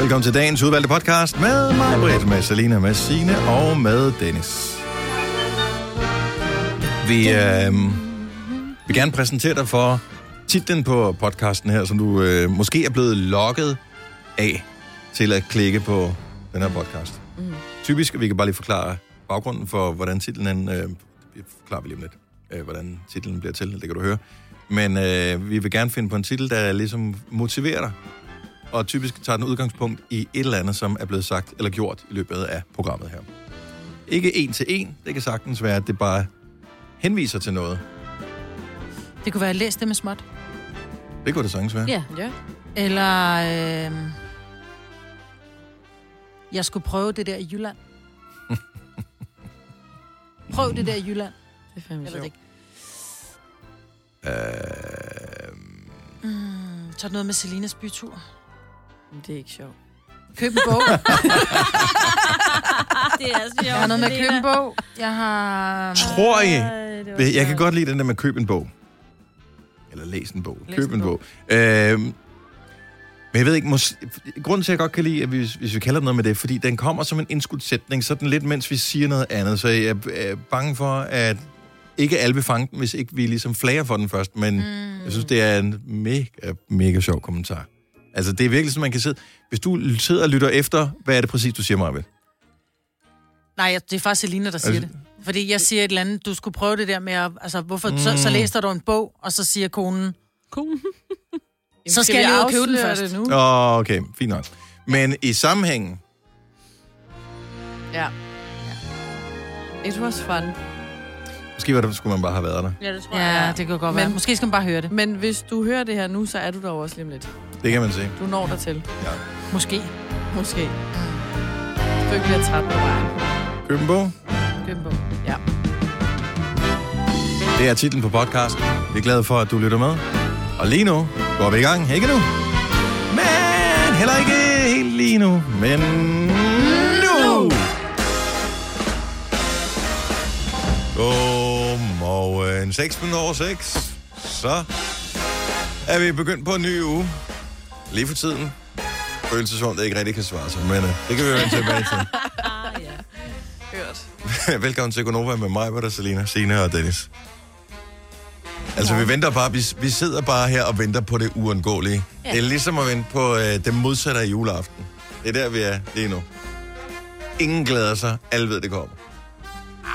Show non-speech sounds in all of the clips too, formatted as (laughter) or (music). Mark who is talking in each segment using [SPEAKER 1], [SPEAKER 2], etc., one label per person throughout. [SPEAKER 1] Velkommen til dagens udvalgte podcast med mig, Britt, med Selina, med Signe og med Dennis. Vi øh, vil gerne præsentere dig for titlen på podcasten her, som du øh, måske er blevet lokket af til at klikke på den her podcast. Mm. Typisk, vi kan bare lige forklare baggrunden for, hvordan titlen er. Øh, det forklarer vi lige om lidt, øh, hvordan titlen bliver til, det kan du høre. Men øh, vi vil gerne finde på en titel, der ligesom motiverer dig og typisk tager den udgangspunkt i et eller andet, som er blevet sagt eller gjort i løbet af programmet her. Ikke en til en, det kan sagtens være, at det bare henviser til noget.
[SPEAKER 2] Det kunne være, læs det med småt.
[SPEAKER 1] Det kunne det sagtens være.
[SPEAKER 2] Ja. ja. Eller... Øh, jeg skulle prøve det der i (laughs) Jylland. Prøv det der i Jylland.
[SPEAKER 3] Det er fandme
[SPEAKER 2] Jeg ved det
[SPEAKER 3] sjovt.
[SPEAKER 2] ikke.
[SPEAKER 1] Øh,
[SPEAKER 2] Mm, så er det noget med Selinas bytur.
[SPEAKER 3] Men Det er ikke sjovt.
[SPEAKER 2] Køb en (laughs) bog.
[SPEAKER 3] (laughs) Det er sjovt.
[SPEAKER 2] Jeg har noget med at købe en bog. Jeg har...
[SPEAKER 1] tror I? Jeg, jeg kan godt lide den der med køb en bog. Eller læs en bog.
[SPEAKER 3] Læs
[SPEAKER 1] Læs køb
[SPEAKER 3] en
[SPEAKER 1] en bog. Øh, men jeg ved ikke, mås- grunden til, at jeg godt kan lide, at vi, hvis vi kalder den noget med det, fordi den kommer som en indskudt sætning, sådan lidt mens vi siger noget andet, så jeg er bange for, at ikke alle vil fange den, hvis ikke vi ligesom flager for den først, men mm. jeg synes, det er en mega, mega sjov kommentar. Altså, det er virkelig sådan, man kan sidde... Hvis du l- sidder og lytter efter, hvad er det præcis, du siger, Marvind?
[SPEAKER 2] Nej, jeg- det er faktisk Selina, der siger
[SPEAKER 1] Altså-
[SPEAKER 2] det. Fordi jeg siger et eller andet, du skulle prøve det der med at... Altså, hvorfor, mm. så, så læser du en bog, og så siger konen... Så skal jeg lige ud og købe den først.
[SPEAKER 3] nu?
[SPEAKER 1] Åh, okay, fint nok. Men i sammenhængen,
[SPEAKER 3] Ja. It was fun.
[SPEAKER 1] måske var det, skulle man bare have været der.
[SPEAKER 4] Ja, det tror jeg.
[SPEAKER 2] Ja, det kan godt
[SPEAKER 3] Men-
[SPEAKER 2] være. Måske skal man bare høre det.
[SPEAKER 3] Men hvis du hører det her nu, så er du der jo også lige om lidt.
[SPEAKER 1] Det kan man se.
[SPEAKER 3] Du når dig til.
[SPEAKER 1] Ja.
[SPEAKER 2] Måske.
[SPEAKER 3] Måske. Du ikke bliver træt på vejen.
[SPEAKER 1] Køb en bog.
[SPEAKER 3] Køb en bog. Ja.
[SPEAKER 1] Det er titlen på podcasten. Vi er glade for, at du lytter med. Og lige nu går vi i gang. Ikke nu. Men heller ikke helt lige nu. Men nu. Godmorgen. 6 minutter over 6. Så er vi begyndt på en ny uge. Lige for tiden. Føles det som, om det ikke rigtig kan svare sig, men øh, det kan vi jo vende tilbage til.
[SPEAKER 3] Hørt.
[SPEAKER 1] (laughs) Velkommen til Gonova med mig, Britta, Selina, Sina og Dennis. Altså, vi venter bare, vi, vi sidder bare her og venter på det uundgåelige. Ja. Det er ligesom at vente på øh, det modsatte af juleaften. Det er der, vi er lige nu. Ingen glæder sig, alle ved, det kommer.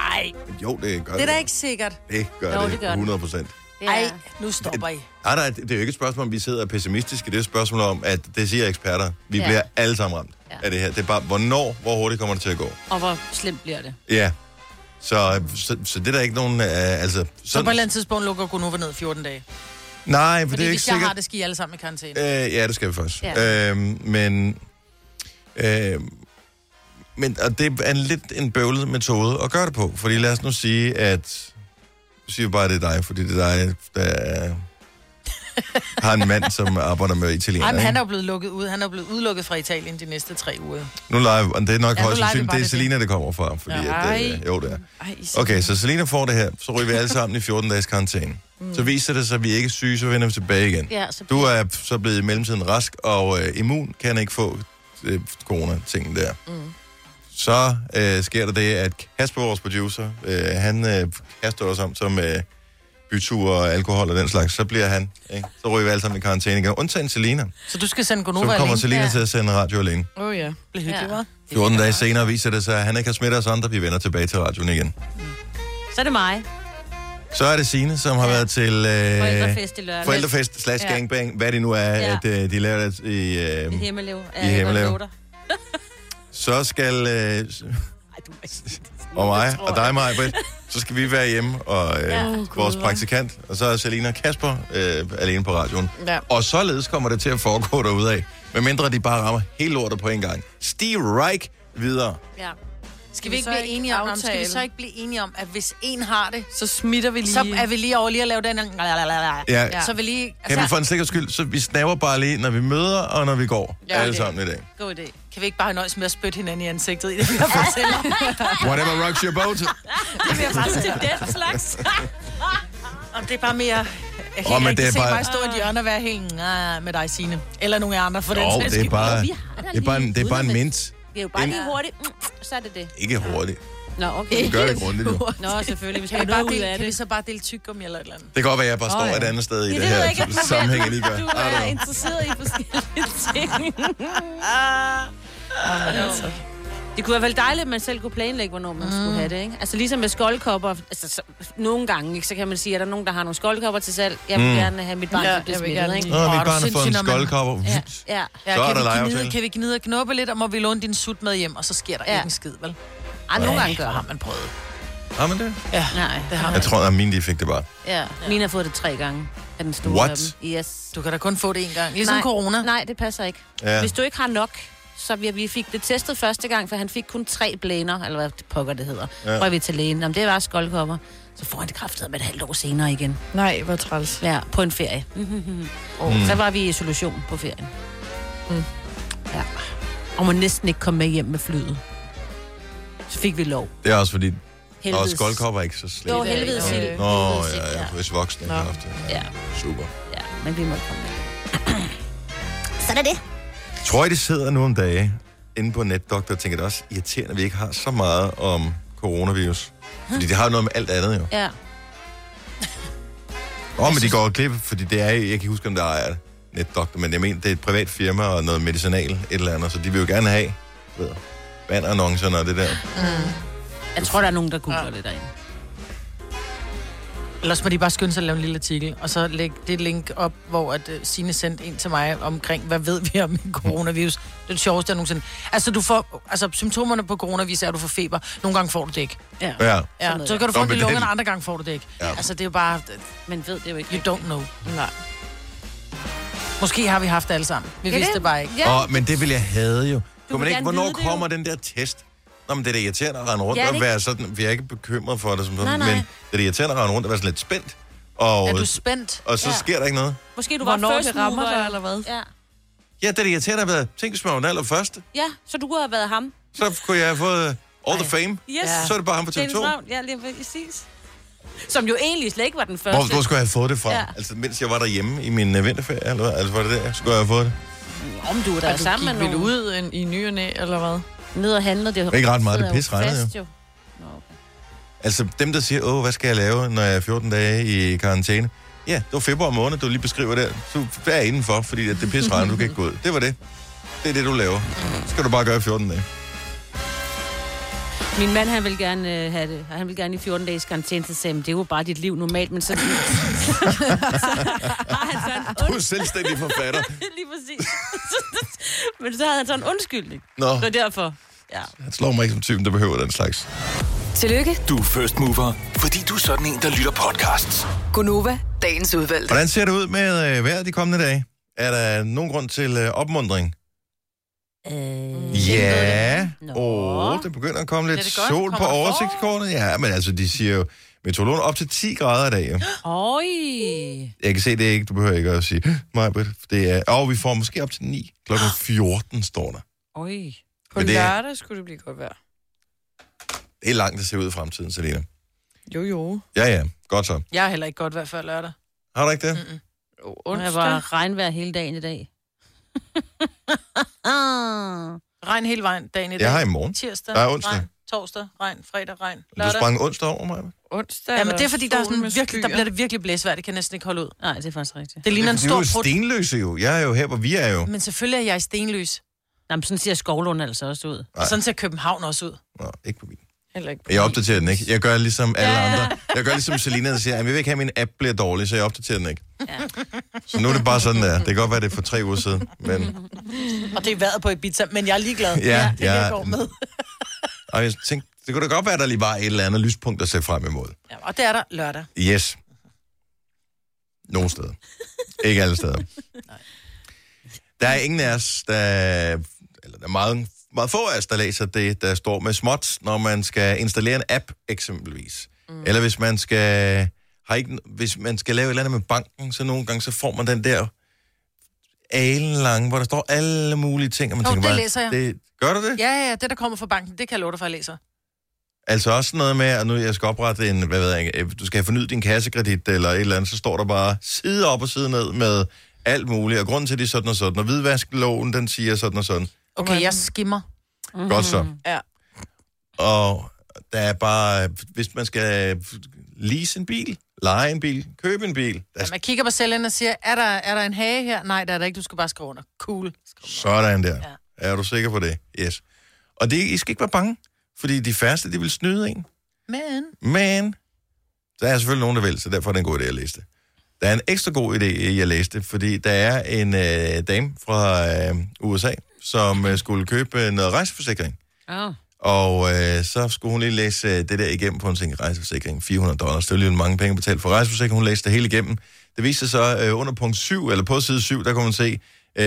[SPEAKER 2] Nej,
[SPEAKER 1] Men jo, det gør
[SPEAKER 2] det
[SPEAKER 1] det.
[SPEAKER 2] er da ikke sikkert.
[SPEAKER 1] Det gør
[SPEAKER 4] Jo,
[SPEAKER 1] det,
[SPEAKER 4] det gør det.
[SPEAKER 1] 100 procent.
[SPEAKER 4] Det er-
[SPEAKER 2] Nej, nu stopper I.
[SPEAKER 1] Nej, nej, det er jo ikke et spørgsmål, om vi sidder og er pessimistiske. Det er et spørgsmål om, at det siger eksperter. Vi ja.
[SPEAKER 4] Ja.
[SPEAKER 1] bliver alle sammen ramt ja.
[SPEAKER 4] Ja.
[SPEAKER 1] af det her. Det er bare, hvornår, hvor hurtigt kommer det til at gå?
[SPEAKER 4] Og hvor slemt bliver det?
[SPEAKER 1] Ja. Så, øh, så, så det er der ikke nogen... Øh, altså,
[SPEAKER 2] Så på et
[SPEAKER 1] sådan,
[SPEAKER 2] eller andet tidspunkt lukker Gunova ned 14 dage. Fordi
[SPEAKER 1] Nej, for det er
[SPEAKER 2] hvis
[SPEAKER 1] ikke
[SPEAKER 2] jeg
[SPEAKER 1] sikkert.
[SPEAKER 2] har det, skal I alle sammen i karantæne.
[SPEAKER 1] Øh, ja, det skal vi faktisk. Ja. Øh, men, øh, men og det er en lidt en bøvlet metode at gøre det på. Fordi lad os nu sige, at... Nu siger vi bare, at det er dig, fordi det er dig, der
[SPEAKER 2] (laughs)
[SPEAKER 1] er- har en mand, som arbejder med
[SPEAKER 2] Nej,
[SPEAKER 1] italiener.
[SPEAKER 2] men han er
[SPEAKER 1] ikke?
[SPEAKER 2] jo blevet lukket ud. Han er blevet udelukket fra Italien de næste tre uger.
[SPEAKER 1] Nu leger, og det er nok
[SPEAKER 2] Ja,
[SPEAKER 1] ja,
[SPEAKER 2] nu
[SPEAKER 1] højst
[SPEAKER 2] leger vi
[SPEAKER 1] sandsynligt,
[SPEAKER 2] bare
[SPEAKER 1] det er
[SPEAKER 2] det.
[SPEAKER 1] Selina, der kommer fra. Fordi at,
[SPEAKER 2] Ej.
[SPEAKER 1] øh, jo, det er.
[SPEAKER 3] Ej, I siger-
[SPEAKER 1] Okay, så Selina får det her, så ryger vi alle sammen i 14-dages karantæne. Mm. Så viser det sig, at vi ikke er syge, så vender vi tilbage igen.
[SPEAKER 4] Ja, så
[SPEAKER 1] Du er så blevet i mellemtiden rask og øh, immun, kan ikke få øh, corona-tingen der. Mm. Så øh, sker der det, at Kasper, vores producer, øh, han øh, kaster os om som øh, byture og alkohol og den slags. Så bliver han, ikke? Så ryger vi alle sammen i karantæne igen. Undtagen Selina.
[SPEAKER 2] Så du skal sende
[SPEAKER 1] Så
[SPEAKER 2] Gunova
[SPEAKER 1] kommer
[SPEAKER 2] alene.
[SPEAKER 1] Selina
[SPEAKER 4] Ja.
[SPEAKER 1] til at sende radio alene.
[SPEAKER 3] Åh oh, ja.
[SPEAKER 2] Det bliver hyggeligt,
[SPEAKER 4] Ja.
[SPEAKER 2] hva'?
[SPEAKER 1] 14 dage senere viser det sig, at han ikke har smittet os andre. Vi vender tilbage til radioen igen.
[SPEAKER 4] Så er det mig.
[SPEAKER 1] Øh, Så er det Signe, som har været til... Øh,
[SPEAKER 4] Forældrefest i lørdag.
[SPEAKER 1] Forældrefest slash
[SPEAKER 4] Ja.
[SPEAKER 1] gangbang, hvad det nu er, ja.
[SPEAKER 4] Ja.
[SPEAKER 1] at øh, de laver det i... Øh,
[SPEAKER 4] I Hemmelev.
[SPEAKER 1] I Himmelev. så skal... Øh, s- og mig, og dig, mig, Britt, så skal vi være hjemme, og øh, ja, vores praktikant, og så er Selina og Kasper øh, alene på radioen.
[SPEAKER 3] Ja.
[SPEAKER 1] Og således kommer det til at foregå derudad, medmindre de bare rammer hele lortet på en gang. Steve Reich videre.
[SPEAKER 4] Ja.
[SPEAKER 2] Skal vi ikke
[SPEAKER 3] så
[SPEAKER 2] blive
[SPEAKER 3] ikke
[SPEAKER 2] enige om,
[SPEAKER 3] aftale?
[SPEAKER 2] skal vi så ikke blive enige om, at hvis en har det,
[SPEAKER 3] Så smitter vi lige.
[SPEAKER 2] så er vi lige over lige at lave den. her-
[SPEAKER 1] Ja.
[SPEAKER 2] Så vi lige...
[SPEAKER 1] Kan vi
[SPEAKER 2] Altså,
[SPEAKER 1] for en sikker skyld, så vi snaver bare lige, når vi møder, og når vi går, ja, alle
[SPEAKER 4] det-
[SPEAKER 1] sammen i dag.
[SPEAKER 4] God idé.
[SPEAKER 2] kan vi ikke bare nøjes med at spytte hinanden i ansigtet i det, vi
[SPEAKER 4] (laughs)
[SPEAKER 2] har fortæller?
[SPEAKER 1] Whatever rocks your boat.
[SPEAKER 2] Det bliver bare sådan,
[SPEAKER 4] (laughs)
[SPEAKER 2] det er den slags. Og det er bare mere... Jeg kan
[SPEAKER 1] Åh,
[SPEAKER 2] oh,
[SPEAKER 1] men
[SPEAKER 2] ikke
[SPEAKER 1] det er
[SPEAKER 2] rigtig se
[SPEAKER 1] bare-
[SPEAKER 2] "Ah," mig stå i et hjørne og være helt "Nah", med dig, Signe. Eller nogen af jer andre, for den
[SPEAKER 1] Jo,
[SPEAKER 2] sags
[SPEAKER 1] det er
[SPEAKER 2] skyld.
[SPEAKER 1] bare...
[SPEAKER 4] Vi har det der
[SPEAKER 1] Det er bare en, det er bare en
[SPEAKER 4] udenom et-
[SPEAKER 1] mint.
[SPEAKER 4] Det er jo bare
[SPEAKER 1] En-
[SPEAKER 4] lige hurtigt. Mm, så er det det.
[SPEAKER 1] Ikke hurtigt.
[SPEAKER 4] Nå, okay.
[SPEAKER 1] Du gør det grundigt, jo.
[SPEAKER 4] Nå, selvfølgelig. Vi skal
[SPEAKER 2] Kan, vi bare
[SPEAKER 4] have noget ud
[SPEAKER 2] dele,
[SPEAKER 4] af
[SPEAKER 2] kan vi
[SPEAKER 4] det.
[SPEAKER 2] så bare dele tyggegummi eller et eller andet?
[SPEAKER 1] Det kan godt være, at jeg bare
[SPEAKER 2] Åh,
[SPEAKER 1] står
[SPEAKER 2] ja.
[SPEAKER 1] et andet sted i
[SPEAKER 4] Ja,
[SPEAKER 1] det,
[SPEAKER 4] det ved jeg
[SPEAKER 1] her
[SPEAKER 4] ikke, om du
[SPEAKER 1] sammenhæng, end I gør.
[SPEAKER 4] Du øh,
[SPEAKER 1] I don't
[SPEAKER 4] er
[SPEAKER 1] know.
[SPEAKER 4] interesseret i forskellige ting. det kunne være vel dejligt, at man selv kunne planlægge, hvornår man mm. skulle have det, ikke? Altså ligesom med skoldkopper, altså så, nogle gange, ikke, så kan man sige, er der nogen, der har nogle skoldkopper til salg? Jeg vil
[SPEAKER 1] Mm.
[SPEAKER 4] mm. gerne have mit barn,
[SPEAKER 3] Ja,
[SPEAKER 4] ja, bliver
[SPEAKER 3] jeg vil
[SPEAKER 4] smittet,
[SPEAKER 3] gerne
[SPEAKER 4] ikke?
[SPEAKER 1] Nå,
[SPEAKER 2] Åh,
[SPEAKER 1] mit
[SPEAKER 2] er du
[SPEAKER 1] barn har fået en
[SPEAKER 2] sindssyg, når man-
[SPEAKER 1] skoldkopper.
[SPEAKER 4] Ja, ja.
[SPEAKER 2] Ja,
[SPEAKER 1] Så
[SPEAKER 2] kan,
[SPEAKER 1] er der
[SPEAKER 2] vi gnide,
[SPEAKER 1] legeaftale.
[SPEAKER 2] kan vi gnide og knuppe lidt, og må vi låne din sut med hjem, og så sker der
[SPEAKER 4] Ja.
[SPEAKER 2] ja. ikke en skid, vel?
[SPEAKER 4] Ej, nogle gange
[SPEAKER 2] Så
[SPEAKER 4] gør
[SPEAKER 2] har
[SPEAKER 4] ham.
[SPEAKER 2] man prøvet.
[SPEAKER 1] Har man det?
[SPEAKER 4] Nej,
[SPEAKER 2] Det har
[SPEAKER 1] Jeg
[SPEAKER 2] man.
[SPEAKER 1] tror, at mine de fik det bare.
[SPEAKER 4] ja. Mine har fået det tre gange af den store
[SPEAKER 1] What?
[SPEAKER 4] af dem. Yes.
[SPEAKER 2] Du kan da kun få det en gang. Ligesom
[SPEAKER 4] Nej.
[SPEAKER 2] corona.
[SPEAKER 4] Nej, det passer ikke.
[SPEAKER 1] Ja.
[SPEAKER 4] Ja. Hvis du ikke har nok, så vi, vi fik det testet første gang, for han fik kun tre blæner, eller hvad pokker det hedder.
[SPEAKER 1] Ja.
[SPEAKER 4] Ja. Prøv vi til lægen. Om det var skoldkopper, så får han det kraftet med et halvt år senere igen.
[SPEAKER 3] Nej, hvor træls.
[SPEAKER 4] Ja, på en ferie. og så var vi i isolation på ferien. Mm. Ja. Og må næsten ikke komme med hjem med flyet. Så fik vi lov.
[SPEAKER 1] Det er også fordi, og
[SPEAKER 4] Helvedes.
[SPEAKER 1] skoldkopper er ikke så slemt.
[SPEAKER 4] Jo, helvede
[SPEAKER 3] Ja.
[SPEAKER 4] sild.
[SPEAKER 1] Nå,
[SPEAKER 4] Helvede sild,
[SPEAKER 1] ja, ja, hvis voksne ikke
[SPEAKER 3] Nå.
[SPEAKER 1] har haft det.
[SPEAKER 4] Ja.
[SPEAKER 1] Super.
[SPEAKER 4] ja. men vi måtte komme med.
[SPEAKER 1] Tror I, det sidder nu om dage inde på netdoktor og tænker, det er også irriterende, at vi ikke har så meget om coronavirus? Fordi det har jo noget med alt andet, jo.
[SPEAKER 4] Ja.
[SPEAKER 1] Åh, oh, men de går glip, fordi det er, jeg kan ikke huske, om der er netdoktor, men jeg mener, det er et privat firma og noget medicinal, et eller andet, så de vil jo gerne have du ved, bandannoncerne og det der.
[SPEAKER 4] Jeg tror, der er nogen, der googler ja. det derinde.
[SPEAKER 2] Ellers må de bare skynde sig at lave en lille artikel, og så lægge det link op, hvor at, uh, Signe sendte en til mig omkring, hvad ved vi om (laughs) coronavirus. Det er det sjoveste, jeg nogensinde... Altså, du får, altså, symptomerne på coronavirus er, at du får feber. Nogle gange får du det ikke.
[SPEAKER 4] Ja.
[SPEAKER 1] Ja.
[SPEAKER 2] Ja,
[SPEAKER 4] noget
[SPEAKER 2] så
[SPEAKER 4] der.
[SPEAKER 2] kan du få
[SPEAKER 1] Nå,
[SPEAKER 2] det
[SPEAKER 1] men
[SPEAKER 2] i
[SPEAKER 1] det er
[SPEAKER 2] lungerne,
[SPEAKER 1] den-
[SPEAKER 2] andre gange får du det ikke.
[SPEAKER 1] Ja.
[SPEAKER 2] Ja. Altså, det er jo bare...
[SPEAKER 4] Man ved det jo ikke.
[SPEAKER 2] You don't know.
[SPEAKER 3] Nej.
[SPEAKER 2] Måske har vi haft det alle sammen. Vi vidste det bare ikke.
[SPEAKER 4] Ja.
[SPEAKER 1] Åh, oh, men det vil jeg have jo. Kunne
[SPEAKER 4] vil
[SPEAKER 1] man ikke,
[SPEAKER 4] gerne
[SPEAKER 1] hvornår
[SPEAKER 4] vide det jo.
[SPEAKER 1] kommer den der test? Nå, men det er da irriterende at rende rundt
[SPEAKER 4] Ja,
[SPEAKER 1] ja,
[SPEAKER 4] det
[SPEAKER 1] og
[SPEAKER 4] ikke-
[SPEAKER 1] være sådan, vi er ikke bekymret for det, som sådan,
[SPEAKER 4] Nej, nej.
[SPEAKER 1] men det er da irriterende at rende rundt og være sådan lidt spændt. Og,
[SPEAKER 2] Er du spændt?
[SPEAKER 1] og så
[SPEAKER 4] Ja.
[SPEAKER 1] sker der ikke noget.
[SPEAKER 4] Måske du
[SPEAKER 3] Hvornår
[SPEAKER 4] var
[SPEAKER 3] det
[SPEAKER 4] first
[SPEAKER 3] rammer
[SPEAKER 4] mover,
[SPEAKER 3] dig, eller hvad?
[SPEAKER 4] Ja.
[SPEAKER 1] Ja, det er da irriterende at være, tænk hvis man var den allerførste,
[SPEAKER 4] ja, så du kunne have været ham.
[SPEAKER 1] så kunne jeg have fået øh, all the fame.
[SPEAKER 4] Yes.
[SPEAKER 1] Så er det bare ham på
[SPEAKER 4] Dennis
[SPEAKER 1] TV2.
[SPEAKER 4] Ravn, ja, lige præcis. Som jo egentlig slet ikke var den første.
[SPEAKER 1] Hvor, hvor skulle jeg have fået det fra? Ja.
[SPEAKER 4] Ja.
[SPEAKER 1] Altså, mens jeg var derhjemme i min øh, vinterferie, eller hvad? Altså, var det der, skulle jeg have fået det?
[SPEAKER 4] Om du er der
[SPEAKER 3] Er du
[SPEAKER 4] sammen
[SPEAKER 3] gik
[SPEAKER 4] med
[SPEAKER 3] vel
[SPEAKER 4] nogen. Ud.
[SPEAKER 3] ud en, i ny og næ, eller hvad?
[SPEAKER 4] Ned og handler. Det
[SPEAKER 1] Ikke ret meget, det
[SPEAKER 4] sidder
[SPEAKER 1] pis regnede
[SPEAKER 4] fast, jo. Nå, okay.
[SPEAKER 1] Altså, dem der siger, åh, hvad skal jeg lave, når jeg er 14 dage i karantæne? Ja, det var februar måned, du lige beskriver der. Du er indenfor, fordi at det pis regner, du kan ikke gå ud. Det var det. Det er det, du laver. Det skal du bare gøre i 14 dage.
[SPEAKER 4] Min mand, han vil gerne øh, have det. og Han vil gerne i 14 dages karantæne, så sagde, han, det er jo bare dit liv normalt,
[SPEAKER 1] (laughs)
[SPEAKER 4] men så... (laughs) så har han sådan
[SPEAKER 1] Du er selvstændig forfatter.
[SPEAKER 4] undskyld, (laughs) lige præcis. (laughs) men så havde han sådan en undskyldning.
[SPEAKER 1] Nå,
[SPEAKER 4] Så derfor, ja.
[SPEAKER 1] han slår mig ikke som typen, der behøver den slags.
[SPEAKER 5] Tillykke,
[SPEAKER 6] Du er first mover, fordi du er sådan en, der lytter podcasts.
[SPEAKER 5] Gunova, dagens udvalgte.
[SPEAKER 1] Hvordan ser det ud med øh, vejret de kommende dage? Er der nogen grund til øh, opmundring?
[SPEAKER 4] Øh,
[SPEAKER 1] Ja,
[SPEAKER 4] Nå.
[SPEAKER 1] åh, det begynder at komme lidt
[SPEAKER 2] det godt?
[SPEAKER 1] sol
[SPEAKER 2] Kommer der
[SPEAKER 1] på
[SPEAKER 2] forår?
[SPEAKER 1] oversigtskortet. Ja, men altså, de siger jo, meteorologerne op til 10 grader i dag. Jo.
[SPEAKER 4] Øj.
[SPEAKER 1] Jeg kan se det er ikke, du behøver ikke at sige, mig, det er, og vi får måske op til 9,
[SPEAKER 2] Ah.
[SPEAKER 1] klokken 14 står der.
[SPEAKER 4] Øj.
[SPEAKER 3] På
[SPEAKER 1] Men det-
[SPEAKER 3] lørdag skulle det blive godt vejr.
[SPEAKER 1] Det er langt at se ud i fremtiden, Selina.
[SPEAKER 3] Jo, jo.
[SPEAKER 1] Ja, ja, godt så.
[SPEAKER 2] Jeg er heller ikke godt i hvert fald lørdag.
[SPEAKER 1] Har du ikke det?
[SPEAKER 3] Jo,
[SPEAKER 4] Jeg
[SPEAKER 3] Onsdag.
[SPEAKER 4] var regnvejr hele dagen i (laughs) dag.
[SPEAKER 2] Regn hele vejen dagen i dag.
[SPEAKER 1] Jeg har i morgen.
[SPEAKER 2] Tirsdag,
[SPEAKER 1] Nej, onsdag.
[SPEAKER 2] regn. Torsdag, regn. Fredag, regn.
[SPEAKER 1] Du
[SPEAKER 2] Lørdag.
[SPEAKER 1] sprang onsdag over mig.
[SPEAKER 3] Onsdag.
[SPEAKER 2] Ja, men det er
[SPEAKER 3] der
[SPEAKER 2] fordi, der, er
[SPEAKER 3] sol
[SPEAKER 2] sådan
[SPEAKER 3] med
[SPEAKER 2] virkelig, der
[SPEAKER 3] skyer.
[SPEAKER 2] bliver det virkelig blæsvær. Det kan jeg næsten ikke holde ud.
[SPEAKER 4] Nej, det er faktisk rigtigt.
[SPEAKER 2] Det ligner en
[SPEAKER 1] Det er
[SPEAKER 2] stor
[SPEAKER 1] jo
[SPEAKER 2] prut.
[SPEAKER 1] stenløse jo. Jeg er jo her, hvor vi er jo.
[SPEAKER 2] Men selvfølgelig er jeg i stenløs.
[SPEAKER 4] Nå, men sådan ser Skovlund altså også ud.
[SPEAKER 2] Og sådan ser København også ud.
[SPEAKER 1] Nå, ikke på min.
[SPEAKER 3] Heller ikke på
[SPEAKER 1] Jeg opdaterer den ikke. Jeg gør ligesom alle andre. Jeg gør ligesom Selina, der siger, at jeg vil ikke have, at min app bliver dårlig, så jeg opdaterer den ikke. Så nu er det bare sådan der. Det kan godt være, det er for tre uger siden. Men
[SPEAKER 2] Og det er vejret på Ibiza, men jeg er ligeglad.
[SPEAKER 1] Ja,
[SPEAKER 2] det kan
[SPEAKER 1] ja.
[SPEAKER 2] jeg går med.
[SPEAKER 1] og jeg tænkte, det kunne da godt være, at der lige var et eller andet lyspunkt at se frem imod.
[SPEAKER 2] Ja, og det er der lørdag.
[SPEAKER 1] Yes. Nogle steder. Ikke alle
[SPEAKER 2] (laughs)
[SPEAKER 1] steder. Der er ingen af os, der... Eller der er meget, meget få af os, der læser det, der står med småt, når man skal installere en app, eksempelvis. Mm. Eller hvis man skal... Har ikke, hvis man skal lave et eller andet med banken, så nogle gange, så får man den der alenlange, hvor der står alle mulige ting, og man
[SPEAKER 2] Jo,
[SPEAKER 1] tænker
[SPEAKER 2] det
[SPEAKER 1] bare,
[SPEAKER 2] læser jeg.
[SPEAKER 1] Det, gør du det?
[SPEAKER 2] Ja, ja, det der kommer fra banken, det kan jeg love dig for, at jeg læser.
[SPEAKER 1] Altså også sådan noget med, at nu jeg skal oprette en, hvad ved jeg, øh, du skal have fornyet din kassekredit eller et eller andet, så står der bare side op og side ned med alt muligt, og grunden til det er sådan og sådan, og hvidvaskloven, den siger sådan og sådan.
[SPEAKER 2] Okay, jeg skimmer.
[SPEAKER 1] Mm-hmm. Godt så.
[SPEAKER 3] Ja.
[SPEAKER 1] Og der er bare, hvis man skal lease en bil, lege en bil, købe en bil, der
[SPEAKER 2] Man kigger på cellen og siger, er der, er der en hage her? Nej, der er der ikke. Du skal bare skrive under. Cool.
[SPEAKER 1] Sådan der. Ja. Er du sikker på det? Yes. Og det, I skal ikke være bange, fordi de færreste, de vil snyde en.
[SPEAKER 2] Men...
[SPEAKER 1] Men der er selvfølgelig nogen, der vil, så derfor er det en god idé at læse det. Der er en ekstra god idé i at læse det, fordi der er en øh, dame fra øh, USA, som øh, skulle købe noget rejseforsikring.
[SPEAKER 4] Oh.
[SPEAKER 1] Og øh, så skulle hun lige læse øh, det der igennem på en ting rejseforsikring. 400 dollars, det er jo lige mange penge betalt for rejseforsikring. Hun læste det hele igennem. Det viste sig så øh, under punkt 7, eller på side 7, der kunne man se, øh,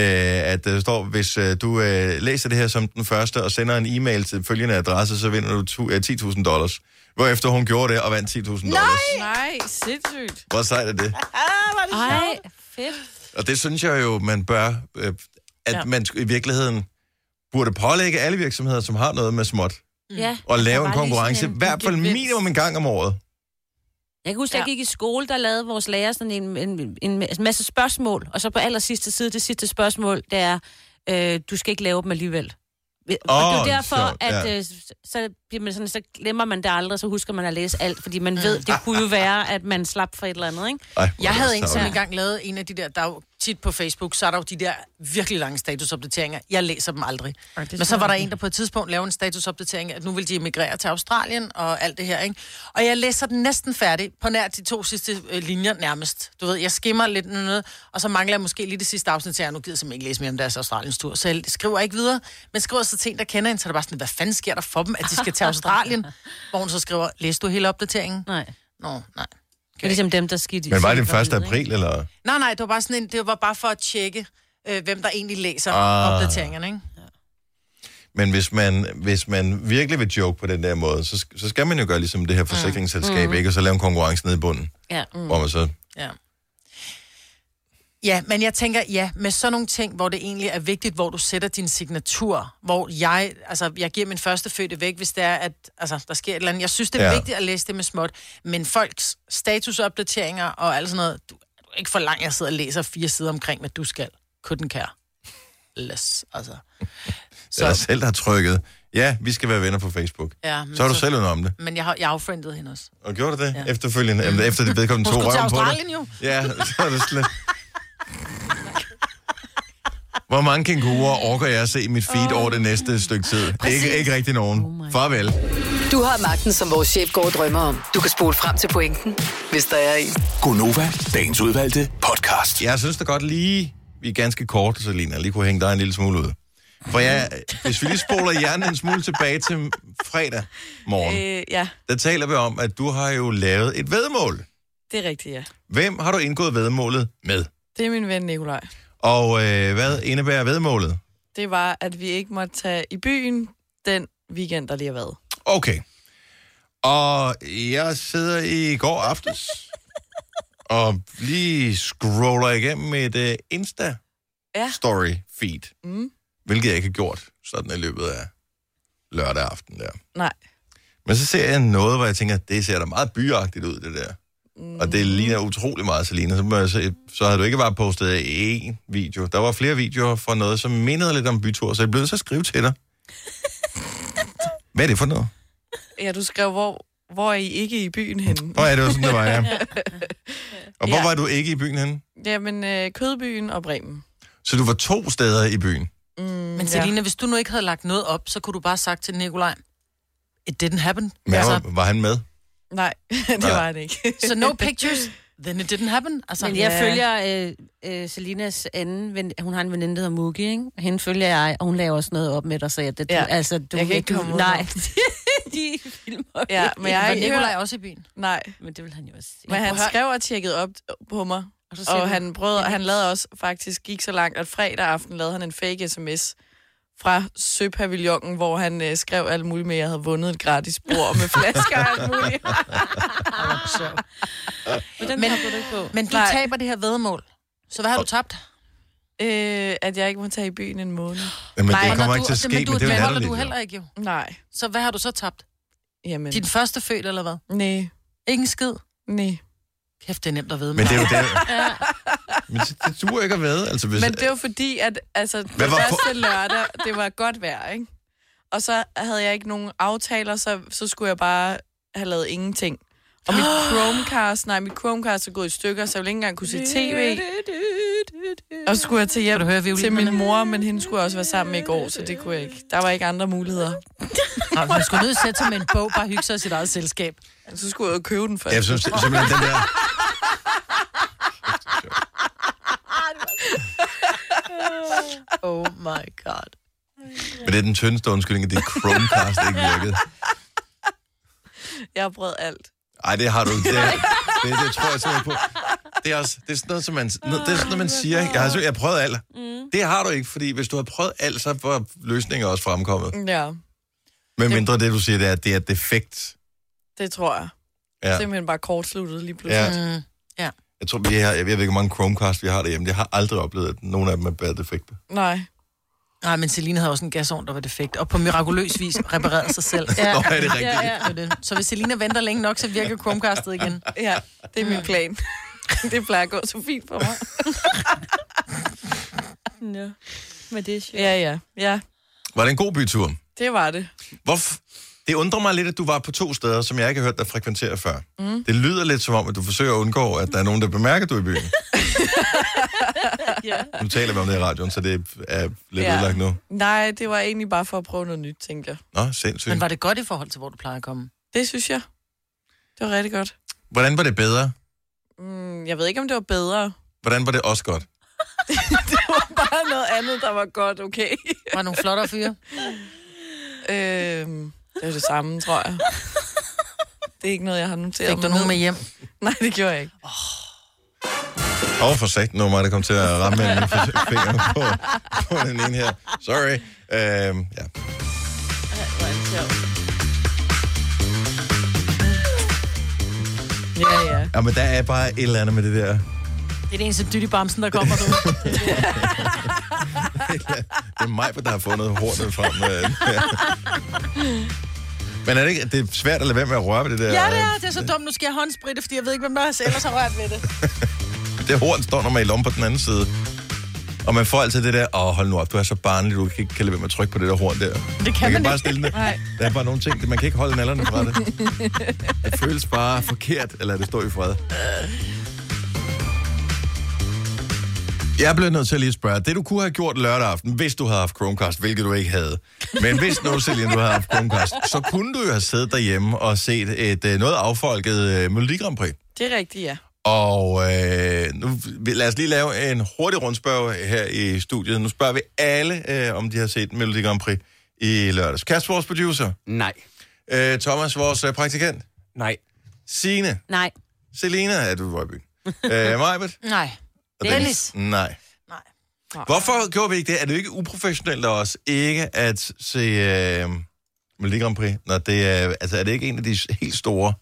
[SPEAKER 1] at der står, hvis øh, du øh, læser det her som den første og sender en e-mail til følgende adresse, så vinder du tu- øh, 10.000 dollars. Hvorefter hun gjorde det og vandt 10.000 dollars.
[SPEAKER 3] Nej, sindssygt.
[SPEAKER 1] Hvor sejt er det?
[SPEAKER 4] Ej, fedt.
[SPEAKER 1] Og det synes jeg jo, man bør, øh, at ja. man i virkeligheden burde pålægge alle virksomheder, som har noget med småt,
[SPEAKER 4] Ja.
[SPEAKER 1] og
[SPEAKER 4] Der
[SPEAKER 1] lave
[SPEAKER 4] var
[SPEAKER 1] en
[SPEAKER 4] lige
[SPEAKER 1] konkurrence,
[SPEAKER 4] sådan
[SPEAKER 1] i
[SPEAKER 4] en
[SPEAKER 1] hvert fald
[SPEAKER 4] gevinst.
[SPEAKER 1] minimum en gang om året.
[SPEAKER 4] Jeg kan huske, ja. jeg
[SPEAKER 3] Ja.
[SPEAKER 4] gik i skole, der lavede vores lærer sådan en, en, en masse spørgsmål, og så på aller sidste side, det sidste spørgsmål, det er, øh, du skal ikke lave dem alligevel. Og det er
[SPEAKER 1] Åh,
[SPEAKER 4] jo derfor,
[SPEAKER 1] sjovt,
[SPEAKER 4] at
[SPEAKER 1] ja.
[SPEAKER 4] øh, så, bliver man sådan, så glemmer man det aldrig, så husker man at læse alt, fordi man ved, det
[SPEAKER 1] (laughs)
[SPEAKER 4] kunne jo være, at man slap for et eller andet, ikke?
[SPEAKER 1] Ej, hvor er
[SPEAKER 2] Jeg
[SPEAKER 1] det
[SPEAKER 2] havde en, som
[SPEAKER 1] tarveligt.
[SPEAKER 2] engang lavet en af de der, der er jo tit på Facebook, så er der jo de der virkelig lange statusopdateringer. Jeg læser dem aldrig.
[SPEAKER 3] Ej, det
[SPEAKER 2] Men så
[SPEAKER 3] tror
[SPEAKER 2] var der
[SPEAKER 3] jeg
[SPEAKER 2] en, der på et tidspunkt lavede en statusopdatering, at nu vil de emigrere til Australien og alt det her, ikke? Og jeg læser den næsten færdig, på nær de to sidste øh, linjer nærmest. Du ved, jeg skimmer lidt noget, og så mangler jeg måske lige det sidste afsnit til, at nu gider jeg simpelthen ikke læse mere om deres Australiens tur. Så jeg skriver ikke videre, men skriver så til en, der kender en, så er det bare sådan, hvad fanden sker der for dem, at de skal til
[SPEAKER 3] (laughs)
[SPEAKER 2] Australien? Hvor hun så skriver, læste du hele opdateringen?
[SPEAKER 4] Nej.
[SPEAKER 2] Nå, nej.
[SPEAKER 4] Det er ligesom dem, der skidt i
[SPEAKER 1] Men var det den 1.
[SPEAKER 4] gravid, ikke?
[SPEAKER 1] april, eller?
[SPEAKER 2] Nej, nej, det var bare sådan en, det var bare for at tjekke, øh, hvem der egentlig læser
[SPEAKER 1] Ah.
[SPEAKER 2] ah. opdateringerne, ikke?
[SPEAKER 1] Men hvis man, hvis man virkelig vil joke på den der måde, så, sk- så skal man jo gøre ligesom det her forsikringsselskab, mm. ikke? Og så lave en konkurrence nede i bunden,
[SPEAKER 4] Ja.
[SPEAKER 1] mm. hvor man så...
[SPEAKER 2] Ja. Ja, men jeg tænker, ja, med sådan nogle ting, hvor det egentlig er vigtigt, hvor du sætter din signatur, hvor jeg, altså, jeg giver min første fødte væk, hvis det er, at altså, der sker et eller andet. Jeg synes, det er
[SPEAKER 1] Ja.
[SPEAKER 2] ja. vigtigt at læse det med småt, men folks statusopdateringer og alt sådan noget, du, du er ikke for langt, jeg sidder og læser fire sider omkring, hvad du skal. Couldn't care. Less, altså.
[SPEAKER 1] Det er dig
[SPEAKER 2] Så,
[SPEAKER 1] selv, der har trykket. Ja, vi skal være venner på Facebook.
[SPEAKER 2] ja, men,
[SPEAKER 1] Så er du
[SPEAKER 2] så-
[SPEAKER 1] selv uden om det.
[SPEAKER 2] men jeg har jeg affriendede hende også.
[SPEAKER 1] Og gjorde du det ja. efterfølgende? Jamen, Efter det vedkommende
[SPEAKER 2] Hun
[SPEAKER 1] tog
[SPEAKER 2] skulle til
[SPEAKER 1] røven på dig?
[SPEAKER 2] Australien jo.
[SPEAKER 1] Ja, så er det slet... Hvor mange kænguruer orker jeg at se i mit feed over det næste stykke tid? Ikke, ikke rigtig nogen. Oh Farvel.
[SPEAKER 5] Du har magten, som vores chef går og drømmer om. Du kan spole frem til pointen, hvis der er en.
[SPEAKER 6] Gonova, dagens udvalgte podcast.
[SPEAKER 1] Jeg synes da godt lige, vi er ganske kort, Selina, lige kunne hænge dig en lille smule ud. For jeg, hvis vi lige spoler hjernen en smule tilbage til fredag morgen,
[SPEAKER 3] Øh, ja,
[SPEAKER 1] der taler vi om, at du har jo lavet et vedmål.
[SPEAKER 3] det er rigtigt, ja.
[SPEAKER 1] Hvem har du indgået vedmålet med?
[SPEAKER 3] Det er min ven Nikolaj.
[SPEAKER 1] Og øh, hvad indebærer vedmålet?
[SPEAKER 3] Det var, at vi ikke måtte tage i byen den weekend, der lige har været.
[SPEAKER 1] Okay. Og jeg sidder i går aftes og lige scroller igennem et uh,
[SPEAKER 3] Ja.
[SPEAKER 1] Insta-story-feed,
[SPEAKER 3] Mm.
[SPEAKER 1] hvilket jeg ikke har gjort sådan i løbet af lørdag aften der.
[SPEAKER 3] Nej.
[SPEAKER 1] Men så ser jeg noget, hvor jeg tænker, det ser da meget byagtigt ud, det der. Mm. Og det ligner utrolig meget, Selina. Så, må jeg se- så havde du ikke bare postet én video. Der var flere videoer fra noget, som mindede lidt om bytur, så jeg blev nødt til at skrive til dig. Hvad er det for noget?
[SPEAKER 3] Ja, du skrev, hvor, hvor er I ikke i byen henne?
[SPEAKER 1] Nå ja, det var sådan, det
[SPEAKER 2] (laughs)
[SPEAKER 1] var, ja. Og hvor
[SPEAKER 3] Ja.
[SPEAKER 1] var du ikke i byen henne?
[SPEAKER 3] Jamen, øh, Kødbyen og Bremen. Mm,
[SPEAKER 1] Så du var to steder i byen.
[SPEAKER 2] Men Selina, hvis du nu ikke havde lagt noget op, så kunne du bare have sagt til Nikolaj, it didn't happen.
[SPEAKER 1] Men
[SPEAKER 2] altså,
[SPEAKER 1] var, var han med?
[SPEAKER 3] Nej, (laughs) det
[SPEAKER 1] Nej.
[SPEAKER 3] var han ikke.
[SPEAKER 2] så no pictures, then it didn't happen. Altså,
[SPEAKER 4] Men jeg følger øh, øh, Selinas anden ven, hun har en veninde, der hedder Mugi, ikke? Og hende følger jeg, og hun laver også noget op med dig, så jeg, det, du,
[SPEAKER 3] Ja.
[SPEAKER 4] altså, du,
[SPEAKER 3] Jeg kan ikke
[SPEAKER 4] du,
[SPEAKER 3] komme ud
[SPEAKER 4] Nej, (laughs)
[SPEAKER 3] af
[SPEAKER 4] de filmer
[SPEAKER 3] Ja,
[SPEAKER 4] ikke.
[SPEAKER 3] men jeg har
[SPEAKER 2] Var
[SPEAKER 3] ikke
[SPEAKER 2] Nikolaj
[SPEAKER 3] hørt-
[SPEAKER 2] også i byen?
[SPEAKER 3] Nej,
[SPEAKER 4] Men det vil han jo også se.
[SPEAKER 3] men han
[SPEAKER 2] prøv at-
[SPEAKER 3] skrev og tjekkede op på mig.
[SPEAKER 4] Og så siger
[SPEAKER 3] Og
[SPEAKER 4] du,
[SPEAKER 3] han prøvede, og han lavede også faktisk, gik så langt, at fredag aften lavede han en fake sms fra Søpavillonen, hvor han øh, skrev alt muligt med, at jeg havde vundet et gratis bord med flasker og alt
[SPEAKER 4] (laughs)
[SPEAKER 3] muligt.
[SPEAKER 4] Men den
[SPEAKER 2] Men-
[SPEAKER 4] men, du ikke på.
[SPEAKER 2] Men du
[SPEAKER 3] Nej.
[SPEAKER 2] taber det her vedmål. Så hvad har du tabt?
[SPEAKER 3] øh, at jeg ikke må tage i byen en måned.
[SPEAKER 1] Jamen,
[SPEAKER 2] Nej,
[SPEAKER 1] det kommer
[SPEAKER 2] og
[SPEAKER 1] ikke
[SPEAKER 2] du- altså,
[SPEAKER 1] til at ske, men,
[SPEAKER 2] men du,
[SPEAKER 1] det er jo
[SPEAKER 2] holder
[SPEAKER 1] latterligt.
[SPEAKER 2] du
[SPEAKER 1] jo.
[SPEAKER 2] heller ikke jo.
[SPEAKER 3] Nej,
[SPEAKER 2] Så hvad har du så tabt?
[SPEAKER 3] jamen.
[SPEAKER 2] Din første født eller hvad?
[SPEAKER 3] Nej,
[SPEAKER 2] Ikke en skid?
[SPEAKER 3] nej.
[SPEAKER 2] Kæft, det er nemt at vide. (laughs)
[SPEAKER 1] Men det er jo det. Men det, det duer ikke at være. Altså, hvis,
[SPEAKER 3] Men det var fordi, at altså, det
[SPEAKER 1] Hvad var på-
[SPEAKER 3] første lørdag, det var godt vejr, ikke? Og så havde jeg ikke nogen aftaler, så, så skulle jeg bare have lavet ingenting. Og
[SPEAKER 1] (gasps)
[SPEAKER 3] mit Chromecast, nej, mit Chromecast er gået i stykker, så jeg ville ikke engang kunne se tv. Og så skulle jeg til hjem
[SPEAKER 2] du høre
[SPEAKER 3] til
[SPEAKER 2] violinerne?
[SPEAKER 3] min mor, men hende skulle jeg også være sammen med i går, så det kunne jeg ikke. Der var ikke andre muligheder.
[SPEAKER 2] Nå, man skulle nødt til at sætte sig med en bog, bare hygge sig i sit eget selskab.
[SPEAKER 3] Så skulle jeg jo købe den først.
[SPEAKER 1] Jeg synes det, simpelthen, den der...
[SPEAKER 2] Oh my god.
[SPEAKER 1] Men det er den tyndeste undskyldning, at dit Chromecast ikke virkede.
[SPEAKER 3] Jeg har prøvet alt.
[SPEAKER 1] Ej, det har du ikke. Det, det, det tror jeg simpelthen på. Det er, også, det er sådan noget, som man, no- det er sådan noget, man siger. ikke? Jeg har, simpelthen- jeg har prøvet alt. Mm. Det har du ikke, fordi hvis du har prøvet alt, så var løsningen også
[SPEAKER 2] Mm.
[SPEAKER 1] fremkommet.
[SPEAKER 3] Ja,
[SPEAKER 1] Men mindre det, du siger, det er, at det er defekt.
[SPEAKER 3] det tror jeg.
[SPEAKER 1] Ja.
[SPEAKER 3] Simpelthen bare kortsluttet lige pludselig.
[SPEAKER 1] ja.
[SPEAKER 2] Mm,
[SPEAKER 1] Jeg tror, vi har, jeg ved ikke, hvor mange Chromecast vi har derhjemme. Jeg har aldrig oplevet, at nogen af dem er bare defekte.
[SPEAKER 3] Mm. Nej.
[SPEAKER 2] Nej, men Celine havde også en gasovn, der var defekt, og på mirakuløs vis reparerede sig selv.
[SPEAKER 1] (laughs) Ja. Nå, er det rigtigt? Ja,
[SPEAKER 2] Ja, ja. Det er det. Så hvis Selina venter længe nok, så virker Chromecastet (laughs) igen.
[SPEAKER 3] Ja, det er min plan. (laughs) det plejer at gå så fint for mig.
[SPEAKER 4] Nå, men det er sjovt.
[SPEAKER 3] Ja, ja. Ja,
[SPEAKER 1] Var det en god bytur?
[SPEAKER 3] det var det.
[SPEAKER 1] Hvorfor? Det undrer mig lidt, at du var på to steder, som jeg ikke har hørt dig frekventere før. Mm. Det lyder lidt som om, at du forsøger at undgå, at der er nogen, der bemærker, at du er i (laughs) byen.
[SPEAKER 4] Ja.
[SPEAKER 1] Nu taler vi om det i radioen, så det er lidt ja.
[SPEAKER 3] Ja.
[SPEAKER 1] udlagt nu.
[SPEAKER 3] Nej, det var egentlig bare for at prøve noget nyt, tænker jeg.
[SPEAKER 1] Nå, sindssygt.
[SPEAKER 2] Men var det godt i forhold til, hvor du plejer at komme?
[SPEAKER 3] Det synes jeg. Det var rigtig godt.
[SPEAKER 1] Hvordan var det bedre?
[SPEAKER 3] Mm, jeg ved ikke, om det var bedre.
[SPEAKER 1] Hvordan var det også godt?
[SPEAKER 3] (laughs) Det var bare noget andet, der var godt, okay?
[SPEAKER 2] Var der nogle flottere fyre?
[SPEAKER 3] øhm, det var det samme, tror jeg. Det er ikke noget, jeg har noteret.
[SPEAKER 2] Fik du
[SPEAKER 3] mig
[SPEAKER 2] nogen med
[SPEAKER 3] ned.
[SPEAKER 2] hjem?
[SPEAKER 3] Nej, det gjorde jeg ikke.
[SPEAKER 1] Åh, oh, for satan, nu var mig, der kom til at ramme en finger på, på den ene her. Sorry. Øhm, ja.
[SPEAKER 3] Ja, ja.
[SPEAKER 1] ja, men der er bare et eller andet med det der.
[SPEAKER 2] Det er det eneste dyt i bamsen, der kommer nu.
[SPEAKER 1] Det er mig, der har fundet hornet frem. øh. Men er det ikke det er svært at lade være med at røre ved det der?
[SPEAKER 2] (laughs) Ja, det er, det er så dumt. Nu skal jeg håndspritte, fordi jeg ved ikke, hvem der ellers har rørt ved det.
[SPEAKER 1] (laughs) det horn står normalt om på den anden side. Og man får altid det der, åh, hold nu op, du er så barnlig, du kan ikke kan lade være med at trykke på det der horn der.
[SPEAKER 2] Det kan
[SPEAKER 1] man
[SPEAKER 2] man
[SPEAKER 1] kan bare
[SPEAKER 2] ikke.
[SPEAKER 1] stille det. Der er bare nogle ting, man kan ikke holde nallerne
[SPEAKER 2] (laughs)
[SPEAKER 1] fra det. Det føles bare forkert, eller det står i fred. Jeg blev nødt til at lige spørge, det du kunne have gjort lørdag aften, hvis du havde haft Chromecast, hvilket du ikke havde, men hvis nu, Celine, du havde haft Chromecast, så kunne du jo have siddet derhjemme og set et øh, noget affolket uh, Melodi Grand Prix.
[SPEAKER 3] Det er rigtigt, ja.
[SPEAKER 1] Og øh, nu vi- lad os lige lave en hurtig rundspørg her i studiet. Nu spørger vi alle, øh, om de har set Melodi Grand Prix i lørdags. Kasper, vores producer.
[SPEAKER 7] Nej.
[SPEAKER 1] Øh, Thomas, vores øh, praktikant.
[SPEAKER 7] Nej.
[SPEAKER 1] Signe.
[SPEAKER 4] Nej.
[SPEAKER 1] Selena, er du i Rødby? øh, Majbet.
[SPEAKER 2] Nej.
[SPEAKER 1] Og
[SPEAKER 2] Dennis.
[SPEAKER 1] Nej.
[SPEAKER 2] Nej.
[SPEAKER 1] Hvorfor gjorde vi ikke det? Er det ikke uprofessionelt af os ikke at se øh, Melodi Grand Prix? Når det er, altså, er det ikke en af de helt store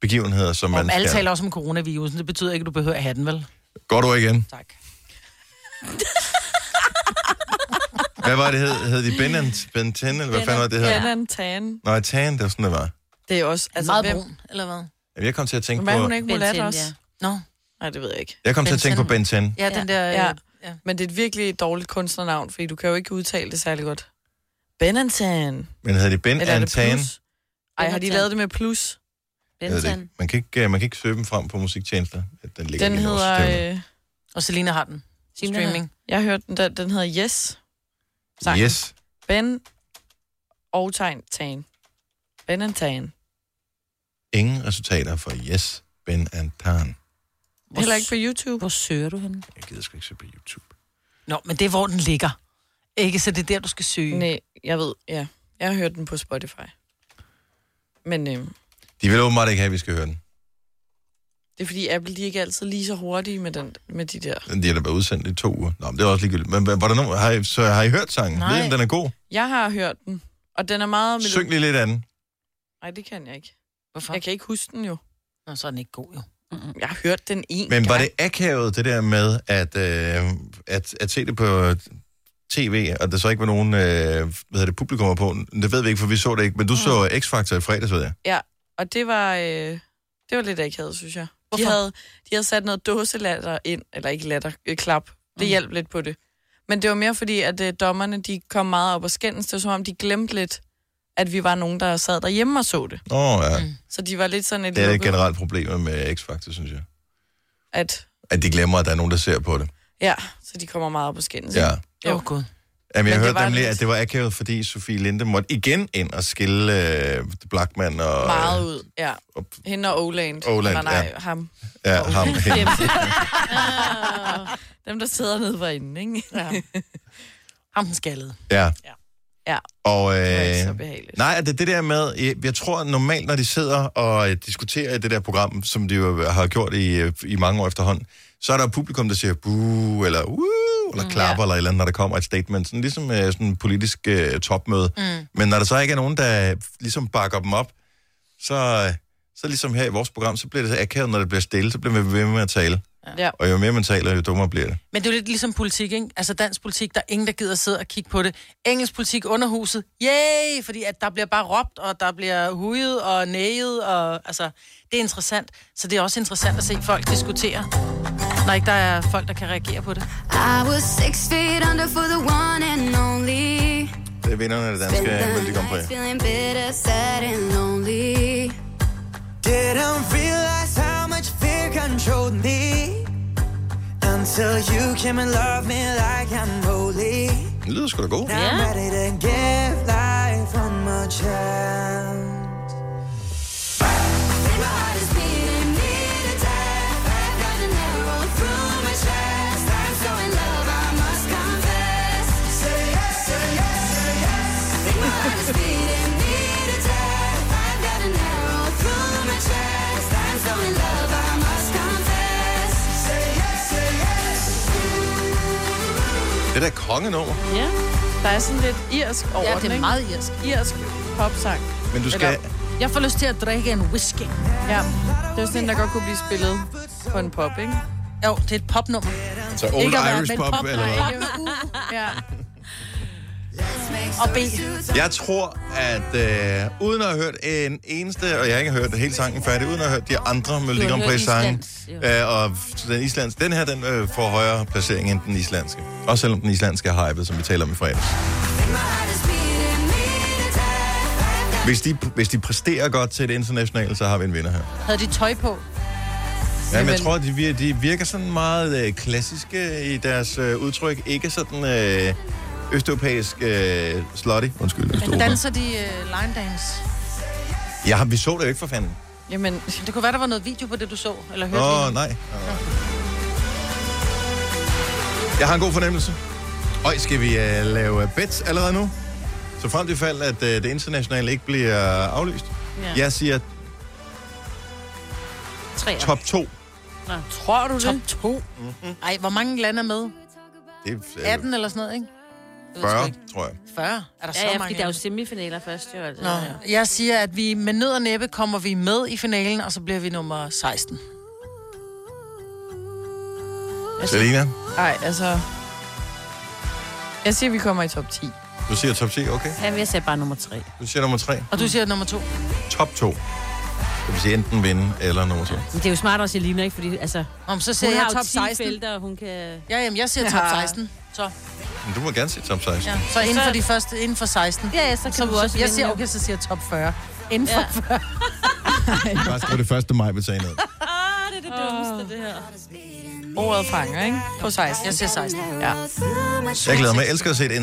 [SPEAKER 1] begivenheder, som
[SPEAKER 2] Om
[SPEAKER 1] man
[SPEAKER 2] alle
[SPEAKER 1] skal...
[SPEAKER 2] taler også om coronavirusen. Det betyder ikke, at du behøver at have den, vel?
[SPEAKER 1] Godt ord igen.
[SPEAKER 2] Tak.
[SPEAKER 1] Hvad var det, hed, hed de? Benant, Benten, eller hvad fanden var det, det hed?
[SPEAKER 3] Anna en tan.
[SPEAKER 1] Nej, Tan, det var sådan, det var.
[SPEAKER 3] Det er også... Altså,
[SPEAKER 2] Altså, Meget
[SPEAKER 3] hvem,
[SPEAKER 2] brun, eller hvad?
[SPEAKER 1] Jamen, Jeg kom til at tænke
[SPEAKER 3] Hvad er
[SPEAKER 1] på...
[SPEAKER 3] hun ikke
[SPEAKER 4] Ben
[SPEAKER 3] mulat
[SPEAKER 4] 10,
[SPEAKER 3] også?
[SPEAKER 4] ja.
[SPEAKER 2] Nå.
[SPEAKER 3] Nej, det ved jeg ikke.
[SPEAKER 1] Jeg kom til at tænke på Ben 10.
[SPEAKER 2] Ja, den der... øh,
[SPEAKER 3] Ja.
[SPEAKER 2] ja.
[SPEAKER 3] Men det er et virkelig et dårligt kunstnernavn, fordi du kan jo ikke udtale det særlig godt. Benantan.
[SPEAKER 1] Men hedder det Ben
[SPEAKER 3] Eller er
[SPEAKER 1] and
[SPEAKER 3] det
[SPEAKER 1] Tan?
[SPEAKER 3] plus? Ej, har de lavet det med plus?
[SPEAKER 1] Jeg ved det ikke.
[SPEAKER 4] Bentan.
[SPEAKER 1] Man kan ikke, øh, man kan ikke søge dem frem på musiktjenester. Den, ligger
[SPEAKER 3] Den
[SPEAKER 1] lige i vores system.
[SPEAKER 3] hedder... Øh,
[SPEAKER 2] Og Selina har den.
[SPEAKER 4] Selina
[SPEAKER 2] Streaming.
[SPEAKER 3] jeg hørte den, der, den hedder Yes. sang.
[SPEAKER 1] Yes.
[SPEAKER 3] Ben og tegn tan. Benantan.
[SPEAKER 1] Ingen resultater for Yes, Ben and Tan.
[SPEAKER 3] Heller ikke på YouTube.
[SPEAKER 4] Hvor søger du henne?
[SPEAKER 1] Jeg gider sgu ikke se på YouTube.
[SPEAKER 2] Nå, men det er, hvor den ligger. Ikke? Så det er der, du skal søge.
[SPEAKER 3] Nej, jeg ved, ja. Jeg har hørt den på Spotify. Men øh,
[SPEAKER 1] De vil åbenbart ikke have, at vi skal høre den.
[SPEAKER 3] det er fordi Apple, de er ikke altid lige så hurtige med, den, med de der.
[SPEAKER 1] Den de har da været udsendt i to uger. Nå, men det er også ligegyldigt. Men hva- var der nogen, har I, så har I hørt sangen?
[SPEAKER 2] Nej.
[SPEAKER 1] Ved I, om den er god?
[SPEAKER 3] Jeg har hørt den, og den er meget... melo-
[SPEAKER 1] Syng lige lidt af den.
[SPEAKER 3] Nej, det kan jeg ikke.
[SPEAKER 2] Hvorfor?
[SPEAKER 3] Jeg kan ikke huske den jo.
[SPEAKER 2] Nå, så er den ikke god, jo.
[SPEAKER 3] Jeg har hørt den en
[SPEAKER 1] Men var
[SPEAKER 3] gang.
[SPEAKER 1] det akavet, det der med at, øh, at, at se det på tv, og der så ikke var nogen øh, hvad hedder det, publikummer
[SPEAKER 3] Mm.
[SPEAKER 1] på? Det ved vi ikke, for vi så det ikke, men du så X-Factor i fredags, ved jeg.
[SPEAKER 3] Og det var, øh, Det var lidt akavet, synes jeg. De
[SPEAKER 2] Hvorfor?
[SPEAKER 3] havde, de havde sat noget dåselatter ind, eller ikke latter, øh, klap.
[SPEAKER 4] Mm.
[SPEAKER 3] Det hjalp lidt på det. Men det var mere fordi, at øh, dommerne de kom meget op og skændes. Det var som om, de glemte lidt, at vi var nogen, der sad derhjemme og så det.
[SPEAKER 1] Åh, oh, ja. Mm.
[SPEAKER 3] Så de var lidt sådan et
[SPEAKER 1] Det er et
[SPEAKER 3] lukket,
[SPEAKER 1] generelt problem med X-Factor, synes jeg.
[SPEAKER 3] at
[SPEAKER 1] At de glemmer, at der er nogen, der ser på det.
[SPEAKER 3] Ja, så de kommer meget op og skændes.
[SPEAKER 1] Ja.
[SPEAKER 3] ikke?
[SPEAKER 2] Åh, oh, Gud.
[SPEAKER 1] Jamen, jeg
[SPEAKER 3] Men det
[SPEAKER 1] hørte
[SPEAKER 3] var
[SPEAKER 1] nemlig,
[SPEAKER 3] lidt-
[SPEAKER 1] at det var akavet, fordi Sofie Linde måtte igen ind og skille øh, Blackman og...
[SPEAKER 3] Meget ud, ja.
[SPEAKER 1] og-
[SPEAKER 3] Hende og Oland.
[SPEAKER 1] Oland,
[SPEAKER 3] nej, nej,
[SPEAKER 1] ja.
[SPEAKER 3] ham.
[SPEAKER 1] Ja, ham.
[SPEAKER 3] Dem, der sidder nede for enden, ikke? Ja.
[SPEAKER 2] Ham den skaldede.
[SPEAKER 1] (laughs) ja.
[SPEAKER 3] Ja. (laughs)
[SPEAKER 1] Og,
[SPEAKER 3] Det var ikke så
[SPEAKER 1] øh,
[SPEAKER 3] behageligt.
[SPEAKER 1] nej, at det er det der med, jeg- jeg tror normalt, når de sidder og øh, diskuterer i det der program, som de jo har gjort i, øh, i mange år efterhånden, så er der publikum, der siger buh, eller uh, eller klapper, ja. eller et eller andet, når der kommer et statement. Sådan ligesom øh, sådan en politisk øh, topmøde. Mm. Men når der så ikke er nogen, der ligesom bakker dem op, så, øh, så ligesom her i vores program, så bliver det så akavet, når det bliver stille, så bliver man ved med at tale.
[SPEAKER 3] Ja.
[SPEAKER 1] Og jo mere man taler, jo dummere bliver det.
[SPEAKER 2] Men det er jo lidt ligesom politik, ikke? Altså dansk politik, der er ingen, der gider sidde og kigge på det. Engelsk politik underhuset, yay! Fordi at der bliver bare råbt, og der bliver hujet og næget, og altså, det er interessant. Så det er også interessant at se folk diskutere, når ikke der er folk, der kan reagere på det.
[SPEAKER 7] I was six feet under for the one and only.
[SPEAKER 1] Det er vinderne af det danske Melodi Grand Prix.
[SPEAKER 7] feeling bitter, sad, and lonely.
[SPEAKER 8] Didn't realize how much fear controlled me until you came and loved me like I'm holy.
[SPEAKER 1] Det lyder sgu da godt.
[SPEAKER 8] I'm ready to give life one more chance.
[SPEAKER 7] Say my heart is beating me to death. I've got an arrow through my chest. I'm so in love, I must confess. Say yes, say yes, say yes. Say my heart is beating me to death. I've got an arrow through my chest. I'm so in love, I must confess. Say yes, say yes.
[SPEAKER 1] Det der kongenummer.
[SPEAKER 4] Ja,
[SPEAKER 3] Der er sådan lidt irsk over
[SPEAKER 4] ja det
[SPEAKER 3] den,
[SPEAKER 4] er meget irsk.
[SPEAKER 3] ikke? Irsk popsang.
[SPEAKER 1] Men du skal...
[SPEAKER 3] Eller-
[SPEAKER 2] Jeg får lyst til at drikke en whisky.
[SPEAKER 3] Ja. Det er sådan en, der godt kunne blive spillet på en pop, ikke?
[SPEAKER 2] Jo, det er et popnummer.
[SPEAKER 1] Så old
[SPEAKER 2] Ikke at være,
[SPEAKER 1] Irish
[SPEAKER 2] men
[SPEAKER 1] pop,
[SPEAKER 2] pop,
[SPEAKER 1] eller
[SPEAKER 2] nej.
[SPEAKER 1] hvad?
[SPEAKER 3] Ja.
[SPEAKER 2] Og B.
[SPEAKER 1] Jeg tror, at øh, uden at have hørt en eneste, og jeg har ikke hørt hele sangen færdig, uden at have hørt de andre Melodi
[SPEAKER 4] har
[SPEAKER 1] Grand
[SPEAKER 4] hørt
[SPEAKER 1] Prix sange,
[SPEAKER 4] Islands,
[SPEAKER 1] øh, og den islandske, den her, den øh, får højere placering end den islandske. Også selvom den islandske er hypet, som vi taler om i fredags. Hvis de, hvis de præsterer godt til det internationale, så har vi en vinder her.
[SPEAKER 2] Havde de tøj på?
[SPEAKER 1] Ja, men jeg tror, at de, vir- de virker sådan meget øh, klassiske i deres øh, udtryk. Ikke sådan øh, østeuropæisk øh, slutty. Undskyld, østeuropæisk.
[SPEAKER 2] Danser de
[SPEAKER 3] øh,
[SPEAKER 2] uh, line dance?
[SPEAKER 1] Jeg har, vi så det jo ikke for fanden.
[SPEAKER 3] Jamen,
[SPEAKER 2] Det kunne være, der var noget video på det, du så, eller hørte.
[SPEAKER 1] Åh,
[SPEAKER 2] lige
[SPEAKER 1] oh,
[SPEAKER 2] nu.
[SPEAKER 1] nej. Jeg har en god fornemmelse. Og skal vi uh, lave bets allerede nu? Så frem til fald, at uh, det internationale ikke bliver aflyst. Ja. Jeg siger
[SPEAKER 4] Tre.
[SPEAKER 1] top 2.
[SPEAKER 3] tror du
[SPEAKER 2] Top
[SPEAKER 3] det?
[SPEAKER 2] 2. Ej, hvor mange lande er med?
[SPEAKER 1] Det er
[SPEAKER 2] 18 eller sådan noget, ikke?
[SPEAKER 1] uh, 40, tror jeg.
[SPEAKER 2] 40? Er der
[SPEAKER 4] Ja,
[SPEAKER 2] så
[SPEAKER 4] ja, fordi
[SPEAKER 2] mange?
[SPEAKER 4] der er jo semifinaler først, jo. Altså.
[SPEAKER 2] Nå, jeg siger, at vi med nød og næppe kommer vi med i finalen, og så bliver vi nummer 16.
[SPEAKER 1] Selina,
[SPEAKER 3] Nej, altså... Jeg siger, vi kommer i top 10.
[SPEAKER 1] du siger top 10, okay?
[SPEAKER 4] Jamen, jeg sagde bare nummer tre.
[SPEAKER 1] Du siger nummer 3.
[SPEAKER 2] Og du siger nummer 2.
[SPEAKER 1] Top 2. Det vil sige enten vinde eller nummer 2.
[SPEAKER 4] Men det er jo smart også, at Lina, ikke? Fordi, altså,
[SPEAKER 2] Om så
[SPEAKER 4] hun
[SPEAKER 2] siger
[SPEAKER 4] har
[SPEAKER 2] jeg
[SPEAKER 4] jo
[SPEAKER 2] top
[SPEAKER 4] 10 16.
[SPEAKER 2] 16.
[SPEAKER 4] felter, og hun kan...
[SPEAKER 2] Ja, jamen, jeg siger top 16. Så,
[SPEAKER 1] Men du må gerne sige top 16.
[SPEAKER 2] ja.
[SPEAKER 1] Ja.
[SPEAKER 2] så inden for de første, inden for 16.
[SPEAKER 4] Ja, ja, så kan
[SPEAKER 2] Så,
[SPEAKER 4] du også
[SPEAKER 2] så, jeg siger,
[SPEAKER 4] vinde, jo.
[SPEAKER 2] okay, så siger jeg top 40. Inden for
[SPEAKER 4] Ja.
[SPEAKER 2] 40.
[SPEAKER 1] Faktisk var det første maj, vi sagde ned.
[SPEAKER 4] Ah, det er det dummeste, det her.
[SPEAKER 3] Ordet fanger, ikke? På 16.
[SPEAKER 2] Jeg siger 16.
[SPEAKER 3] Ja.
[SPEAKER 1] Jeg glæder mig. Jeg elsker at se det ind.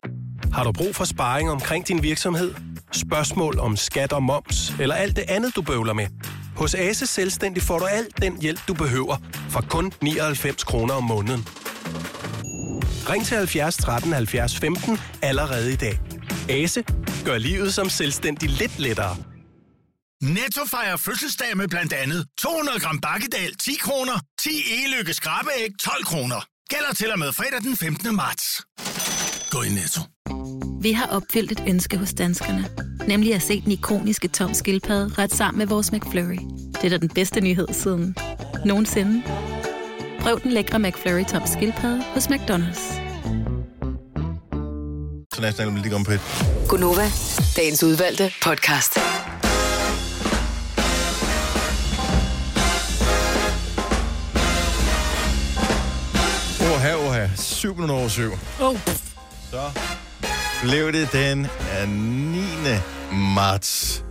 [SPEAKER 9] Har du brug for sparring omkring din virksomhed? Spørgsmål om skat og moms, eller alt det andet, du bøvler med? Hos Ase Selvstændig får du alt den hjælp, du behøver, for kun 99 kroner om måneden. Ring til 70 13 70 15 allerede i dag. Ase gør livet som selvstændig lidt lettere.
[SPEAKER 6] Netto fejrer fødselsdag med blandt andet 200 gram bakkedal 10 kroner, 10 e-lykke skrabeæg 12 kroner. Gælder til og med fredag den 15. marts. Gå i Netto.
[SPEAKER 10] Vi har opfyldt et ønske hos danskerne. Nemlig at se den ikoniske tom skildpadde ret sammen med vores McFlurry. Det er da den bedste nyhed siden nogensinde. Prøv den lækre McFlurry tom skildpadde hos McDonald's.
[SPEAKER 1] International Melodi Grand Prix.
[SPEAKER 5] Gunova, dagens udvalgte podcast.
[SPEAKER 1] 7 minutter over 7.
[SPEAKER 2] Oh.
[SPEAKER 1] Så blev det den øh, 9. marts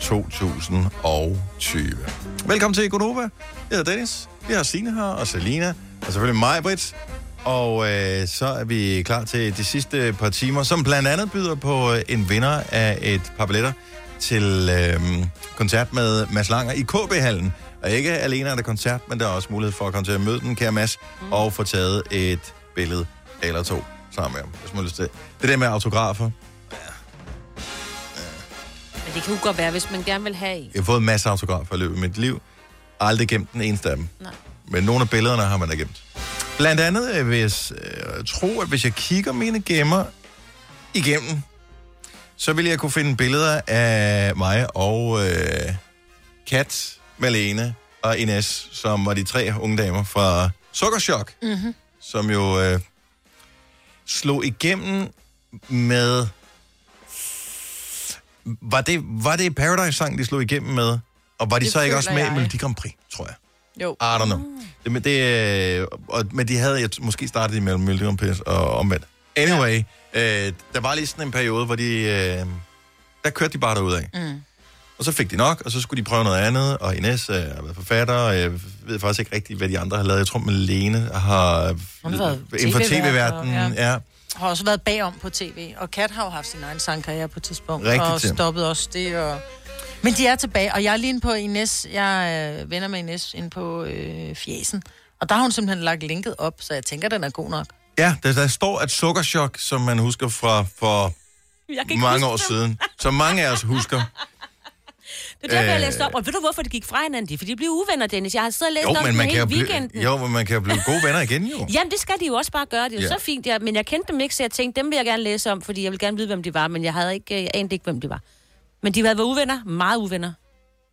[SPEAKER 1] 2020. Velkommen til Gonova. Jeg hedder Dennis. Vi har Signe her, og Selina, og selvfølgelig mig, Britt. Og øh, så er vi klar til de sidste par timer, som blandt andet byder på øh, en vinder af et par billetter til øh, koncert med Mads Langer i KB-hallen. Og ikke alene er der koncert, men der er også mulighed for at komme til at møde den, kære Mads, mm. og få taget et billede eller to sammen med ham, hvis man har lyst til. Det der med autografer,
[SPEAKER 4] Men det kan jo godt være, hvis man gerne vil have en.
[SPEAKER 1] Jeg har fået masser af autografer i løbet af mit liv. Aldrig gemt den eneste af dem.
[SPEAKER 4] Nej.
[SPEAKER 1] Men nogle af billederne har man da gemt. Blandt andet øh, vil jeg s- øh, tro, at hvis jeg kigger mine gemmer igennem, så vil jeg kunne finde billeder af mig og øh, Kat, Malene og Ines, som var de tre unge damer fra Sukkerchok,
[SPEAKER 7] Mm-hmm.
[SPEAKER 3] Mhm.
[SPEAKER 1] som jo øh, slog igennem med... Var det, var det Paradise-sang, de slog igennem med? Og var de
[SPEAKER 3] Det
[SPEAKER 1] så ikke
[SPEAKER 3] føler
[SPEAKER 1] også med i
[SPEAKER 3] jeg.
[SPEAKER 1] Melodi Grand Prix, tror jeg?
[SPEAKER 3] Jo.
[SPEAKER 1] I don't know.
[SPEAKER 2] Ah.
[SPEAKER 1] Det, men, det, øh, og, men de havde jeg t- måske startet imellem Melodi Grand Prix og omvendt. Anyway, ja. øh, der var lige sådan en periode, hvor de... Øh, der kørte de bare derudad.
[SPEAKER 7] Mm.
[SPEAKER 1] Og så fik de nok, og så skulle de prøve noget andet, og Ines øh, har været forfatter, og jeg ved faktisk ikke rigtigt, hvad de andre har lavet. Jeg tror, Malene har...
[SPEAKER 2] Hun har været
[SPEAKER 1] inden for
[SPEAKER 2] TV-vært,
[SPEAKER 1] tv-verdenen,
[SPEAKER 2] og- ja.
[SPEAKER 1] ja. ja.
[SPEAKER 2] Har også været bagom på tv, og Kat har jo haft sin egen sangkarriere på et tidspunkt,
[SPEAKER 1] Rigtigt,
[SPEAKER 2] og
[SPEAKER 1] Tim.
[SPEAKER 2] stoppet også det. Og... Men de er tilbage, og jeg er lige inde på Ines, jeg er venner med Ines inde på øh, Fjesen, og der har hun simpelthen lagt linket op, så jeg tænker, den er god nok.
[SPEAKER 1] Ja, der, der står, at sukkerchok, som man husker fra for
[SPEAKER 4] Jeg
[SPEAKER 1] mange år siden, som mange af os
[SPEAKER 2] (laughs)
[SPEAKER 1] husker.
[SPEAKER 4] Det er derfor, jeg
[SPEAKER 1] Øh.
[SPEAKER 4] læste op. Og ved du, hvorfor det gik fra hinanden? Det er, fordi de blev uvenner, Dennis. Jeg har siddet og læst
[SPEAKER 1] Jo,
[SPEAKER 4] op
[SPEAKER 1] men man kan
[SPEAKER 4] hele
[SPEAKER 1] jo
[SPEAKER 4] weekenden.
[SPEAKER 1] blive, jo, men man kan jo blive gode venner igen, jo.
[SPEAKER 4] Jamen, det skal de jo også bare gøre. Det er jo
[SPEAKER 1] Ja.
[SPEAKER 4] ja. så fint. Jeg, men jeg kendte dem ikke, så jeg tænkte, dem vil jeg gerne læse om, fordi jeg vil gerne vide, hvem de var. Men jeg, havde ikke, øh, jeg anede ikke, hvem de var. Men de havde været uvenner. Meget uvenner.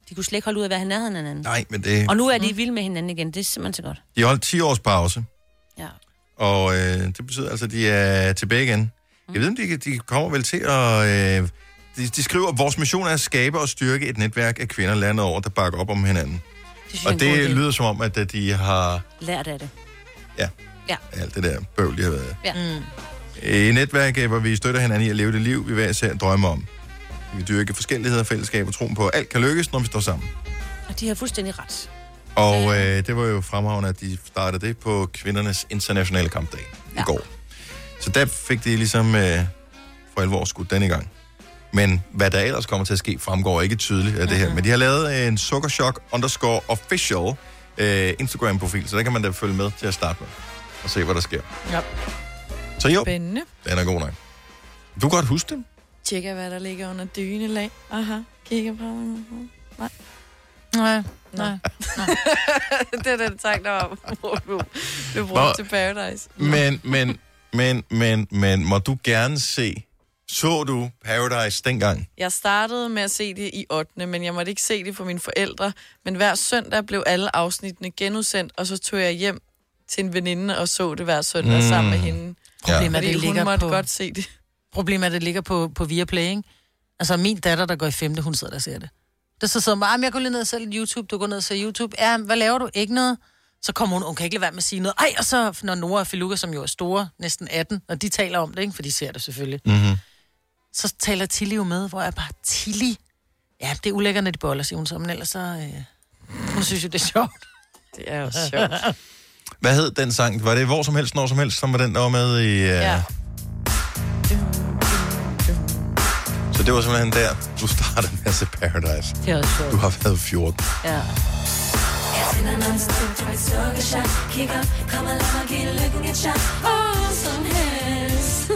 [SPEAKER 4] De kunne slet ikke holde ud at være i nærheden af hinanden.
[SPEAKER 1] Nej, men det,
[SPEAKER 4] Og nu er de vilde med hinanden igen. Det er simpelthen så godt.
[SPEAKER 1] de holdt 10 års pause.
[SPEAKER 4] Ja.
[SPEAKER 1] Og øh, det betyder altså, at de er tilbage igen. Jeg ved, om de, de kommer vel til at... Øh, de, de skriver, at vores mission er at skabe og styrke et netværk af kvinder landet over, der bakker op om hinanden.
[SPEAKER 4] synes jeg er
[SPEAKER 1] og
[SPEAKER 4] en god
[SPEAKER 1] det
[SPEAKER 4] idé.
[SPEAKER 1] lyder som om, at øh, de har
[SPEAKER 4] Lært af det.
[SPEAKER 1] Ja.
[SPEAKER 4] Ja.
[SPEAKER 1] alt det der bøvl, de har været
[SPEAKER 4] ja. Mm.
[SPEAKER 1] Et netværk, øh, hvor vi støtter hinanden i at leve det liv, vi hver især drømmer om. Vi dyrker forskelligheder, fællesskab og troen på, at alt kan lykkes, når vi står sammen.
[SPEAKER 4] Og de har fuldstændig ret.
[SPEAKER 1] Og øh, det var jo fremragende, at de startede det på kvindernes internationale kampdag ja. i går. Så der fik de ligesom øh, for alvor skudt den i gang. Men hvad der ellers kommer til at ske, fremgår ikke tydeligt af det her. Men de har lavet en sukkerchok underscore official øh, Instagram-profil, så der kan man da følge med til at starte med og se, hvad der sker.
[SPEAKER 2] Ja.
[SPEAKER 1] Så jo,
[SPEAKER 3] Spændende.
[SPEAKER 1] den er god nok. Du kan godt huske dem.
[SPEAKER 3] Tjekker, hvad der ligger under dynelag. Aha, kigger på mig. Nej.
[SPEAKER 2] Nej, nej.
[SPEAKER 3] (laughs) det er den tanke, der (laughs) var, hvor du blev
[SPEAKER 1] Nå.
[SPEAKER 3] brugt til Paradise.
[SPEAKER 1] Men, men, men, men, men, må du gerne se, så du Paradise dengang?
[SPEAKER 3] Jeg startede med at se det i 8., men jeg måtte ikke se det for mine forældre. Men hver søndag blev alle afsnittene genudsendt, og så tog jeg hjem til en veninde og så det hver søndag mm.
[SPEAKER 2] Mm.
[SPEAKER 3] sammen med hende.
[SPEAKER 2] Problemet er,
[SPEAKER 3] Fordi
[SPEAKER 2] det ligger
[SPEAKER 3] hun måtte
[SPEAKER 2] på-
[SPEAKER 3] godt se det.
[SPEAKER 2] Problemet er, at det ligger på, på Viaplay, ikke? Altså, min datter, der går i femte, hun sidder der og ser det. Det så sidder hun bare, "Ah, men jeg går lige ned og ser lidt YouTube, du går ned og ser YouTube. Ja, hvad laver du? Ikke noget? Så kommer hun, hun kan ikke lade være med at sige noget. Ej, og så når Nora og Filuka, som jo er store, næsten 18, og de taler om det, ikke? For de ser det selvfølgelig.
[SPEAKER 1] Mm-hmm.
[SPEAKER 2] Så taler Tilly jo med, hvor jeg bare, Tilly? Ja, det er ulækkerne, de boller, siger hun så, men ellers så... Øh, hun synes jo, det er sjovt.
[SPEAKER 3] Det er jo
[SPEAKER 2] sjovt.
[SPEAKER 1] Hvad hed den sang? Var det Hvor som helst, når som helst, som var den, der var med i... Uh... Ja. Så det var simpelthen der, du startede med at se Paradise.
[SPEAKER 4] Det er også sjovt.
[SPEAKER 1] Du har været 14.
[SPEAKER 4] Ja.
[SPEAKER 7] Jeg tænder non-stop for et sukkershot Kig op, kom og lad mig give lykken et shot Åh, som helst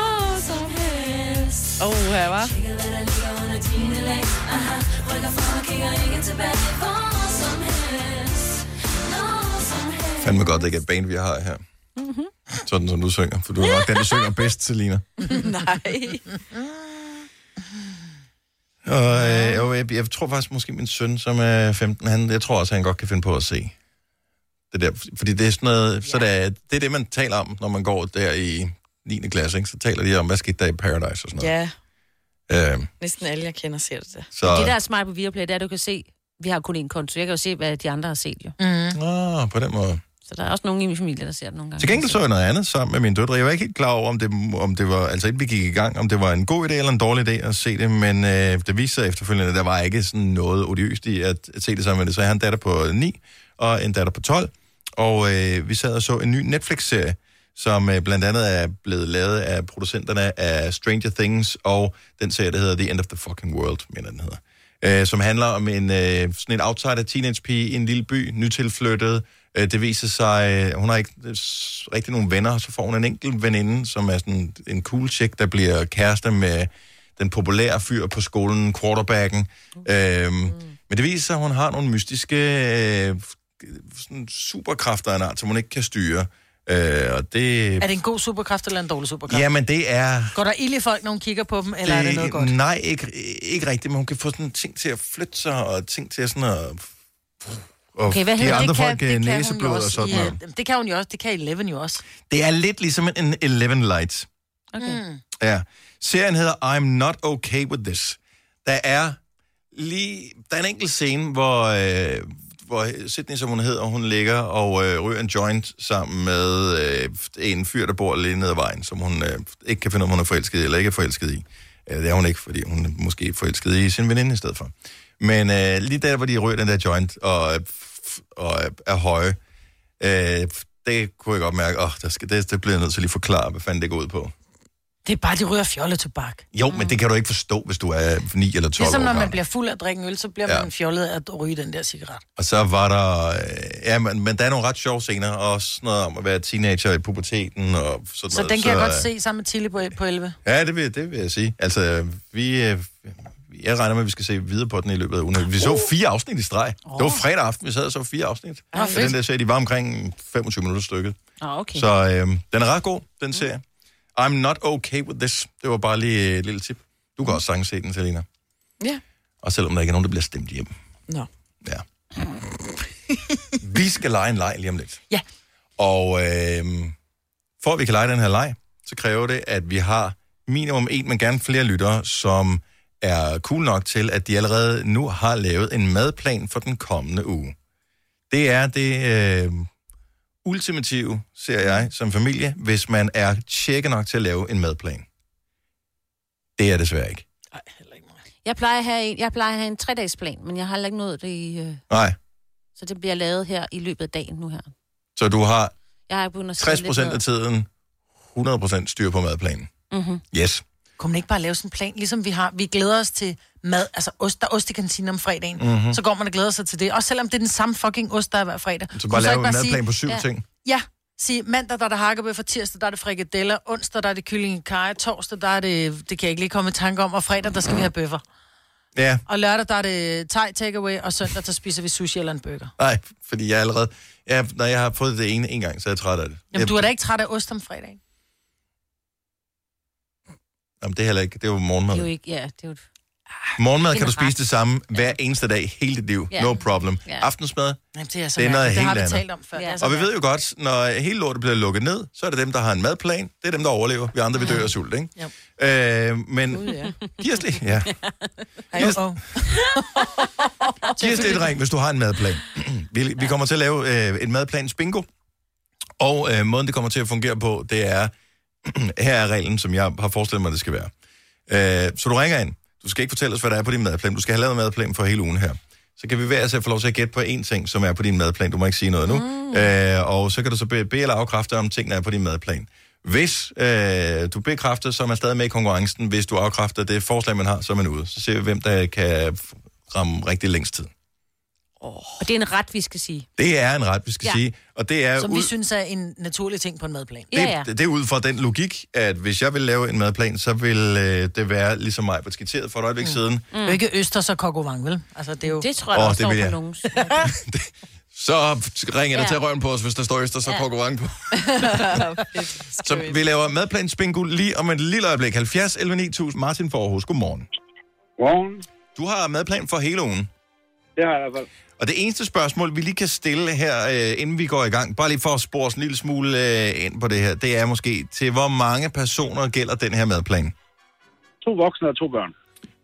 [SPEAKER 7] Åh, som helst
[SPEAKER 3] Åh, her var.
[SPEAKER 7] Kigger, hvad der ligger under dine lag Aha, rykker frem og kigger ikke tilbage Hvor som helst Når som helst
[SPEAKER 1] Fandme godt, det ikke er et band, vi har her. Sådan som du synger, for du er nok den, der synger bedst, Selina.
[SPEAKER 3] Nej.
[SPEAKER 1] Og øh, jo, jeg, jeg tror faktisk måske min søn, som er 15, han, jeg tror også, han godt kan finde på at se. Det der, fordi det er sådan noget, ja. så det er, det er det, man taler om, når man går der i 9. klasse, ikke? så taler de om, hvad skete der i Paradise og sådan noget.
[SPEAKER 3] Ja,
[SPEAKER 1] Ja. Øh,
[SPEAKER 3] næsten alle, jeg kender, ser det der.
[SPEAKER 1] så,
[SPEAKER 4] Det, der er smart på Viaplay, det er, at du kan se... Vi har kun én konto. Jeg kan jo se, hvad de andre har set, jo.
[SPEAKER 2] Mm.
[SPEAKER 1] Ah, på den måde.
[SPEAKER 4] Så der er også nogen i min familie, der ser det nogle gange.
[SPEAKER 1] Til gengæld så jeg noget andet sammen med mine døtre. Jeg var ikke helt klar over, om det, om det var, altså inden vi gik i gang, om det var en god idé eller en dårlig idé at se det, men øh, det viste sig efterfølgende, at der var ikke sådan noget odiøst i at, at se det sammen med det. Så jeg har en datter på 9 og en datter på 12, og øh, vi sad og så en ny Netflix-serie, som øh, blandt andet er blevet lavet af producenterne af Stranger Things, og den serie, der hedder The End of the Fucking World, mener den hedder, øh, som handler om en, øh, sådan en outsider teenage-pige i en lille by, nytilflyttet, Øh, Det viser sig, øh, hun har ikke øh, s- rigtig nogen venner, og så får hun en enkelt veninde, som er sådan en cool chick, der bliver kærester med den populære fyr på skolen, quarterbacken. Øhm, Men det viser sig, at hun har nogle mystiske øh, f- sådan superkræfter af en art, som hun ikke kan styre. Øh, og det...
[SPEAKER 2] Er det en god superkraft eller en dårlig superkraft?
[SPEAKER 1] Jamen, det er...
[SPEAKER 2] Går der ild i folk, når hun kigger på dem, eller det... er det noget godt?
[SPEAKER 1] Øh, Nej, ikke, ikke rigtigt, men hun kan få sådan ting til at flytte sig, og ting til at sådan at... Og
[SPEAKER 2] Okay, hvad
[SPEAKER 1] give
[SPEAKER 2] hedder
[SPEAKER 1] andre
[SPEAKER 2] det? Kan-
[SPEAKER 1] folk
[SPEAKER 2] det
[SPEAKER 1] øh,
[SPEAKER 2] kan hun jo
[SPEAKER 1] næseblod og
[SPEAKER 2] også
[SPEAKER 1] sådan
[SPEAKER 2] i,
[SPEAKER 1] noget.
[SPEAKER 2] øh, Det kan hun jo også. Det kan Eleven jo også.
[SPEAKER 1] Det er lidt ligesom en 11 Lights.
[SPEAKER 2] Okay. Mm.
[SPEAKER 1] Ja. Serien hedder I'm Not Okay With This. Der er lige... Der er en enkelt scene, hvor, øh, hvor Sydney, som hun hedder, hun ligger og øh, ryger en joint sammen med øh, en fyr, der bor lige nede ad vejen, som hun øh, ikke kan finde ud af, om hun er forelsket i eller ikke er forelsket i. Øh, det er hun ikke, fordi hun er måske forelsket i sin veninde i stedet for. Men øh, lige der, hvor de ryger den der joint og, øh, f- og øh, er høje, øh, det kunne jeg godt mærke, åh, der skal, det, det bliver jeg nødt til at lige forklare, hvad fanden det går ud på.
[SPEAKER 2] Det er bare, de ryger fjollet tobak.
[SPEAKER 1] Jo, men det kan du ikke forstå, hvis du er 9 eller
[SPEAKER 2] Ligesom
[SPEAKER 1] 12 år
[SPEAKER 2] når man
[SPEAKER 1] gammel.
[SPEAKER 2] bliver fuld af at drikke en øl, så bliver
[SPEAKER 1] Ja.
[SPEAKER 2] ja. man fjollet af at ryge den der cigaret.
[SPEAKER 1] Og så var der... øh, Ja, men, men der er nogle ret sjove scener, og også noget om at være teenager i puberteten og sådan
[SPEAKER 2] Så
[SPEAKER 1] noget.
[SPEAKER 2] den kan jeg godt
[SPEAKER 1] øh,
[SPEAKER 2] se sammen med Tilly på, på 11.
[SPEAKER 1] Ja, det vil, det vil jeg sige. Altså, øh, vi... øh, Jeg regner med, at vi skal se videre på den i løbet af ugen. Vi så fire afsnit i streg. Det var fredag aften, vi sad og så fire afsnit.
[SPEAKER 2] Ah,
[SPEAKER 1] og
[SPEAKER 2] fedt.
[SPEAKER 1] den der serie, de var omkring 25 minutter stykket.
[SPEAKER 4] Ah, okay.
[SPEAKER 1] Så øh, den er ret god,
[SPEAKER 2] Mm.
[SPEAKER 1] den serie. I'm not okay with this. Det var bare lige et lille tip. Du kan også sagtens se den, Selina.
[SPEAKER 3] Ja.
[SPEAKER 1] Og selvom der ikke er nogen, der bliver stemt hjem.
[SPEAKER 3] Nå.
[SPEAKER 1] Ja. vi skal lege en leg lige om lidt.
[SPEAKER 2] Ja.
[SPEAKER 1] Og øh, for at vi kan lege den her leg, så kræver det, at vi har minimum en, men gerne flere lyttere, som er cool nok til, at de allerede nu har lavet en madplan for den kommende uge. Det er det øh, ultimative, ser jeg, som familie, hvis man er tjekke nok til at lave en madplan. Det er jeg desværre ikke.
[SPEAKER 4] Jeg plejer at have en, jeg plejer at have en tre-dagsplan, men jeg har heller ikke nået det i... Øh,
[SPEAKER 1] Nej,
[SPEAKER 4] så det bliver lavet her i løbet af dagen nu her.
[SPEAKER 1] så du har
[SPEAKER 4] Jeg har begyndt at skrive
[SPEAKER 1] 60 procent af
[SPEAKER 4] lidt
[SPEAKER 1] tiden 100 procent styr på madplanen.
[SPEAKER 2] Mm-hmm.
[SPEAKER 1] Yes.
[SPEAKER 2] Kunne man ikke bare lave sådan en plan, ligesom vi har, vi glæder os til mad, altså ost, der er ost i kantinen om fredagen,
[SPEAKER 1] Mhm.
[SPEAKER 2] mm-hmm. så går man og glæder sig til det. Også selvom det er den samme fucking ost, der er hver fredag.
[SPEAKER 1] Så
[SPEAKER 2] Kunne
[SPEAKER 1] bare
[SPEAKER 2] man
[SPEAKER 1] lave
[SPEAKER 2] ikke
[SPEAKER 1] en madplan
[SPEAKER 2] sige-
[SPEAKER 1] på syv
[SPEAKER 2] ja,
[SPEAKER 1] ting.
[SPEAKER 2] Ja, sige mandag, der er der hakkebøffer, tirsdag, der er det frikadeller, onsdag, der er det kylling i kaj, torsdag, der er det, det kan jeg ikke lige komme i tanke om, og fredag, der skal vi have bøffer.
[SPEAKER 1] Ja,
[SPEAKER 2] Og lørdag, der er det thai takeaway, og søndag, der spiser vi sushi eller en burger.
[SPEAKER 1] nej, fordi jeg allerede... Ja, når jeg har fået det ene en gang, så er jeg træt af det.
[SPEAKER 2] Jamen,
[SPEAKER 1] jeg,
[SPEAKER 2] du er da ikke træt af ost om fredagen?
[SPEAKER 1] Jamen, det er heller ikke. Det er jo
[SPEAKER 4] ned.
[SPEAKER 1] morgenmad.
[SPEAKER 4] Det er jo ikke... Ja, det er jo... et-
[SPEAKER 1] Morgenmad
[SPEAKER 4] det er
[SPEAKER 1] kan du
[SPEAKER 4] en ret.
[SPEAKER 1] spise det samme hver eneste dag, hele dit liv.
[SPEAKER 4] Ja.
[SPEAKER 1] No problem.
[SPEAKER 4] Ja.
[SPEAKER 1] Aftensmad,
[SPEAKER 2] Jamen, det er, så
[SPEAKER 1] det er noget
[SPEAKER 2] mærkeligt. det
[SPEAKER 1] helt
[SPEAKER 2] har vi
[SPEAKER 1] andet.
[SPEAKER 2] talt om før.
[SPEAKER 4] Ja.
[SPEAKER 2] Ja.
[SPEAKER 1] Og vi ved jo godt, når hele lortet bliver lukket ned, så er det dem, der har en madplan. Det er dem, der overlever. Vi andre, vi dør af sult, ikke? Øh, men giv os lige, ja. Giv os, giv os lidt ring, hvis du har en madplan. (clears throat) vi, vi kommer til at lave øh, en madplans bingo. Og øh, måden, det kommer til at fungere på, det er, (clears throat) her er reglen, som jeg har forestillet mig, det skal være. Øh, så du ringer ind. Du skal ikke fortælle os, hvad der er på din madplan. Du skal have lavet en madplan for hele ugen her. Så kan vi hver især få lov til at gætte på én ting, som er på din madplan. Du må ikke sige noget nu. Mm. Øh, og så kan du så bede be eller afkræfte, om tingene er på din madplan. Hvis øh, du bekræfter, så er man stadig med i konkurrencen. Hvis du afkræfter det forslag, man har, så er man ude. Så ser vi, hvem der kan f- ramme rigtig længst tid.
[SPEAKER 4] Og det er en ret, vi skal sige.
[SPEAKER 1] Det er en ret, vi skal ja.
[SPEAKER 4] Ja.
[SPEAKER 1] sige. Og det er
[SPEAKER 2] Som
[SPEAKER 1] ud...
[SPEAKER 2] vi synes er en naturlig ting på en madplan.
[SPEAKER 1] Det, det er ud fra den logik, at hvis jeg vil lave en madplan, så vil øh, det være ligesom mig på skitseret for et øjeblik mm. siden.
[SPEAKER 2] Mm. Ikke Østers og Kokovang, vel? Altså, det er jo...
[SPEAKER 4] Det tror
[SPEAKER 1] Åh,
[SPEAKER 4] jeg, oh,
[SPEAKER 1] det
[SPEAKER 4] der
[SPEAKER 1] vil
[SPEAKER 4] det står
[SPEAKER 1] jeg.
[SPEAKER 4] på nogens.
[SPEAKER 1] Så ringer jeg ja.
[SPEAKER 4] Ja.
[SPEAKER 1] til røven på os, hvis der står Østers og
[SPEAKER 4] Ja.
[SPEAKER 1] konkurrence på. (laughs) så vi laver madplans bingo lige om et lille øjeblik. 70 11 9000 Martin Forhus, godmorgen.
[SPEAKER 11] Godmorgen.
[SPEAKER 1] Du har madplan for hele ugen.
[SPEAKER 11] Det har jeg i hvert fald.
[SPEAKER 1] Og det eneste spørgsmål, vi lige kan stille her, øh, inden vi går i gang, bare lige for at spore os en lille smule øh, ind på det her, det er måske, til hvor mange personer gælder den her madplan?
[SPEAKER 11] To voksne og to børn.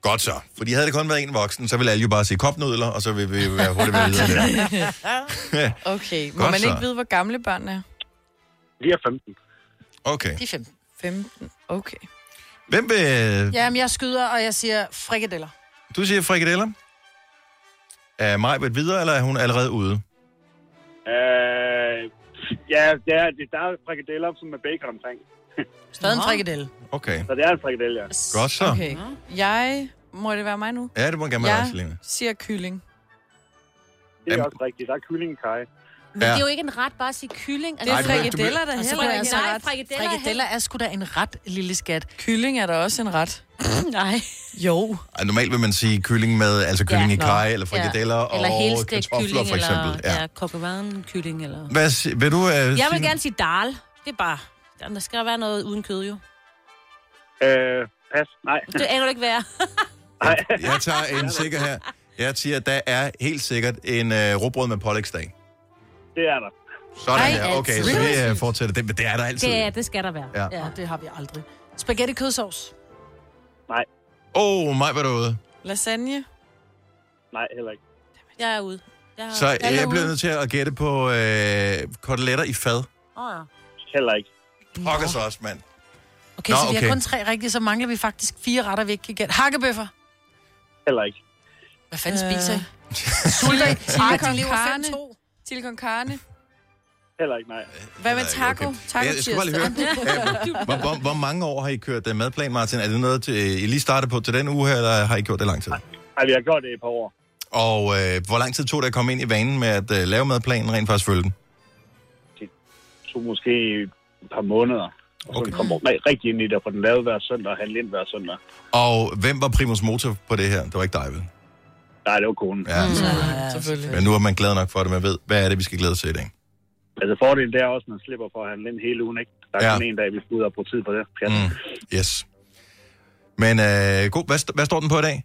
[SPEAKER 1] Godt så. Fordi havde det kun været en voksen, så ville alle jo bare se kopnudler, og så ville vi være hurtigt med videre. der.
[SPEAKER 3] okay, må
[SPEAKER 1] Godt
[SPEAKER 3] man
[SPEAKER 1] så.
[SPEAKER 3] ikke vide, hvor gamle børnene er?
[SPEAKER 1] De er 15. Okay.
[SPEAKER 2] De er 15.
[SPEAKER 3] 15, okay.
[SPEAKER 1] Hvem vil...
[SPEAKER 2] Jamen, jeg skyder, og jeg siger frikadeller.
[SPEAKER 1] Du siger frikadeller? Er Majbet videre, eller er hun allerede ude?
[SPEAKER 11] Øh, ja, det er, det, der er frikadeller, som er bacon omkring.
[SPEAKER 2] Stadig en frikadelle.
[SPEAKER 1] Okay.
[SPEAKER 11] Så det er en frikadelle, ja.
[SPEAKER 1] Godt så.
[SPEAKER 3] Okay. Jeg... Må det være mig nu?
[SPEAKER 1] Ja, det må gerne være dig, Selina.
[SPEAKER 3] Jeg siger kylling.
[SPEAKER 11] Det er også rigtigt. Der er kyllingekaj.
[SPEAKER 4] Men ja. det er jo ikke en ret bare at sige kylling.
[SPEAKER 11] Det er Ej, men du- frikadeller, der
[SPEAKER 2] Altså,
[SPEAKER 4] Og så
[SPEAKER 3] heller
[SPEAKER 4] kunne jeg
[SPEAKER 3] ikke
[SPEAKER 4] sige,
[SPEAKER 3] en
[SPEAKER 4] Nej,
[SPEAKER 3] ret.
[SPEAKER 4] frikadeller,
[SPEAKER 2] Frikadeller er sgu da en ret, lille skat.
[SPEAKER 3] Kylling er der også en ret.
[SPEAKER 4] Nej.
[SPEAKER 3] Jo.
[SPEAKER 1] Ej, Normalt vil man sige kylling med, altså kylling ja, i kaj, eller frikadeller, ja.
[SPEAKER 4] eller
[SPEAKER 1] og
[SPEAKER 4] helstegt
[SPEAKER 1] kartofler,
[SPEAKER 4] kylling,
[SPEAKER 1] for eksempel.
[SPEAKER 4] Eller,
[SPEAKER 1] Ja.
[SPEAKER 4] ja, kokkevaren kylling, eller...
[SPEAKER 1] Hvad, si- vil du... Uh,
[SPEAKER 4] Jeg vil gerne sige dal. Det er bare... Der skal være noget uden kød, jo.
[SPEAKER 11] Øh, pas. Nej.
[SPEAKER 4] Det aner du ikke være.
[SPEAKER 1] (laughs) Jeg tager en sikker her. Jeg siger, der er helt sikkert en uh, råbrød med pålægsdag.
[SPEAKER 11] (laughs) Det er der.
[SPEAKER 1] Sådan
[SPEAKER 2] Ej,
[SPEAKER 1] der. Okay,
[SPEAKER 2] altså.
[SPEAKER 1] så vi uh, fortsætter. Det, det er der altid.
[SPEAKER 2] Det er-
[SPEAKER 4] det skal der være.
[SPEAKER 1] Ja.
[SPEAKER 2] Ja. det har vi aldrig. Spaghetti kødsovs.
[SPEAKER 11] Nej.
[SPEAKER 1] Åh, oh, mig var derude.
[SPEAKER 3] Lasagne?
[SPEAKER 11] Nej, heller ikke.
[SPEAKER 4] Jeg er ude. Jeg
[SPEAKER 1] Så jeg bliver nødt til at gætte på øh, koteletter i fad.
[SPEAKER 4] Oh, ja.
[SPEAKER 11] Heller ikke.
[SPEAKER 1] Pokker så også, mand.
[SPEAKER 2] Okay,
[SPEAKER 1] Nå,
[SPEAKER 2] Nå, så vi
[SPEAKER 1] okay.
[SPEAKER 2] har kun tre rigtige, så mangler vi faktisk fire retter, vi ikke kan gætte. Hakkebøffer.
[SPEAKER 11] Heller ikke.
[SPEAKER 2] Hvad fanden (laughs)
[SPEAKER 3] Øh.
[SPEAKER 2] spiser I? Sulter I? Ej, de lever fem, to.
[SPEAKER 3] Til con carne.
[SPEAKER 11] Heller ikke, nej.
[SPEAKER 3] Hvad med taco? Taco
[SPEAKER 1] Jeg, jeg skal bare lige høre,
[SPEAKER 3] (laughs)
[SPEAKER 1] øh, hvor, hvor, hvor mange år har I kørt øh, madplan, Martin? Er det noget, til, øh, I lige startede på til den uge her, eller har I gjort det lang tid?
[SPEAKER 11] Ej, vi har gjort det i et par år.
[SPEAKER 1] Og øh, hvor lang tid tog det at komme ind i vanen med at øh, lave madplanen, rent faktisk følge den?
[SPEAKER 11] To måske et par måneder. Og så okay. kommer man rigtig ind i det, og få den lavet hver søndag og handle ind hver søndag.
[SPEAKER 1] Og hvem var primus motor på det her? Det var ikke dig, vel?
[SPEAKER 11] Nej, det var konen.
[SPEAKER 1] Ja, mm.
[SPEAKER 2] Ja, selvfølgelig.
[SPEAKER 1] Men nu er man glad nok for det, man ved, hvad er det, vi skal glæde os til i dag?
[SPEAKER 11] Altså fordelen det er også, at man slipper for at handle ind hele ugen, ikke? Der er
[SPEAKER 1] Ja.
[SPEAKER 11] ja. kun en dag, vi skal ud og bruge tid på det. Ja. Mm.
[SPEAKER 1] Yes. Men øh, god, hvad, st- hvad står den på i dag?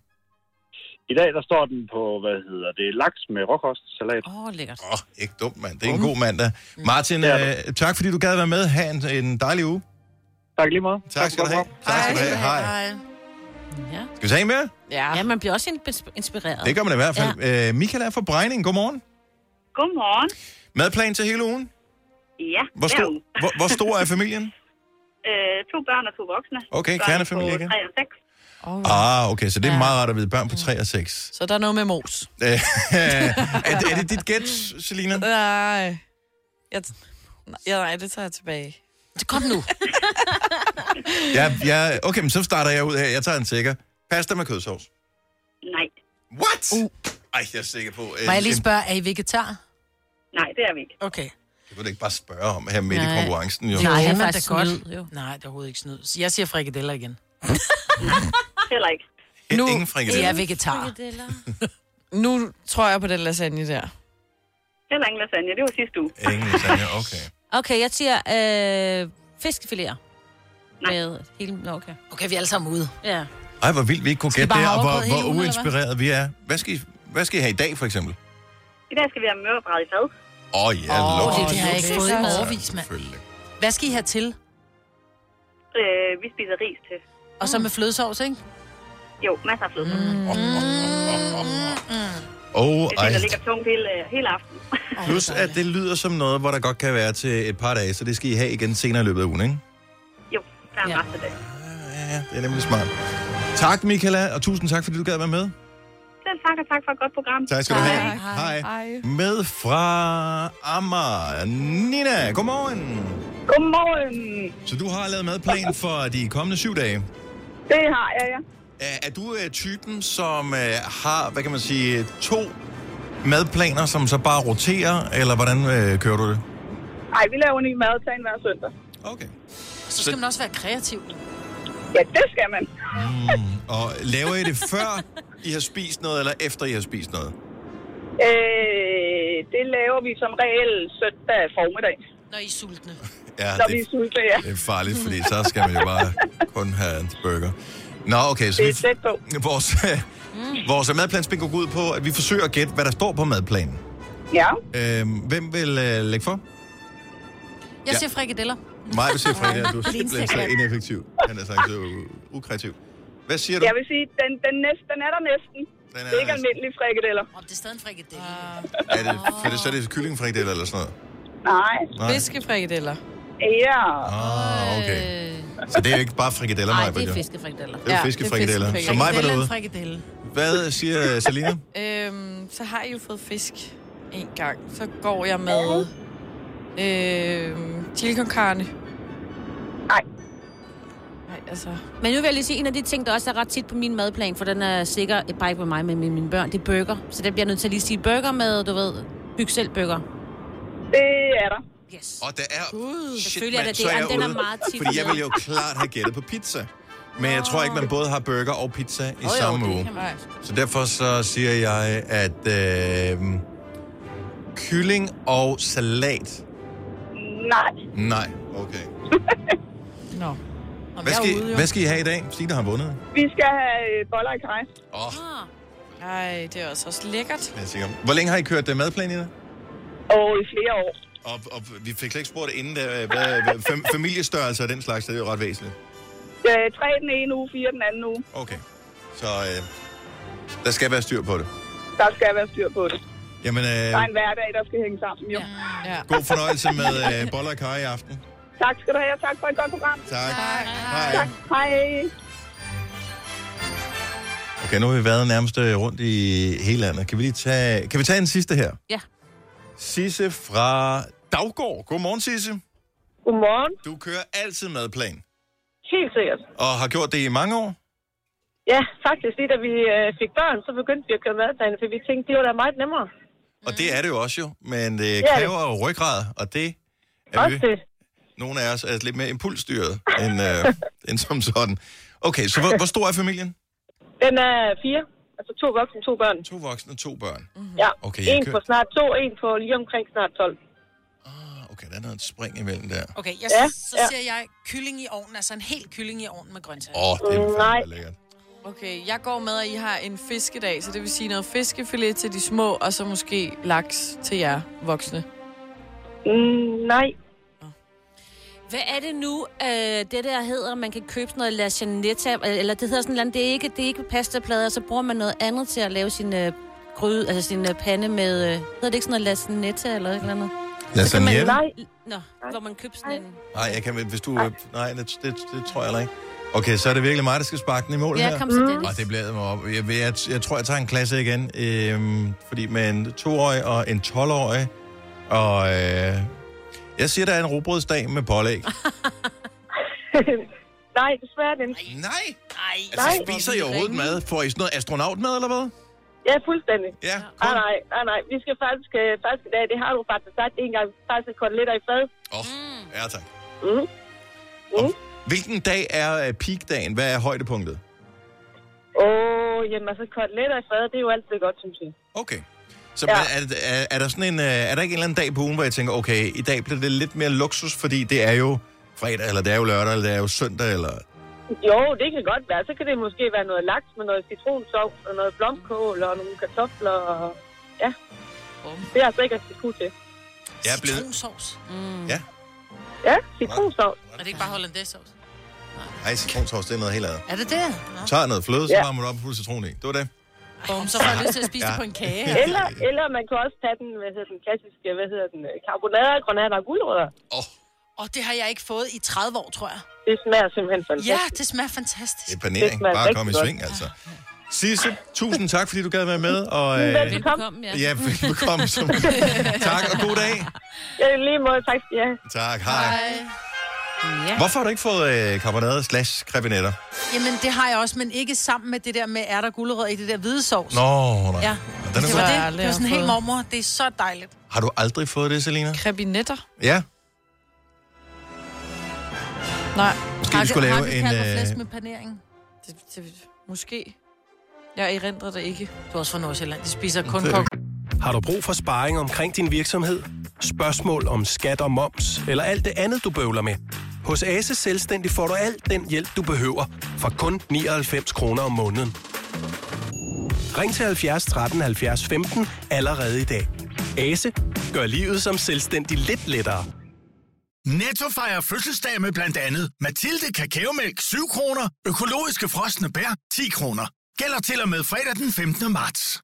[SPEAKER 11] I dag, der står den på, hvad hedder det, laks med råkostsalat.
[SPEAKER 4] Åh, oh, lækkert.
[SPEAKER 1] Åh, oh, ikke dumt, mand. Det er en god mandag. Martin,
[SPEAKER 11] Det er
[SPEAKER 1] øh, tak fordi du gad være med. Ha' en, en dejlig uge.
[SPEAKER 11] Tak lige meget.
[SPEAKER 1] Tak skal du have. Tak skal du have. Hej.
[SPEAKER 4] Ja.
[SPEAKER 1] Skal vi tage en mere?
[SPEAKER 4] Ja. ja, man bliver også insp- inspireret.
[SPEAKER 1] Det gør man i hvert fald. Ja. Øh, Michael er fra Brejning. Godmorgen.
[SPEAKER 12] Godmorgen.
[SPEAKER 1] Madplan til hele ugen.
[SPEAKER 12] Ja,
[SPEAKER 1] Hvor
[SPEAKER 12] hver
[SPEAKER 1] stor,
[SPEAKER 12] uge.
[SPEAKER 1] hvor, hvor stor er familien?
[SPEAKER 12] (laughs) Øh, to børn og to voksne.
[SPEAKER 1] Okay,
[SPEAKER 12] Børn
[SPEAKER 1] kernefamilie,
[SPEAKER 12] på
[SPEAKER 1] ikke?
[SPEAKER 12] tre og seks.
[SPEAKER 1] Ah, okay, så det er meget rart at vide. Børn på 3 og 6.
[SPEAKER 3] Så der er noget med mos.
[SPEAKER 1] Øh, (laughs) er, det- er det dit gæt, Selina?
[SPEAKER 3] Nej. Jeg, nej, nej, det tager jeg tilbage.
[SPEAKER 2] Kom nu.
[SPEAKER 1] Ja, ja, okay, men så starter jeg ud her. Jeg tager en sikker. Pasta med kødsovs.
[SPEAKER 12] Nej.
[SPEAKER 1] What? Uh. Ej, jeg er sikker på... øh,
[SPEAKER 2] Må jeg lige
[SPEAKER 1] en-
[SPEAKER 2] spørge, er I vegetar?
[SPEAKER 12] Nej, det er vi ikke.
[SPEAKER 2] Okay.
[SPEAKER 1] Det kunne du ikke bare spørge om her midt i
[SPEAKER 2] Nej.
[SPEAKER 1] konkurrencen, jo.
[SPEAKER 2] Nej, han er da
[SPEAKER 4] faktisk
[SPEAKER 2] godt.
[SPEAKER 4] snyd,
[SPEAKER 2] Jo. Nej, det er overhovedet ikke snyd. Så Jeg siger frikadeller igen.
[SPEAKER 12] Heller ikke.
[SPEAKER 1] Nu Ingen frikadeller.
[SPEAKER 2] er jeg vegetar.
[SPEAKER 3] Nu tror jeg på den lasagne der.
[SPEAKER 12] Heller ingen lasagne. Det var sidste uge.
[SPEAKER 1] Ingen lasagne,
[SPEAKER 4] (laughs)
[SPEAKER 1] okay.
[SPEAKER 4] Okay, jeg siger øh, fiskefiléer. Med hele... Nå, okay.
[SPEAKER 2] Okay, vi er alle sammen ude.
[SPEAKER 4] Ja.
[SPEAKER 1] Ej, hvor vildt vi ikke kunne
[SPEAKER 4] Skal I
[SPEAKER 1] gætte
[SPEAKER 4] bare
[SPEAKER 1] det, og
[SPEAKER 4] have
[SPEAKER 1] hvor,
[SPEAKER 4] overbrød hele
[SPEAKER 1] hvor
[SPEAKER 4] ugen, eller hvad?
[SPEAKER 1] uinspireret vi er. Hvad skal, I, hvad skal I have i dag, for eksempel?
[SPEAKER 12] I dag skal vi have mørbrad i fad.
[SPEAKER 1] Åh, oh, ja,
[SPEAKER 2] Åh,
[SPEAKER 1] oh,
[SPEAKER 2] det har jeg ikke fået i overvis, mand.
[SPEAKER 1] Selvfølgelig.
[SPEAKER 2] Hvad skal I have til?
[SPEAKER 12] Øh, vi spiser ris til.
[SPEAKER 2] Og så med flødesovs, ikke?
[SPEAKER 12] Jo, masser af fløde. Mm.
[SPEAKER 1] Åh,
[SPEAKER 12] Det er
[SPEAKER 1] ej.
[SPEAKER 12] det, der ligger tungt hele, øh, hele aftenen.
[SPEAKER 1] Plus, at det lyder som noget, hvor der godt kan være til et par dage, så det skal I have igen senere i løbet af ugen, ikke?
[SPEAKER 12] (laughs) Jo, der er en rest af det.
[SPEAKER 1] Ja, det er nemlig smart. Tak, Michaela, og tusind tak, fordi du gad være med.
[SPEAKER 12] Selv tak, og tak for et godt program.
[SPEAKER 1] Tak skal du have. Hej. Hej. Med fra Amager. Nina, godmorgen.
[SPEAKER 13] Godmorgen.
[SPEAKER 1] Så du har lavet madplan for de kommende syv dage.
[SPEAKER 13] Det har jeg, ja.
[SPEAKER 1] Er, er du øh, typen, som øh, har, hvad kan man sige, to madplaner, som så bare roterer, eller hvordan øh, kører du det?
[SPEAKER 13] Ej, vi laver en ny madplan hver søndag.
[SPEAKER 1] Okay.
[SPEAKER 2] Så skal man også være kreativ.
[SPEAKER 13] Ja, det skal man.
[SPEAKER 1] Og laver I det før I har spist noget, eller efter I har spist noget?
[SPEAKER 13] Øh, det laver vi som regel søndag formiddag.
[SPEAKER 2] Når I er sultne.
[SPEAKER 1] Ja,
[SPEAKER 13] Når
[SPEAKER 1] det-
[SPEAKER 13] vi er sultne, ja.
[SPEAKER 1] Det er farligt, fordi så skal man jo bare kun have en burger. Nå, okay, så
[SPEAKER 13] Det
[SPEAKER 1] vi,
[SPEAKER 13] er tæt på.
[SPEAKER 1] vores, (laughs) vores madplansbingo går ud på, at vi forsøger at gætte, hvad der står på madplanen.
[SPEAKER 13] Ja.
[SPEAKER 1] Øhm, hvem vil øh, lægge for?
[SPEAKER 2] Jeg
[SPEAKER 1] Ja.
[SPEAKER 2] siger frikadeller.
[SPEAKER 1] Mig, du siger Freda, du er simpelthen så
[SPEAKER 2] Linstegn.
[SPEAKER 1] ineffektiv. Han er sagt så u- ukreativ. Hvad siger du?
[SPEAKER 12] Jeg vil sige, den, den, næsten, den er der næsten.
[SPEAKER 1] Den er
[SPEAKER 12] det er ikke
[SPEAKER 1] der
[SPEAKER 12] almindelige frikadeller.
[SPEAKER 2] Om det er stadig en frikadelle.
[SPEAKER 1] Er det, for det, så er det kyllingfrikadeller eller sådan noget?
[SPEAKER 12] Nej.
[SPEAKER 1] Nej.
[SPEAKER 3] Fiskefrikadeller.
[SPEAKER 12] Ja.
[SPEAKER 1] Ah, okay. Så det er jo ikke bare frikadeller,
[SPEAKER 4] Øh. Nej,
[SPEAKER 1] Maja,
[SPEAKER 4] det er
[SPEAKER 1] jo.
[SPEAKER 4] fiskefrikadeller.
[SPEAKER 1] Det er jo fiskefrikadeller. Så mig var derude.
[SPEAKER 3] frikadelle.
[SPEAKER 1] Hvad siger øh, Selina?
[SPEAKER 3] Øhm, så har jeg jo fået fisk en gang. Så går jeg med øhm, chili con carne.
[SPEAKER 12] Nej.
[SPEAKER 3] Nej, altså...
[SPEAKER 4] Men nu vil jeg lige sige, en af de ting, der også er ret tit på min madplan, for den er sikker, eh, bare ikke med mig, men med mine børn, det er burger. Så der bliver jeg nødt til at lige sige burger med, du ved, byg selv burger.
[SPEAKER 12] Det er der.
[SPEAKER 4] Yes.
[SPEAKER 1] Og der er...
[SPEAKER 4] Uh,
[SPEAKER 1] Shit,
[SPEAKER 4] selvfølgelig er
[SPEAKER 1] mand,
[SPEAKER 4] det
[SPEAKER 1] så
[SPEAKER 4] det,
[SPEAKER 1] jeg
[SPEAKER 4] Jamen, den er
[SPEAKER 1] ude.
[SPEAKER 4] meget tit.
[SPEAKER 1] Fordi jeg ville jo klart have gættet på pizza. Men jeg tror ikke, man både har burger og pizza i
[SPEAKER 4] Jo, jo,
[SPEAKER 1] samme
[SPEAKER 4] det
[SPEAKER 1] uge.
[SPEAKER 4] kan man.
[SPEAKER 1] Så derfor så siger jeg, at øh, kylling og salat.
[SPEAKER 12] Nej.
[SPEAKER 1] Nej, okay.
[SPEAKER 3] Nå.
[SPEAKER 1] Hvad skal, I- hvad skal I have i dag? Signe har vundet.
[SPEAKER 12] Vi skal have øh, boller i kaj.
[SPEAKER 4] Ah.
[SPEAKER 1] Åh.
[SPEAKER 3] Ej, det er også, også lækkert.
[SPEAKER 1] Jeg er sikker. Hvor længe har I kørt øh, madplan, Ida?
[SPEAKER 12] Og i flere år.
[SPEAKER 1] Og, og vi fik slet ikke spurgt inden, der, hvad, hvad, fam, familiestørrelse og den slags, det er jo ret væsentligt.
[SPEAKER 12] Øh, tre den ene uge, fire den anden uge.
[SPEAKER 1] Okay. Så øh, der skal være styr på det.
[SPEAKER 12] Der skal være styr på det.
[SPEAKER 1] Jamen,
[SPEAKER 12] Der er
[SPEAKER 1] øh,
[SPEAKER 12] en hverdag, der skal hænge sammen, jo. Ja.
[SPEAKER 1] god fornøjelse med øh, boller og kaj i aften.
[SPEAKER 12] Tak skal du have, og tak for et godt program.
[SPEAKER 1] Tak.
[SPEAKER 12] Hej. Tak. Hej.
[SPEAKER 1] Okay, nu har vi været nærmest øh, rundt i hele landet. Kan vi lige tage, kan vi tage en sidste her?
[SPEAKER 4] Ja.
[SPEAKER 1] Sisse fra Daggård. Godmorgen, Sisse.
[SPEAKER 12] Godmorgen.
[SPEAKER 1] Du kører altid madplan,
[SPEAKER 12] Helt sikkert.
[SPEAKER 1] og har gjort det i mange år.
[SPEAKER 14] Ja, faktisk lige da vi øh, fik børn, så begyndte vi at køre madplaner, for vi tænkte, det var da meget nemmere.
[SPEAKER 1] Og det er det jo også jo, men det
[SPEAKER 14] er Mm. det.
[SPEAKER 1] kræver jo ryggrad, og det er
[SPEAKER 14] Også
[SPEAKER 1] vi.
[SPEAKER 14] det.
[SPEAKER 1] Nogle af os er lidt mere impulsstyret end, øh, (laughs) end som sådan. Okay, så hvor, hvor stor er familien?
[SPEAKER 14] Den er fire, altså to voksne, to børn.
[SPEAKER 1] To voksne, to børn.
[SPEAKER 14] Mm-hmm. Ja,
[SPEAKER 1] Okay,
[SPEAKER 14] okay,
[SPEAKER 1] jeg
[SPEAKER 14] en
[SPEAKER 1] kører-
[SPEAKER 14] på snart to, en på lige omkring snart 12.
[SPEAKER 1] Ah, Okay, der er noget spring imellem der.
[SPEAKER 2] Okay, jeg,
[SPEAKER 14] Ja,
[SPEAKER 2] ja, så
[SPEAKER 14] ja.
[SPEAKER 2] ja. siger jeg kylling i ovnen, altså en hel kylling i ovnen med grøntsager.
[SPEAKER 1] Åh, oh, det er
[SPEAKER 14] Nej.
[SPEAKER 1] fandme lækkert.
[SPEAKER 3] Okay, jeg går med, at I har en fiskedag, så det vil sige noget fiskefilet til de små, og så måske laks til jer voksne.
[SPEAKER 14] Mm, nej. (laughs)
[SPEAKER 4] Hvad er det nu, øh, det der hedder, man kan købe sådan noget lasagnetta, eller det hedder sådan noget, det er ikke, det er ikke pastaplader, så bruger man noget andet til at lave sin øh, gryde, altså sin øh, pande med, øh, hedder det ikke sådan noget lasagnetta eller et eller andet? Så kan man-
[SPEAKER 1] Lasagne? Nej,
[SPEAKER 4] Nå, hvor man køber sådan en...
[SPEAKER 1] jeg kan, hvis du... Nej, nej det, det, det tror jeg heller ikke. Okay, så er det virkelig mig, der skal sparke den i mål
[SPEAKER 4] Ja,
[SPEAKER 1] her.
[SPEAKER 4] kom så, Dennis.
[SPEAKER 1] Og det blæder mig op. Jeg, jeg, jeg tror, jeg tager en klasse igen. Øhm, fordi med en toårig og en 12-årig, og øh, jeg siger, der er en robrødsdag med pålæg.
[SPEAKER 14] nej, desværre den.
[SPEAKER 1] Nej.
[SPEAKER 2] Nej.
[SPEAKER 1] Altså, spiser I overhovedet mad? Får I sådan noget astronautmad, eller hvad?
[SPEAKER 14] Ja, fuldstændig.
[SPEAKER 1] Ja,
[SPEAKER 14] nej, nej, nej, nej. Vi skal faktisk, øh, faktisk i dag, det har du faktisk sagt en gang, faktisk koteletter i fad.
[SPEAKER 1] Åh, oh, ja tak.
[SPEAKER 14] Mm.
[SPEAKER 1] Og, hvilken dag er øh, peakdagen? Hvad er højdepunktet?
[SPEAKER 14] Åh, jamen altså, koteletter i fad, det er jo altid godt, synes jeg.
[SPEAKER 1] Okay. Så ja. er, er, er, der sådan en, øh, er der ikke en eller anden dag på ugen, hvor jeg tænker, okay, i dag bliver det lidt mere luksus, fordi det er jo fredag, eller det er jo lørdag, eller det er jo søndag, eller...
[SPEAKER 14] Jo, det kan godt være. Så kan det måske være noget laks med noget citronsovs og noget blomkål og nogle kartofler. Og... Ja, det er altså ikke at skulle til.
[SPEAKER 1] Jeg er blevet...
[SPEAKER 2] Citronsovs.
[SPEAKER 4] Mm.
[SPEAKER 1] Ja.
[SPEAKER 14] Ja, citronsovs.
[SPEAKER 2] Er det ikke bare hollandaisesovs?
[SPEAKER 1] Ej, citronsovs, det er noget helt andet.
[SPEAKER 2] Er det det? Nå.
[SPEAKER 1] Du tager noget fløde, så
[SPEAKER 14] Ja.
[SPEAKER 1] varmer du op og putter citron i. Det var det.
[SPEAKER 2] Bum, så får jeg lyst til at spise
[SPEAKER 1] Ja.
[SPEAKER 2] det på en kage.
[SPEAKER 14] Eller, eller man kan også tage den, hvad hedder den klassiske, hvad hedder den, øh, karbonader, granater og guldrødder.
[SPEAKER 2] Og det har jeg ikke fået i 30 år, tror jeg.
[SPEAKER 14] Det smager simpelthen
[SPEAKER 2] Ja,
[SPEAKER 14] fantastisk.
[SPEAKER 2] det smager fantastisk.
[SPEAKER 1] Det er panering. Bare kom i sving, altså. Sisse, tusind tak, fordi du gad være med. Og, øh,
[SPEAKER 14] Velbekomme.
[SPEAKER 1] Ja, (laughs) velbekomme. Som... tak, og god dag.
[SPEAKER 14] Ja, i lige måde, tak skal I have.
[SPEAKER 1] Tak, hej. Hvorfor har du ikke fået øh, karbonade slash krebinetter?
[SPEAKER 2] Jamen, det har jeg også, men ikke sammen med det der med ærter og gulerødder i det der hvide sovs.
[SPEAKER 1] Nå, nej.
[SPEAKER 2] Ja.
[SPEAKER 1] Den er
[SPEAKER 2] det,
[SPEAKER 1] god.
[SPEAKER 2] var
[SPEAKER 1] Jeg
[SPEAKER 2] det.
[SPEAKER 1] aldrig
[SPEAKER 2] det var sådan
[SPEAKER 1] har
[SPEAKER 2] helt
[SPEAKER 1] fået.
[SPEAKER 2] mormor. Det er så dejligt.
[SPEAKER 1] Har du aldrig fået det, Selina?
[SPEAKER 3] Krebinetter?
[SPEAKER 1] Ja.
[SPEAKER 3] Nej.
[SPEAKER 1] Måske vi skulle lave en...
[SPEAKER 2] Flæsk
[SPEAKER 1] Øh,
[SPEAKER 2] med panering.
[SPEAKER 3] Det, det, måske. Jeg erindrer det ikke.
[SPEAKER 2] Du er også fra Nordsjælland. De spiser kun
[SPEAKER 9] Det-
[SPEAKER 2] kok.
[SPEAKER 9] Har du brug for sparring omkring din virksomhed? Spørgsmål om skat og moms, eller alt det andet, du bøvler med? Hos Ase Selvstændig får du alt den hjælp, du behøver, for kun 99 kroner om måneden. Ring til 70 13 70 15 allerede i dag. Ase gør livet som selvstændig lidt lettere.
[SPEAKER 6] Netto fejrer fødselsdag med blandt andet Mathilde Kakaomælk 7 kroner, økologiske frosne bær 10 kroner. Gælder til og med fredag den 15. marts.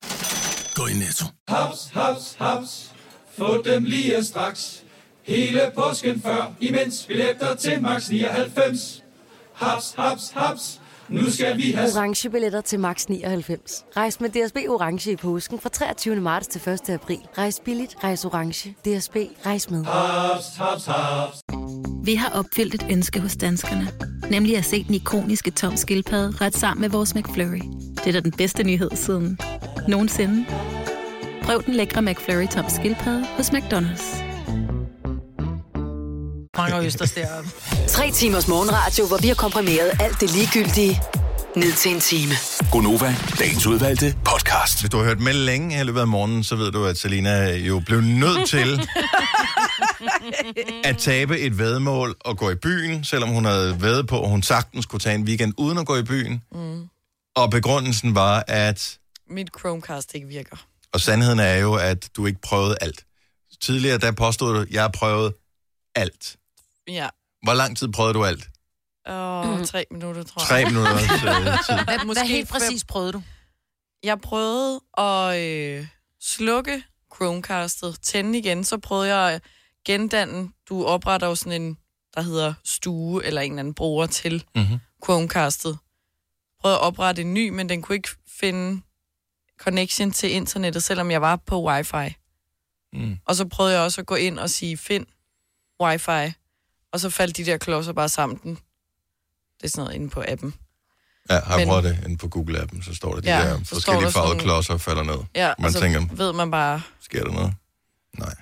[SPEAKER 6] Gå i Netto.
[SPEAKER 15] Haps, haps, haps. Få dem lige straks. Hele påsken før, imens billetter til max 99. Haps, haps, haps. Nu skal vi have...
[SPEAKER 16] orange billetter til max 99. Rejs med DSB orange i påsken fra 23. marts til 1. april. Rejs billigt, rejs orange. DSB rejs med.
[SPEAKER 15] Haps, haps, haps.
[SPEAKER 10] Vi har opfyldt et ønske hos danskerne. Nemlig at se den ikoniske tom skildpadde ret sammen med vores McFlurry. Det er da den bedste nyhed siden nogensinde. Prøv den lækre McFlurry tom skildpadde hos McDonald's.
[SPEAKER 2] Mange østers deroppe.
[SPEAKER 5] Tre timers morgenradio, hvor vi har komprimeret alt det ligegyldige ned til en time.
[SPEAKER 1] Gonova, dagens udvalgte podcast. Hvis du har hørt med længe i løbet af morgenen, så ved du, at Selina jo blev
[SPEAKER 2] (laughs)
[SPEAKER 1] nødt til at tabe et vedmål og gå i byen, selvom hun havde været på, at hun sagtens kunne tage en weekend uden at gå i byen.
[SPEAKER 3] Mm.
[SPEAKER 1] Og begrundelsen var, at...
[SPEAKER 3] Mit Chromecast ikke virker.
[SPEAKER 1] Og sandheden er jo, at du ikke prøvede alt. Tidligere, der påstod du, at jeg har prøvet alt.
[SPEAKER 3] Ja.
[SPEAKER 1] Hvor lang tid prøvede du alt?
[SPEAKER 3] Og tre minutter, tror jeg.
[SPEAKER 1] Tre øh, minutter, så-
[SPEAKER 2] Mm-hmm.
[SPEAKER 3] (laughs)
[SPEAKER 2] Hvad- hvad helt præcis
[SPEAKER 3] prøvede du? Jeg prøvede at øh, slukke Chromecastet, tænde igen, så prøvede jeg at gendanne. Du opretter jo sådan en, der hedder stue, eller en eller anden bruger til
[SPEAKER 7] Mhm.
[SPEAKER 3] Chromecastet. Prøvede at oprette en ny, men den kunne ikke finde connection til internettet, selvom jeg var på wifi.
[SPEAKER 1] Mm.
[SPEAKER 3] Og så prøvede jeg også at gå ind og sige, find wifi. Og så faldt de der klodser bare sammen. Den. Det er sådan noget inde på appen.
[SPEAKER 1] Ja, har
[SPEAKER 3] Men-
[SPEAKER 1] jeg prøvet det inde på Google-appen, så står der de
[SPEAKER 3] Ja,
[SPEAKER 1] ja,
[SPEAKER 3] så
[SPEAKER 1] der
[SPEAKER 3] står
[SPEAKER 1] forskellige
[SPEAKER 3] der sådan-
[SPEAKER 1] farvede klodser falder ned.
[SPEAKER 3] Ja, altså-
[SPEAKER 1] Man
[SPEAKER 3] og så
[SPEAKER 1] tænker,
[SPEAKER 3] ved man bare...
[SPEAKER 1] sker der noget? Nej.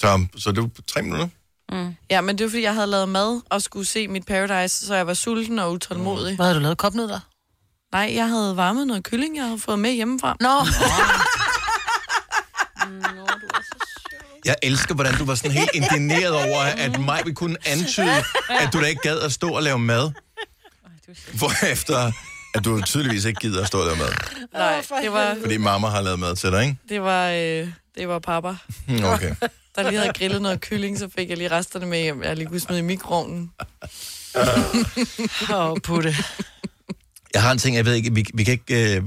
[SPEAKER 1] Så, så det var tre minutter?
[SPEAKER 3] Mm. Ja, men det var, fordi jeg havde lavet mad og skulle se mit Paradise, så jeg var sulten og utålmodig.
[SPEAKER 2] Hvad havde du lavet? Kopnudler?
[SPEAKER 3] Nej, jeg havde varmet noget kylling, jeg havde fået med hjemmefra.
[SPEAKER 2] Nå.
[SPEAKER 1] Jeg elsker, hvordan du var sådan helt indigneret over, at mig vi kunne antyde, at du da ikke gad at stå og lave mad. Hvorefter, at du tydeligvis ikke gider at stå og lave mad.
[SPEAKER 3] Nej, det var,
[SPEAKER 1] Fordi mamma har lavet mad til dig, ikke?
[SPEAKER 3] det var, øh, det var papa,
[SPEAKER 1] Hmm, Okay.
[SPEAKER 3] der lige havde grillet noget kylling, så fik jeg lige resterne med hjem, jeg lige kunne smide i mikroovnen.
[SPEAKER 2] Åh, oh, putte.
[SPEAKER 1] Jeg har en ting, jeg ved ikke, vi, vi kan ikke... Øh,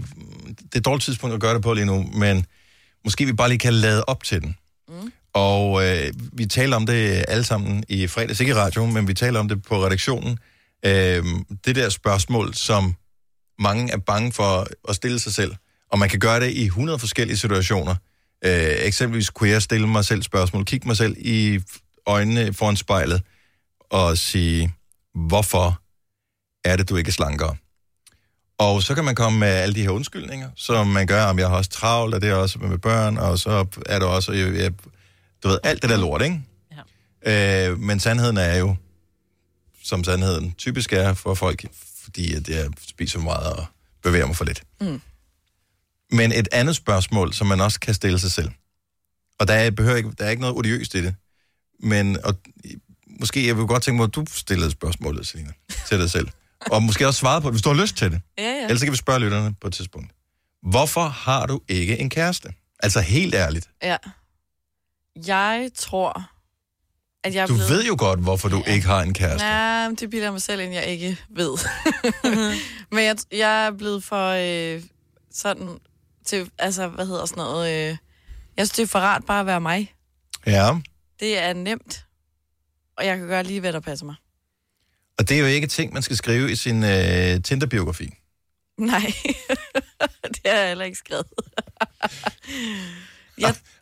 [SPEAKER 1] det er et dårligt tidspunkt at gøre det på lige nu, men måske vi bare lige kan lade op til den. Mm. Og øh, vi taler om det alle sammen i fredags, ikke i radioen, men vi taler om det på redaktionen. Øh, det der spørgsmål, som mange er bange for at stille sig selv, og man kan gøre det i 100 forskellige situationer. Øh, eksempelvis kunne jeg stille mig selv spørgsmål, kigge mig selv i øjnene foran spejlet og sige, hvorfor er det, du ikke er slankere? Og så kan man komme med alle de her undskyldninger, som man gør, om jeg har også travlt, og det er også med børn, og så er det også, jeg, jeg, du ved, alt det der lort, ikke? Ja. Øh, men sandheden er jo, som sandheden typisk er for folk, fordi at jeg spiser for meget og bevæger mig for lidt.
[SPEAKER 7] Mm.
[SPEAKER 1] Men et andet spørgsmål, som man også kan stille sig selv, og der er, behøver ikke, der er ikke noget odiøst i det, men og, måske jeg vil godt tænke mig, at du stillede spørgsmålet, Selina, til dig selv. Og måske også svare på det, hvis du har lyst til det.
[SPEAKER 3] Ja, ja.
[SPEAKER 1] Ellers så kan vi spørge lytterne på et tidspunkt. Hvorfor har du ikke en kæreste? Altså helt ærligt.
[SPEAKER 3] Ja. Jeg tror, at jeg er
[SPEAKER 1] Du
[SPEAKER 3] blevet...
[SPEAKER 1] ved jo godt, hvorfor du ikke har en kæreste.
[SPEAKER 3] Ja, det bilder jeg mig selv ind, jeg ikke ved. (laughs) Men jeg, jeg er blevet for øh, sådan til, altså, hvad hedder sådan noget, øh, jeg synes, det er for rart bare at være mig.
[SPEAKER 1] Ja,
[SPEAKER 3] Det er nemt, og jeg kan gøre lige, hvad der passer mig. (laughs)
[SPEAKER 1] og det er jo ikke ting, man skal skrive i sin øh, Tinder-biografi.
[SPEAKER 3] Nej, (laughs) det har jeg heller ikke skrevet.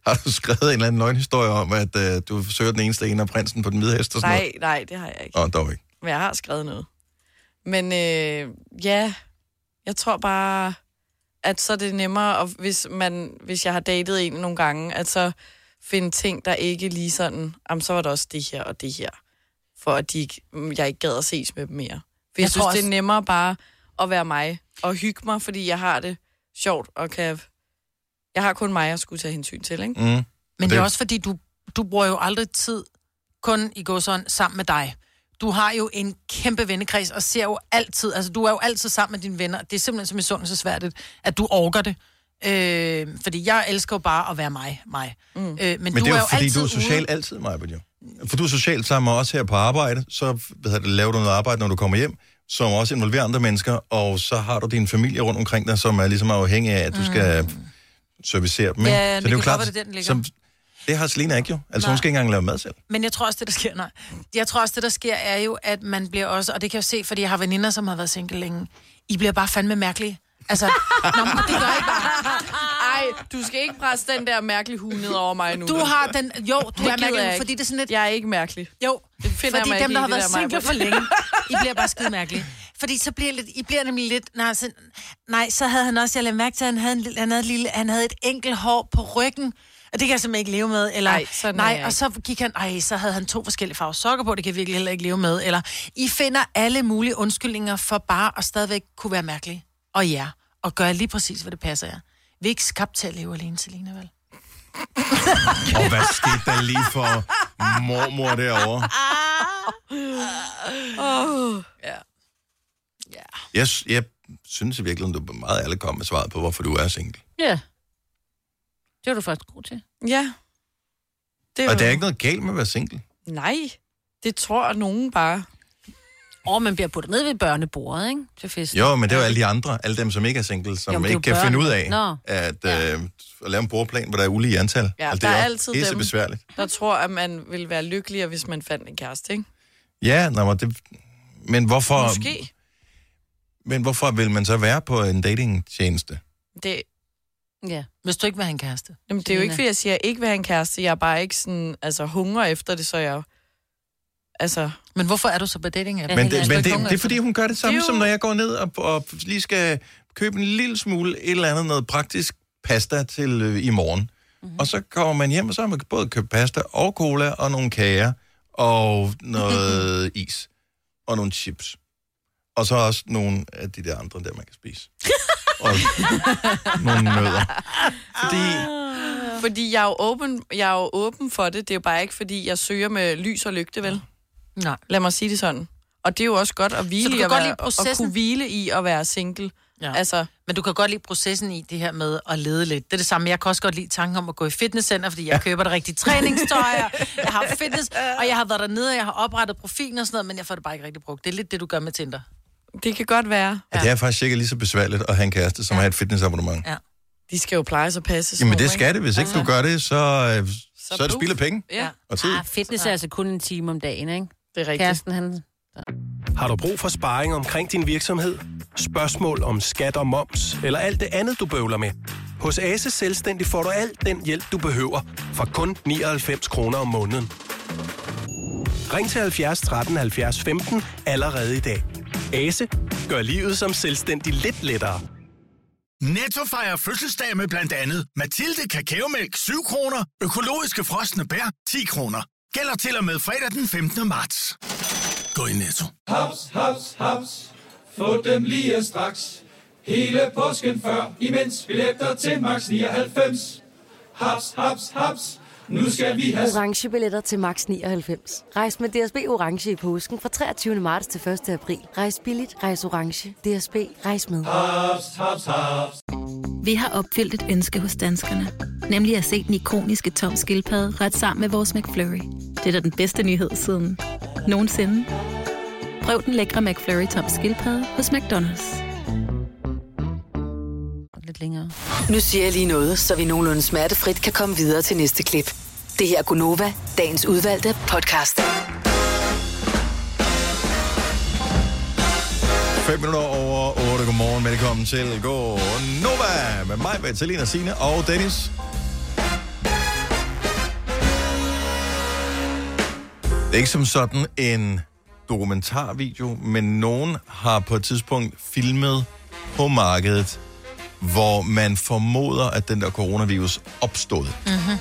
[SPEAKER 1] Har du skrevet en eller anden løgnhistorie om, at øh, du søger den eneste ene af prinsen på den hvide hest og sådan
[SPEAKER 3] Nej, nej, det har jeg ikke.
[SPEAKER 1] noget? Åh, dog ikke.
[SPEAKER 3] Men jeg har skrevet noget. Men øh, ja, jeg tror bare, at så er det nemmere, og hvis, man, hvis jeg har datet en nogle gange, at så finde ting, der ikke lige sådan, jamen, så var der også det her og det her, for at de ikke, mm, jeg ikke gad at ses med dem mere. For jeg,
[SPEAKER 2] Jeg
[SPEAKER 3] jeg synes,
[SPEAKER 2] tror
[SPEAKER 3] også... det
[SPEAKER 2] også-
[SPEAKER 3] er nemmere bare at være mig, og hygge mig, fordi jeg har det sjovt, og kan... Jeg har kun mig at skulle tage hensyn til, ikke?
[SPEAKER 1] Mm.
[SPEAKER 2] Men det er også fordi, du, du bruger jo aldrig tid kun i gåsøjne sammen med dig. Du har jo en kæmpe vennekreds og ser jo altid, altså du er jo altid sammen med dine venner. Det er simpelthen så misundelsesværdigt, at du orker det. Øh, fordi jeg elsker jo bare at være mig, mig. Mm. Øh, men,
[SPEAKER 1] Men, men det er jo, fordi
[SPEAKER 2] altid
[SPEAKER 1] du er social
[SPEAKER 2] ude.
[SPEAKER 1] altid, Maja. Jo. for du er socialt sammen med os her på arbejde, så hvad hedder det, laver du noget arbejde, når du kommer hjem, som også involverer andre mennesker, og så har du din familie rundt omkring dig, som er ligesom afhængig af, at du skal servicere dem. ikke?
[SPEAKER 2] Ja,
[SPEAKER 1] så
[SPEAKER 2] det kan godt være, det er der, den ligger.
[SPEAKER 1] som, det har Selena ikke jo. Altså, Nej. hun skal ikke engang lave mad selv.
[SPEAKER 2] Men jeg tror også, det der sker, nej. Jeg tror også, det der sker, er jo, at man bliver også, og det kan jeg jo se, fordi jeg har veninder, som har været single længe. I bliver bare fandme mærkelige. Altså, (laughs) nå, men det gør I bare.
[SPEAKER 3] (laughs) Ej, du skal ikke presse den der mærkelige hue ned over mig nu.
[SPEAKER 2] Du har den... Jo, du
[SPEAKER 3] Det
[SPEAKER 2] er
[SPEAKER 3] gider
[SPEAKER 2] mærkelig,
[SPEAKER 3] jeg
[SPEAKER 2] fordi
[SPEAKER 3] ikke.
[SPEAKER 2] det er sådan lidt...
[SPEAKER 3] Jeg er ikke mærkelig.
[SPEAKER 2] Jo,
[SPEAKER 3] det finder
[SPEAKER 2] fordi
[SPEAKER 3] jeg mig
[SPEAKER 2] dem,
[SPEAKER 3] ikke
[SPEAKER 2] der
[SPEAKER 3] i,
[SPEAKER 2] har
[SPEAKER 3] det
[SPEAKER 2] været
[SPEAKER 3] der, Maja.
[SPEAKER 2] single for længe, I bliver bare skide mærkelige. Fordi så bliver jeg lidt, I bliver nemlig lidt, nej, så, nej, så havde han også, jeg lagde mærke til, at han havde, en, lille- han havde, et lille, han havde et enkelt hår på ryggen, og det kan jeg simpelthen ikke leve med. Eller,
[SPEAKER 3] Ej, sådan er
[SPEAKER 2] nej,
[SPEAKER 3] jeg
[SPEAKER 2] og så gik han, ej, så havde han to forskellige farver sokker på, det kan jeg virkelig heller ikke leve med. Eller, I finder alle mulige undskyldninger for bare at stadigvæk kunne være mærkelige. Og ja, og gøre lige præcis, hvad det passer jer. Vi er ikke skabt til at leve alene, Selina, vel?
[SPEAKER 1] Og hvad skete der lige for mormor derovre?
[SPEAKER 3] Oh. Ja.
[SPEAKER 1] Jeg, jeg synes i virkeligheden, du er meget ærlig kom med svaret på, hvorfor du er single.
[SPEAKER 4] Ja. Det var du faktisk god til.
[SPEAKER 3] Ja. Det
[SPEAKER 1] Og der er ikke noget galt med at være single.
[SPEAKER 3] Nej, det tror nogen bare.
[SPEAKER 4] Åh, oh, man bliver puttet ned ved børnebordet, ikke? Til fest.
[SPEAKER 1] Jo, men det er jo alle de andre, alle dem, som ikke er single, som
[SPEAKER 4] Jo,
[SPEAKER 1] jo,
[SPEAKER 4] men det er
[SPEAKER 1] ikke kan
[SPEAKER 4] jo børn.
[SPEAKER 1] finde ud af
[SPEAKER 4] Nå.
[SPEAKER 1] at, ja. øh, at lave en brugerplan, hvor der er ulige antal.
[SPEAKER 3] Ja,
[SPEAKER 1] Altså,
[SPEAKER 3] der
[SPEAKER 1] det
[SPEAKER 3] er
[SPEAKER 1] også
[SPEAKER 3] altid
[SPEAKER 1] pisse
[SPEAKER 3] dem,
[SPEAKER 1] besværligt.
[SPEAKER 3] der tror, at man ville være lykkeligere, hvis man fandt en kæreste, ikke?
[SPEAKER 1] Ja, nå, men, det, men, hvorfor,
[SPEAKER 3] Måske.
[SPEAKER 1] men hvorfor vil man så være på en datingtjeneste?
[SPEAKER 3] Det,
[SPEAKER 4] ja.
[SPEAKER 2] Hvis du ikke vil have en kæreste.
[SPEAKER 3] Jamen, det er jo ikke,
[SPEAKER 2] Selena.
[SPEAKER 3] fordi jeg siger, at jeg ikke vil have en kæreste. Jeg er bare ikke sådan, altså, hunger efter det, så jeg... Altså...
[SPEAKER 2] Men hvorfor er du så på dating
[SPEAKER 1] Men, det, men det, det er fordi, hun gør det samme, som når jeg går ned og, og lige skal købe en lille smule et eller andet noget praktisk pasta til øh, i morgen. Mm-hmm. Og så kommer man hjem, og så har man både købt pasta og cola og nogle kager og (laughs) noget is og nogle chips. Og så også nogle af de der andre, der man kan (laughs) spise. og nogle nødder. Fordi
[SPEAKER 3] Fordi jeg er, jo åben, jeg er jo åben for det. Det er jo bare ikke, fordi jeg søger med lys og lygte, vel?
[SPEAKER 2] Nej.
[SPEAKER 3] Lad mig sige det sådan. Og det er jo også godt at hvile
[SPEAKER 2] du
[SPEAKER 3] i
[SPEAKER 2] kan
[SPEAKER 3] at,
[SPEAKER 2] godt
[SPEAKER 3] være,
[SPEAKER 2] lide
[SPEAKER 3] at
[SPEAKER 2] processen?
[SPEAKER 3] kunne hvile i at være single.
[SPEAKER 2] Ja.
[SPEAKER 3] Altså,
[SPEAKER 2] Men du kan godt lide processen i det her med at lede lidt. Det er det samme. Jeg kan også godt lide tanken om at gå i fitnesscenter, fordi jeg køber det rigtige træningstøj, og jeg
[SPEAKER 1] (laughs)
[SPEAKER 2] har fitness, og jeg har været dernede, og jeg har oprettet profilen og sådan noget, men jeg får det bare ikke rigtig brugt. Det er lidt det, du gør med Tinder.
[SPEAKER 3] Det kan godt være.
[SPEAKER 1] ja. det er faktisk ikke lige så besværligt at have en kæreste, som Ah. ja. har et fitnessabonnement.
[SPEAKER 2] Ja.
[SPEAKER 3] De skal jo plejes og passes.
[SPEAKER 1] Jamen
[SPEAKER 3] over,
[SPEAKER 1] det skal
[SPEAKER 3] ikke?
[SPEAKER 1] det. Hvis ikke du gør det, så, øh, så, så er det
[SPEAKER 3] buf.
[SPEAKER 1] spild af penge.
[SPEAKER 3] Ja.
[SPEAKER 1] Og tid.
[SPEAKER 4] Ah, fitness er altså kun en time om dagen, ikke?
[SPEAKER 3] Det er rigtigt.
[SPEAKER 4] Kæresten, han...
[SPEAKER 9] Har du brug for sparring omkring din virksomhed? Spørgsmål om skat og moms, eller alt det andet, du bøvler med? Hos Ase Selvstændig får du alt den hjælp, du behøver, for kun 99 kroner om måneden. Ring til 70 13 70 15 allerede i dag. Ase gør livet som selvstændig lidt lettere.
[SPEAKER 6] Netto fejrer fødselsdag med blandt andet Mathilde Kakaomælk 7 kroner, økologiske frosne bær 10 kroner. Gælder til og med fredag den 15. marts. Gå i Netto.
[SPEAKER 15] Haps, haps, haps. Få dem lige straks. Hele påsken før, imens billetter til max 99. Haps, haps, haps. Nu skal vi have...
[SPEAKER 16] Orange billetter til max 99. Rejs med DSB Orange i påsken fra 23. marts til 1. april. Rejs billigt, rejs orange. DSB, rejs med.
[SPEAKER 15] Haps, haps, haps.
[SPEAKER 10] Vi har opfyldt et ønske hos danskerne. Nemlig at se den ikoniske tom skildpadde ret sammen med vores McFlurry. Det er da den bedste nyhed siden nogensinde. Prøv den lækre McFlurry tom skildpadde hos McDonald's.
[SPEAKER 4] Lidt længere.
[SPEAKER 5] Nu siger jeg lige noget, så vi nogenlunde smertefrit kan komme videre til næste klip. Det her er Gunova, dagens udvalgte podcast.
[SPEAKER 1] 5 minutter over 8. Godmorgen. Velkommen til Go Nova med mig, Vitalina Sine og Dennis. Det er ikke som sådan en dokumentarvideo, men nogen har på et tidspunkt filmet på markedet, hvor man formoder, at den der coronavirus opstod.
[SPEAKER 7] Mm-hmm.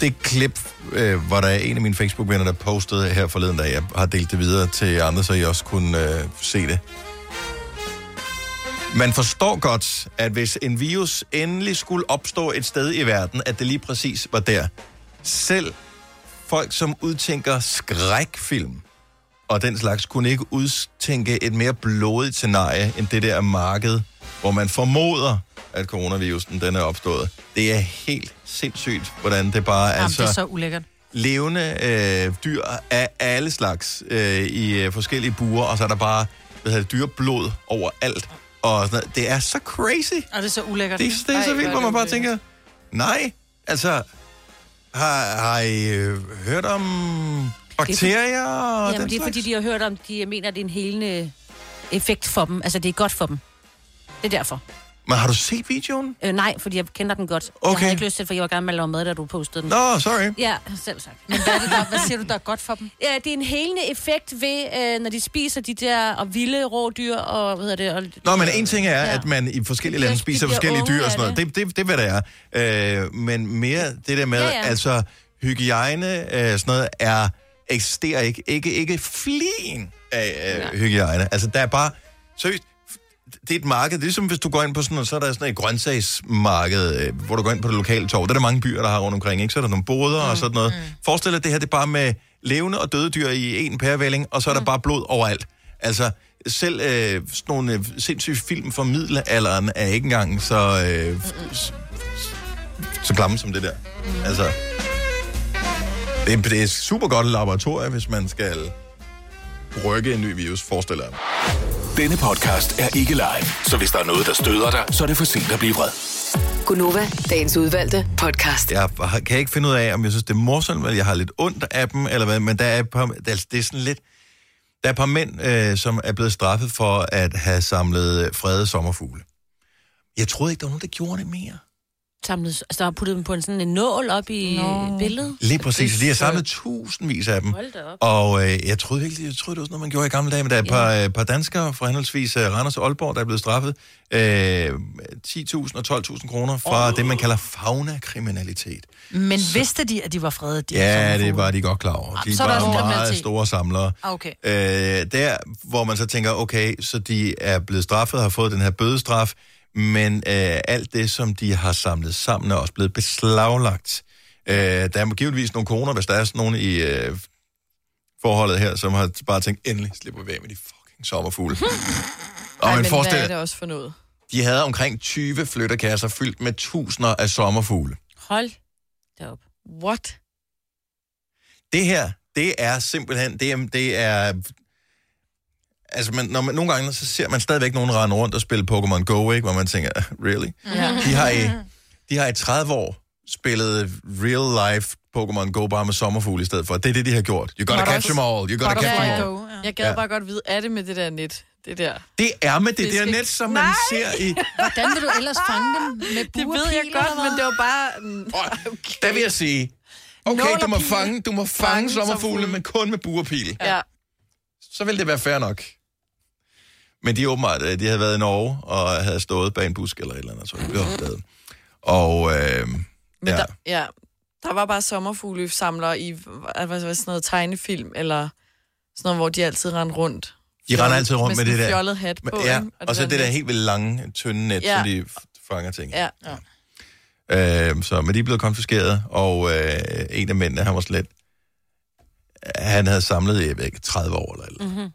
[SPEAKER 1] det klip, øh, hvor der er en af mine Facebook-venner, der postede her forleden, da jeg har delt det videre til andre, så I også kunne øh, se det. Man forstår godt, at hvis en virus endelig skulle opstå et sted i verden, at det lige præcis var der. Selv folk, som udtænker skrækfilm og den slags, kunne ikke udtænke et mere blodigt scenarie end det der marked, hvor man formoder, at coronavirusen den er opstået. Det er helt sindssygt, hvordan det bare...
[SPEAKER 2] Jamen,
[SPEAKER 1] altså,
[SPEAKER 2] det er så ulækkert.
[SPEAKER 1] levende øh, dyr af alle slags øh, i øh, forskellige buer, og så er der bare hvad hedder det, dyreblod overalt. Og sådan noget. det er så crazy.
[SPEAKER 2] Og det er så ulækkert.
[SPEAKER 1] Det, er- det er så
[SPEAKER 2] Ej,
[SPEAKER 1] vildt, hvor man
[SPEAKER 2] det
[SPEAKER 1] bare
[SPEAKER 2] ulækkert.
[SPEAKER 1] tænker, nej, altså, har, har I øh, hørt om bakterier og
[SPEAKER 4] Jamen,
[SPEAKER 1] den
[SPEAKER 4] det er
[SPEAKER 1] slags?
[SPEAKER 4] fordi, de har hørt om, de mener, det er en helende effekt for dem. Altså, det er godt for dem. Det er derfor.
[SPEAKER 1] Men har du set videoen?
[SPEAKER 4] Øh, nej, fordi jeg kender den godt. Jeg
[SPEAKER 1] Okay.
[SPEAKER 4] havde ikke lyst til, for jeg var gerne med at lave mad, da du postede den.
[SPEAKER 1] Nå, sorry.
[SPEAKER 4] Ja, selv sagt.
[SPEAKER 2] Men hvad, er det, der, hvad siger du, der er godt for dem?
[SPEAKER 4] Ja, det er en helende effekt ved, øh, når de spiser de der og vilde rådyr og, hvad hedder det? Og,
[SPEAKER 1] Nå, men en ting er, ja. at man i forskellige lande spiser
[SPEAKER 4] bliver
[SPEAKER 1] forskellige
[SPEAKER 4] unge
[SPEAKER 1] dyr og
[SPEAKER 4] af
[SPEAKER 1] sådan noget. Det, det, det er, hvad det er. Øh, men mere det der med,
[SPEAKER 4] Ja,
[SPEAKER 1] ja,
[SPEAKER 4] ja.
[SPEAKER 1] ja. altså, hygiejne øh, sådan noget er, eksisterer ikke. Ikke, ikke flien af øh, hygiejne. Altså, der er bare, seriøst, det er et marked. Det er ligesom, hvis du går ind på sådan noget, så er der sådan et grøntsagsmarked, øh, hvor du går ind på det lokale torv. Det er der mange byer, der har rundt omkring, ikke? Så er der nogle boder mm, og sådan noget. Mm. Forestil dig, det her det er bare med levende og døde dyr i en pærevælling, og så er der bare blod overalt. Altså, selv øh, sådan nogle øh, sindssyge film fra middelalderen er ikke engang så, øh, f- s- s- så klamme som det der. Altså, det, er- det er super godt laboratorium, hvis man skal brygge en ny virus, forestiller jeg mig.
[SPEAKER 17] Denne podcast er ikke live, så hvis der er noget, der støder dig, så er det for sent at blive vred.
[SPEAKER 5] Gunova, dagens udvalgte podcast.
[SPEAKER 1] Jeg har- kan ikke finde ud af, om jeg synes, det er morsomt, eller jeg har lidt ondt af dem, eller hvad, men der er et par, altså, det er sådan lidt... Der er et par mænd, øh, som er blevet straffet for at have samlet øh, fredede sommerfugle. Jeg troede ikke, der var nogen, der gjorde det mere.
[SPEAKER 4] samlet, altså, der har puttet dem på en sådan en nål op i Nå. billedet.
[SPEAKER 1] Lige præcis, de har samlet tusindvis af dem.
[SPEAKER 4] Hold da op.
[SPEAKER 1] Og øh, jeg troede virkelig, jeg troede, det var sådan noget, man gjorde i gamle dage, men der er et par, øh, par danskere fra henholdsvis øh, Randers og Aalborg, der er blevet straffet øh, 10.000 og 12.000 kroner fra oh. det, man kalder fauna-kriminalitet.
[SPEAKER 2] Men vidste de, at de var fredede dyr?
[SPEAKER 1] Ja, det var de godt klar over.
[SPEAKER 2] Ah,
[SPEAKER 1] De
[SPEAKER 2] så er der også
[SPEAKER 1] var meget
[SPEAKER 2] kriminalitet.
[SPEAKER 1] store samlere.
[SPEAKER 2] Ah, okay.
[SPEAKER 1] Øh, der, hvor man så tænker, okay, så de er blevet straffet, har fået den her bødestraf, men øh, alt det, som de har samlet sammen, er også blevet beslaglagt. Øh, der er må- givetvis nogle koner, hvis der er sådan nogen i øh, forholdet her, som har bare tænkt, endelig slipper vi af med de
[SPEAKER 3] (laughs)
[SPEAKER 1] fucking sommerfugle. Og
[SPEAKER 3] Ej,
[SPEAKER 1] man
[SPEAKER 3] men
[SPEAKER 1] forestiller-
[SPEAKER 3] hvad er det også for noget?
[SPEAKER 1] de havde omkring 20 flyttekasser fyldt med tusinder af sommerfugle.
[SPEAKER 4] Hold da op.
[SPEAKER 3] What?
[SPEAKER 1] det her, det er simpelthen, det er, det er altså man, når man, nogle gange, så ser man stadigvæk nogen rende rundt og spille Pokémon Go, ikke? hvor man tænker, "Ah, really?
[SPEAKER 7] Ja.
[SPEAKER 1] De, har i, de har i 30 år spillet real life Pokémon Go bare med sommerfugle i stedet for. Det er det, de har gjort. You gotta catch them all, you gotta catch them all.
[SPEAKER 3] Jeg gad
[SPEAKER 1] Ja.
[SPEAKER 3] bare godt vide, er det med det der net? Det der.
[SPEAKER 1] Det er med det,
[SPEAKER 3] Det
[SPEAKER 1] der
[SPEAKER 3] skal-
[SPEAKER 1] net, som man
[SPEAKER 3] Nej!
[SPEAKER 1] ser (laughs) i...
[SPEAKER 2] Hvordan vil du ellers fange dem? Med
[SPEAKER 3] Det ved jeg godt, men det var bare... mm,
[SPEAKER 1] Der vil jeg sige, okay, du må fange, du må fange sommerfugle, men kun med buerpil.
[SPEAKER 3] Ja.
[SPEAKER 1] så ville det være fair nok. Men de åbenbart, øh, de havde været i Norge, og havde stået bag en busk eller et eller andet, så de blev opdaget. Og øh, ja,
[SPEAKER 3] Der, ja, der var bare sommerfuglesamlere i hvad, hvad, hvad, sådan noget tegnefilm, eller sådan noget, hvor de altid rendte rundt.
[SPEAKER 1] de render altid rundt med,
[SPEAKER 3] med
[SPEAKER 1] det
[SPEAKER 3] sådan en
[SPEAKER 1] der.
[SPEAKER 3] fjollet hat på,
[SPEAKER 1] ja,
[SPEAKER 3] ikke? Og
[SPEAKER 1] og så
[SPEAKER 3] det
[SPEAKER 1] det
[SPEAKER 3] der
[SPEAKER 1] der helt vildt lange, tynde net,
[SPEAKER 3] Ja.
[SPEAKER 1] ja. som de f- fanger ting. i.
[SPEAKER 3] Ja. ja.
[SPEAKER 1] Øh, så, men de er blevet konfiskeret, og øh, en af mændene, han var slet... Han havde samlet i jeg ved ikke, 30 år, eller, eller
[SPEAKER 3] Mhm.
[SPEAKER 4] Mm-hmm.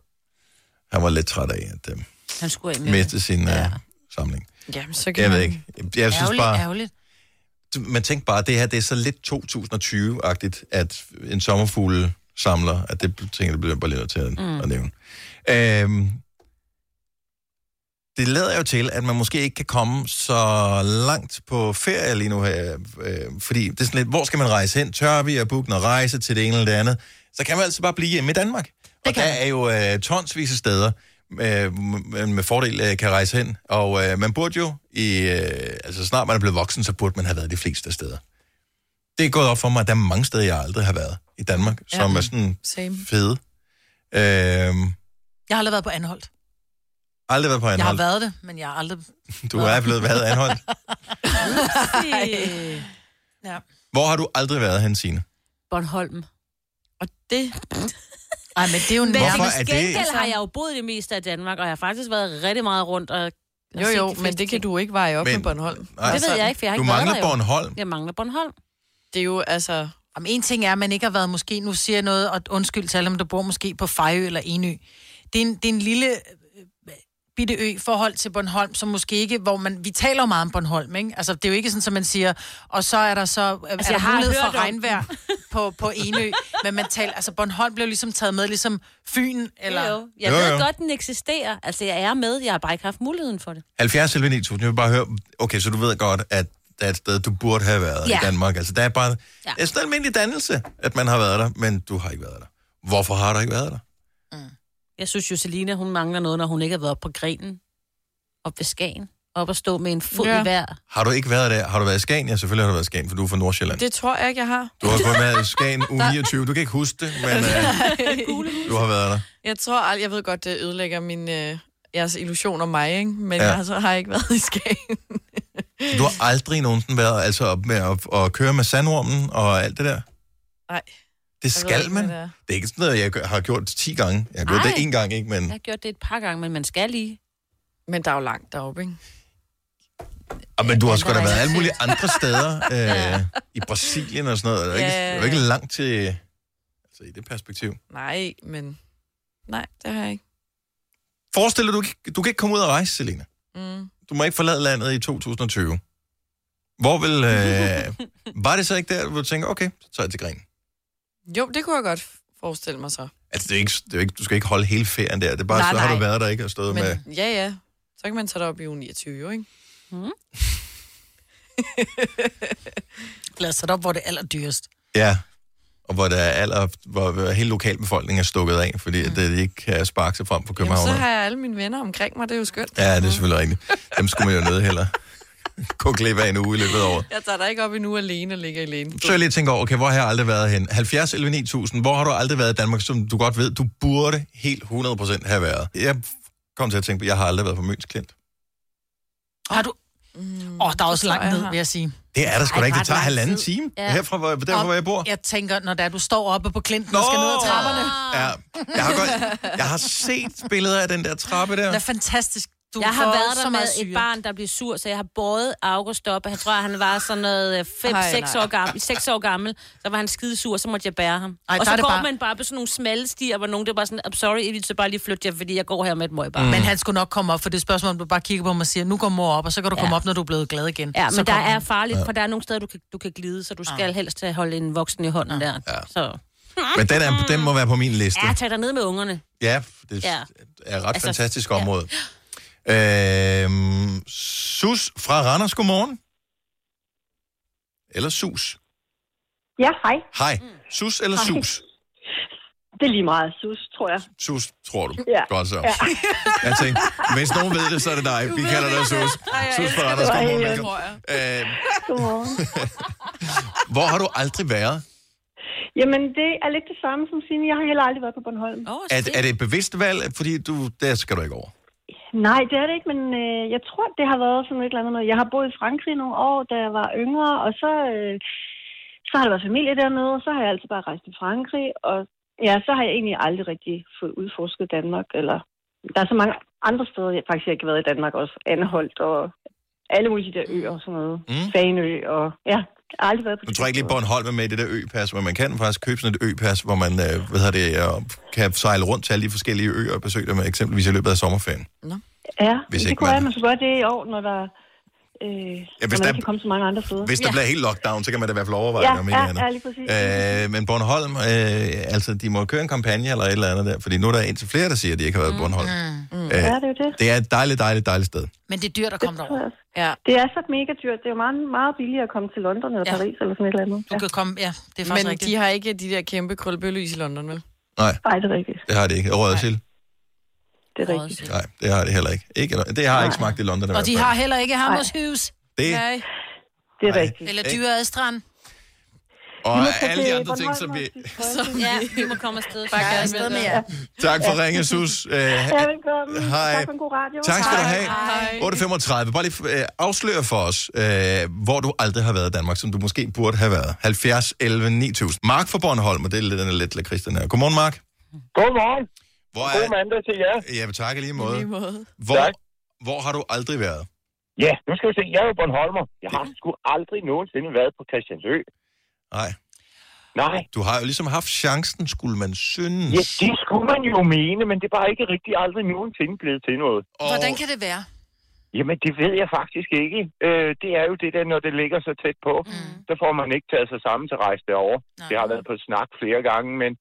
[SPEAKER 1] han var lidt træt af at øh,
[SPEAKER 4] Han skulle af med det.
[SPEAKER 1] miste sin ja. øh, samling.
[SPEAKER 3] Jamen, så kan
[SPEAKER 1] Jeg ved
[SPEAKER 3] man-
[SPEAKER 1] ikke. Jeg synes
[SPEAKER 2] ærgerligt,
[SPEAKER 1] bare...
[SPEAKER 2] ærgerligt.
[SPEAKER 1] man tænker bare, det her det er så lidt 2020-agtigt, at en sommerfugle samler, at det tænker, det bliver jeg bare lige nødt til at,
[SPEAKER 7] Mm.
[SPEAKER 1] mm. at nævne. Øhm, det lader jo til, at man måske ikke kan komme så langt på ferie lige nu her, øh, fordi det er sådan lidt, hvor skal man rejse hen? Tør vi at booke noget rejse til det ene eller det andet? Så kan man altså bare blive hjemme i Danmark. Og der er jo øh, tonsvis af steder, øh, man med fordel øh, kan rejse hen. Og øh, man burde jo, i, øh, altså så snart man er blevet voksen, så burde man have været de fleste af steder. Det er gået op for mig, at der er mange steder, jeg aldrig har været i Danmark,
[SPEAKER 2] Ja.
[SPEAKER 1] som er sådan
[SPEAKER 3] Same.
[SPEAKER 1] fede. Øh,
[SPEAKER 2] Jeg har aldrig været på Anholdt.
[SPEAKER 1] aldrig været på Anholdt.
[SPEAKER 2] Jeg har været det, men jeg har aldrig...
[SPEAKER 1] Du er blevet været anholdt.
[SPEAKER 2] Upsi. ja.
[SPEAKER 1] Hvor har du aldrig været hen, Signe?
[SPEAKER 4] Bornholm.
[SPEAKER 3] Og det...
[SPEAKER 2] Ej, men det er jo
[SPEAKER 4] Men
[SPEAKER 1] Hvorfor
[SPEAKER 4] Hvorfor
[SPEAKER 1] er det-
[SPEAKER 4] gengæld har jeg jo boet det meste af Danmark, og jeg har faktisk været rigtig meget rundt. Og og
[SPEAKER 3] Jo,
[SPEAKER 4] set
[SPEAKER 3] jo,
[SPEAKER 4] de
[SPEAKER 3] men
[SPEAKER 4] fleste
[SPEAKER 3] det kan
[SPEAKER 4] ting.
[SPEAKER 3] du ikke veje op
[SPEAKER 1] Men-
[SPEAKER 3] med Altså, Bornholm.
[SPEAKER 1] Nej.
[SPEAKER 4] Det ved jeg ikke, for jeg har ikke
[SPEAKER 1] Altså, Du
[SPEAKER 4] været
[SPEAKER 1] mangler
[SPEAKER 4] der jo.
[SPEAKER 1] Bornholm.
[SPEAKER 4] Jeg mangler Bornholm.
[SPEAKER 3] Det er jo, altså...
[SPEAKER 2] Jamen, en ting er, at man ikke har været måske, nu siger jeg noget, og undskyld til alle dem, der bor måske på Fejø eller Enø. Det er en, det er en lille øh, bitte ø i forhold til Bornholm, som måske ikke, hvor man, vi taler jo meget om Bornholm, ikke? Altså, det er jo ikke sådan, som man siger, og så er der så, altså, er
[SPEAKER 4] jeg
[SPEAKER 2] der
[SPEAKER 4] har
[SPEAKER 2] mulighed
[SPEAKER 4] hørt
[SPEAKER 2] for
[SPEAKER 4] (laughs) om
[SPEAKER 2] regnvejr. på, på Enø, men man taler, altså Bornholm blev ligesom taget med, ligesom Fyn, eller...
[SPEAKER 4] Jo, Jeg ved godt, den eksisterer. Altså, jeg er med. Jeg har bare ikke haft muligheden for det.
[SPEAKER 1] 70 11 9000, jeg vil bare høre, okay, så du ved godt, at der er et sted, du burde have været ja.
[SPEAKER 4] Ja.
[SPEAKER 1] i Danmark. Altså, der er bare
[SPEAKER 4] Ja.
[SPEAKER 1] ja. det er sådan en almindelig dannelse, at man har været der, men du har ikke været der. Hvorfor har du ikke været der?
[SPEAKER 4] Jeg synes jo, Selina, hun mangler noget, når hun ikke har været oppe på grenen. Op ved Skagen. Op og stå med en fod ja.
[SPEAKER 3] Ja.
[SPEAKER 4] i hver.
[SPEAKER 1] Har du ikke været der? Har du været i Skagen? Ja, selvfølgelig har du været i Skagen, for du er fra Nordsjælland. Det...
[SPEAKER 3] Det tror jeg ikke, (laughs) jeg har.
[SPEAKER 1] Du har kun været i
[SPEAKER 4] (laughs)
[SPEAKER 1] Skagen u 29. Du kan ikke huske det, men øh, du har været der.
[SPEAKER 3] jeg tror aldrig, jeg ved godt, det ødelægger min, øh, jeres illusion om mig, ikke? men
[SPEAKER 1] Ja.
[SPEAKER 3] ja. jeg så har jeg ikke været i Skagen.
[SPEAKER 1] Du har aldrig nogensinde været altså op med at, at køre med sandormen og alt det der?
[SPEAKER 3] Nej.
[SPEAKER 1] Det
[SPEAKER 4] Jeg ved
[SPEAKER 1] skal
[SPEAKER 4] ikke,
[SPEAKER 1] man.
[SPEAKER 4] hvad
[SPEAKER 1] Det
[SPEAKER 4] det
[SPEAKER 1] er
[SPEAKER 4] er.
[SPEAKER 1] ikke sådan noget, jeg gør- har gjort 10 gange. Jeg har gjort
[SPEAKER 4] Ej.
[SPEAKER 1] det én gang, ikke? Men
[SPEAKER 4] Jeg har gjort det et par gange, men man skal lige.
[SPEAKER 3] Men der er jo langt deroppe, ikke?
[SPEAKER 1] Og Ah, men du har
[SPEAKER 4] Ja,
[SPEAKER 1] sgu
[SPEAKER 4] der
[SPEAKER 1] da
[SPEAKER 4] er
[SPEAKER 1] været
[SPEAKER 4] ikke
[SPEAKER 1] alle mulige
[SPEAKER 4] set.
[SPEAKER 3] (laughs)
[SPEAKER 1] andre steder, øh, i Brasilien og sådan noget. Det er jo ikke,
[SPEAKER 3] Ja, ja,
[SPEAKER 1] det er
[SPEAKER 3] ja.
[SPEAKER 1] jo ikke langt til, altså i det perspektiv.
[SPEAKER 3] Nej, men... Nej, det har jeg ikke.
[SPEAKER 1] Forestil dig, du, ikke- du kan ikke komme ud og rejse, Selina.
[SPEAKER 3] Mm.
[SPEAKER 1] Du må ikke forlade landet i 2020. Hvor vil...
[SPEAKER 3] (laughs)
[SPEAKER 1] Øh, var det så ikke der, hvor du tænker, okay, så tager jeg til Gren.
[SPEAKER 3] Jo, det kunne jeg godt forestille mig så.
[SPEAKER 1] Altså, det er ikke, det er ikke, du skal ikke holde hele ferien der. Det er bare, nej,
[SPEAKER 3] Nej,
[SPEAKER 1] så har
[SPEAKER 3] nej.
[SPEAKER 1] du været der ikke og stået
[SPEAKER 3] Men
[SPEAKER 1] men... med...
[SPEAKER 3] ja, ja. Så kan man tage det op i uge 29, jo, ikke?
[SPEAKER 4] Mm.
[SPEAKER 2] Lad os sætte op, hvor det er allerdyrest.
[SPEAKER 1] Ja, og hvor, der er aller, hvor, hvor hele lokalbefolkningen er stukket af, fordi mm. det ikke kan sparke sig frem på
[SPEAKER 3] Jamen,
[SPEAKER 1] København.
[SPEAKER 3] så har jeg alle mine venner omkring mig, det er jo skønt.
[SPEAKER 1] Ja, det er selvfølgelig rigtigt. Dem skulle man jo nødt heller gå glip af en uge i løbet af året.
[SPEAKER 3] Jeg tager dig ikke op endnu alene og ligger alene.
[SPEAKER 1] Så jeg lige tænker over, okay, hvor har jeg aldrig været hen? 70 11 9000, hvor har du aldrig været i Danmark, som du godt ved, du burde helt 100% have været? Jeg kom til at tænke på, jeg har aldrig været på Møns Klint.
[SPEAKER 2] Har du...
[SPEAKER 4] mm,
[SPEAKER 2] Åh, oh, der er også langt ned, vil jeg sige.
[SPEAKER 1] Det er der sgu da
[SPEAKER 2] Ej, ret
[SPEAKER 1] ikke, det tager
[SPEAKER 2] lang
[SPEAKER 1] halvanden
[SPEAKER 2] tid.
[SPEAKER 1] time
[SPEAKER 2] Ja.
[SPEAKER 1] ja. herfra, hvor, derfra, hvor jeg bor.
[SPEAKER 2] Jeg tænker, når det er, du står oppe på klinten og skal ned ad trapperne.
[SPEAKER 1] Ja. Jeg, har godt, jeg har set billeder af den der trappe
[SPEAKER 2] Det er
[SPEAKER 1] der.
[SPEAKER 2] fantastisk. Du
[SPEAKER 4] jeg har
[SPEAKER 2] får
[SPEAKER 4] været
[SPEAKER 2] så
[SPEAKER 4] der med
[SPEAKER 2] meget syre.
[SPEAKER 4] et barn, der blev sur, så jeg har båret August op. Jeg tror, han var sådan noget 5-6
[SPEAKER 2] Ej, nej.
[SPEAKER 4] år, gammel, seks år gammel. Så var han skidesur, så måtte jeg bære ham.
[SPEAKER 2] Ej,
[SPEAKER 4] Ej, og
[SPEAKER 2] der er
[SPEAKER 4] så
[SPEAKER 2] det
[SPEAKER 4] går
[SPEAKER 2] bare-
[SPEAKER 4] bare... man bare på sådan nogle smalle stier, hvor nogen der bare sådan, I'm sorry, I vil så bare lige flytte jer, fordi jeg går her med et møgbarn.
[SPEAKER 2] Mm. Men han skulle nok komme op, for det spørgsmål, om du bare kigger på mig og siger, nu går mor op, og så kan du komme
[SPEAKER 4] Ja.
[SPEAKER 2] op, når du er blevet glad igen.
[SPEAKER 4] Ja,
[SPEAKER 2] så
[SPEAKER 4] men der
[SPEAKER 2] kommer
[SPEAKER 4] er
[SPEAKER 2] han.
[SPEAKER 4] farligt,
[SPEAKER 1] Ja.
[SPEAKER 4] for der er nogle steder, du kan, du kan glide, så du skal helst holde en voksen i hånden der. Så.
[SPEAKER 1] Men den, er, den må være på min liste.
[SPEAKER 4] Ja, tag dig ned med ungerne.
[SPEAKER 1] Ja, det
[SPEAKER 4] Ja.
[SPEAKER 1] er et ret
[SPEAKER 4] Altså,
[SPEAKER 1] fantastisk område. Øhm, Sus fra Randers, godmorgen. Eller Sus.
[SPEAKER 18] Ja, hej.
[SPEAKER 1] Hej. Sus eller
[SPEAKER 18] Hej.
[SPEAKER 1] Sus?
[SPEAKER 18] Det er lige meget sus, tror jeg.
[SPEAKER 1] Sus, tror du.
[SPEAKER 18] Ja.
[SPEAKER 1] Godt så.
[SPEAKER 18] Ja.
[SPEAKER 1] Jeg tænkte, hvis nogen ved det, så er det dig. Vi kalder dig Sus. Sus fra Randers, godmorgen. velkommen. Øh,
[SPEAKER 18] Godmorgen.
[SPEAKER 1] (laughs) hvor har du aldrig været?
[SPEAKER 18] Jamen, det er lidt det samme som Signe. Jeg har heller aldrig været på Bornholm.
[SPEAKER 4] Oh,
[SPEAKER 1] Er, er det et bevidst valg? Fordi du, der skal du ikke over.
[SPEAKER 18] Nej, det er det ikke, men øh, jeg tror, det har været sådan et eller andet noget. Jeg har boet i Frankrig nogle år, da jeg var yngre, og så, øh, så har der været familie dernede, og så har jeg altid bare rejst til Frankrig, og ja, så har jeg egentlig aldrig rigtig fået udforsket Danmark, eller der er så mange andre steder, jeg faktisk ikke har været i Danmark også, Anholdt og alle mulige de der øer og sådan noget, mm. Faneø, og ja, jeg har aldrig været på
[SPEAKER 1] Nu tror jeg ikke lige, Bornholm er med i det der ø-pas, men man kan faktisk købe sådan et ø-pas, hvor man øh, hvad hedder det, øh, kan sejle rundt til alle de forskellige øer og besøge dem, eksempelvis i løbet af sommerferien.
[SPEAKER 18] Ja,
[SPEAKER 1] Hvis
[SPEAKER 18] hvis
[SPEAKER 1] ikke
[SPEAKER 18] det kunne
[SPEAKER 1] man-
[SPEAKER 18] være, at man skulle gøre det i år, når der, øh, ja,
[SPEAKER 1] hvis
[SPEAKER 18] når man
[SPEAKER 1] der-
[SPEAKER 18] ikke kan komme så mange andre steder.
[SPEAKER 1] Hvis der ja. bliver helt lockdown, så kan man da i hvert fald overveje
[SPEAKER 18] Ja,
[SPEAKER 1] det, om ikke
[SPEAKER 18] ja,
[SPEAKER 1] andet.
[SPEAKER 18] ja, lige præcis.
[SPEAKER 1] Øh, men Bornholm, øh, altså de må køre en kampagne eller et eller andet der, fordi nu er der indtil flere, der siger, at de ikke har været på Bornholm.
[SPEAKER 2] Mm.
[SPEAKER 1] Øh, Ja, det er
[SPEAKER 18] jo det.
[SPEAKER 1] Det er et dejligt, dejligt, dejligt sted.
[SPEAKER 2] Men det er dyrt at komme derover.
[SPEAKER 18] Ja. Det er så mega dyrt. Det er jo meget, meget billigere at komme til London eller ja. Paris eller sådan et eller andet.
[SPEAKER 2] Du kan komme, ja, det er faktisk
[SPEAKER 3] Men
[SPEAKER 2] rigtigt.
[SPEAKER 3] de har ikke de der kæmpe krøllebøllys i London, vel?
[SPEAKER 1] Nej,
[SPEAKER 18] Nej, det er rigtigt.
[SPEAKER 1] det har det ikke. Røget til?
[SPEAKER 18] Det er rigtigt.
[SPEAKER 1] Nej, det har det heller ikke. ikke det har jeg ikke smagt i London i
[SPEAKER 2] Og
[SPEAKER 1] hvert
[SPEAKER 2] de
[SPEAKER 1] fald.
[SPEAKER 2] har heller ikke Hammershus.
[SPEAKER 1] Det-
[SPEAKER 2] Nej.
[SPEAKER 18] Det er
[SPEAKER 1] Nej.
[SPEAKER 18] rigtigt.
[SPEAKER 2] Eller Dyre Adstrand.
[SPEAKER 1] Og alle de andre ting, som vi...
[SPEAKER 4] Så, ja, vi må komme afsted.
[SPEAKER 2] Bare gerne afsted med jer.
[SPEAKER 1] Tak for ringe, Sus. Øh,
[SPEAKER 18] Ja, velkommen.
[SPEAKER 1] Hej.
[SPEAKER 18] Tak for en god radio.
[SPEAKER 1] Tak skal du have.
[SPEAKER 18] Hej.
[SPEAKER 1] 8.35. Bare lige øh, afslør for os, øh, hvor du aldrig har været i Danmark, som du måske burde have været. 70 11 9000. Mark fra Bornholm, og det er lidt, den er lidt lakrids, den her. Godmorgen, Mark.
[SPEAKER 19] Godmorgen.
[SPEAKER 1] Hvor
[SPEAKER 19] er... God mandag til jer.
[SPEAKER 1] Ja, tak i lige måde.
[SPEAKER 19] måde.
[SPEAKER 1] Hvor, hvor har du aldrig været?
[SPEAKER 19] Ja, nu skal vi se. Jeg er jo Bornholmer. Jeg har sgu aldrig nogensinde været på Christiansø.
[SPEAKER 1] Nej.
[SPEAKER 19] Nej.
[SPEAKER 1] Du har jo ligesom haft chancen, skulle man synes.
[SPEAKER 19] Ja, det skulle man jo mene, men det er bare ikke rigtig aldrig nogensinde blevet til noget.
[SPEAKER 1] Og
[SPEAKER 2] Hvordan kan det være?
[SPEAKER 19] Jamen, det ved jeg faktisk ikke. Øh, det er jo det der, når det ligger så tæt på, mm. så får man ikke taget sig sammen til at rejse derover. Det har været på snak flere gange, men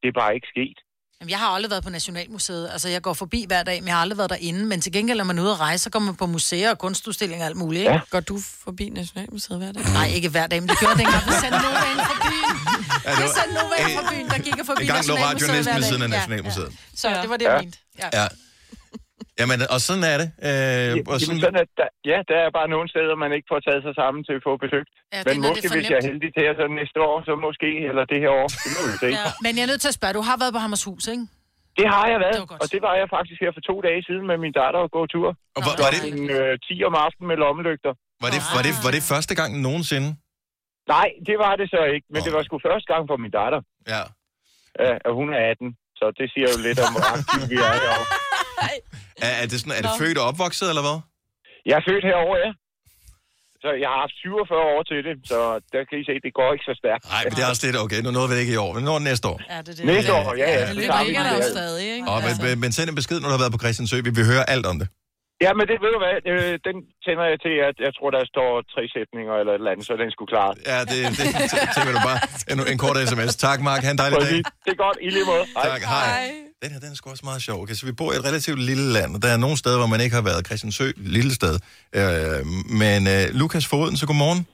[SPEAKER 19] det er bare ikke sket.
[SPEAKER 2] Jamen, jeg har aldrig været på Nationalmuseet. Altså, jeg går forbi hver dag, men jeg har aldrig været derinde. Men til gengæld, når man er ude at rejse, så går man på museer og kunstudstillinger og alt muligt. Ja.
[SPEAKER 3] Går du forbi Nationalmuseet hver dag?
[SPEAKER 2] Nej, ikke hver dag, men det gjorde jeg dengang. Vi sendte Nova ind fra byen.
[SPEAKER 1] Ja,
[SPEAKER 2] Vi sendte Nova ind fra byen, der gik og forbi
[SPEAKER 1] en gang lå radio
[SPEAKER 2] Nationalmuseet
[SPEAKER 1] næsten
[SPEAKER 2] hver
[SPEAKER 1] ved
[SPEAKER 2] dag.
[SPEAKER 1] siden af
[SPEAKER 2] Ja,
[SPEAKER 1] Nationalmuseet.
[SPEAKER 2] Ja. Så det var det, jeg
[SPEAKER 1] Ja.
[SPEAKER 2] mente. Ja.
[SPEAKER 1] Ja. Jamen, og sådan er det. Øh, og sådan,
[SPEAKER 19] Jamen, sådan at der, ja, der er bare nogle steder, man ikke får taget sig sammen til at få besøgt.
[SPEAKER 2] Ja,
[SPEAKER 19] Ja,
[SPEAKER 2] det
[SPEAKER 19] men
[SPEAKER 2] er, når det er
[SPEAKER 19] måske,
[SPEAKER 2] for
[SPEAKER 19] hvis jeg er
[SPEAKER 2] nemt.
[SPEAKER 19] heldig til at så næste år, så måske, eller det her år, det må vi se. Ja.
[SPEAKER 2] Men jeg er nødt til at spørge, du har været på Hammershus, ikke?
[SPEAKER 19] Det har jeg været, det og det var jeg faktisk her for to dage siden med min datter og gå tur.
[SPEAKER 1] Og var, var det?
[SPEAKER 19] En, øh, 10 om aftenen med lommelygter.
[SPEAKER 1] var, det, var, det, var
[SPEAKER 2] Ah.
[SPEAKER 1] det første gang nogensinde?
[SPEAKER 19] Nej, det var det så ikke, men det var sgu første gang for min datter.
[SPEAKER 1] Ja.
[SPEAKER 19] Øh, og hun er 18, så det siger jo lidt om, hvor aktive vi er herovre.
[SPEAKER 1] Er, er det, sådan, er det
[SPEAKER 19] Nå.
[SPEAKER 1] født og opvokset, eller hvad?
[SPEAKER 19] Jeg er født herovre, ja. Så jeg har haft 47 år til det, så der kan I se, det går ikke så stærkt.
[SPEAKER 1] Nej, men det er også lidt okay. Nu nåede vi det ikke i år, men nu er det næste år.
[SPEAKER 2] Ja, det er
[SPEAKER 19] det. Næste år, ja, ja.
[SPEAKER 1] det
[SPEAKER 19] Så tager vi
[SPEAKER 3] ligger
[SPEAKER 19] den
[SPEAKER 3] der jo
[SPEAKER 4] altså.
[SPEAKER 19] der.
[SPEAKER 3] stadig, ikke?
[SPEAKER 1] Og, men, men- men send en besked, når du har været på Christiansø. Vi vil høre alt om det.
[SPEAKER 19] Ja, men det ved du hvad, øh, den tænder jeg til, at jeg tror, der står tre sætninger eller et eller andet, så den skulle klare.
[SPEAKER 1] Ja, det, det tænker du bare. En, en kort sms. Tak, Mark. Han en dejlig dag.
[SPEAKER 19] Det er godt. I lige måde. Hej.
[SPEAKER 1] Tak, hej. Den her, den er sgu også meget sjov. Okay, så vi bor i et relativt lille land, og der er nogle steder, hvor man ikke har været. Christiansø, lille sted. Øh, men øh, Lukas Foden, så godmorgen.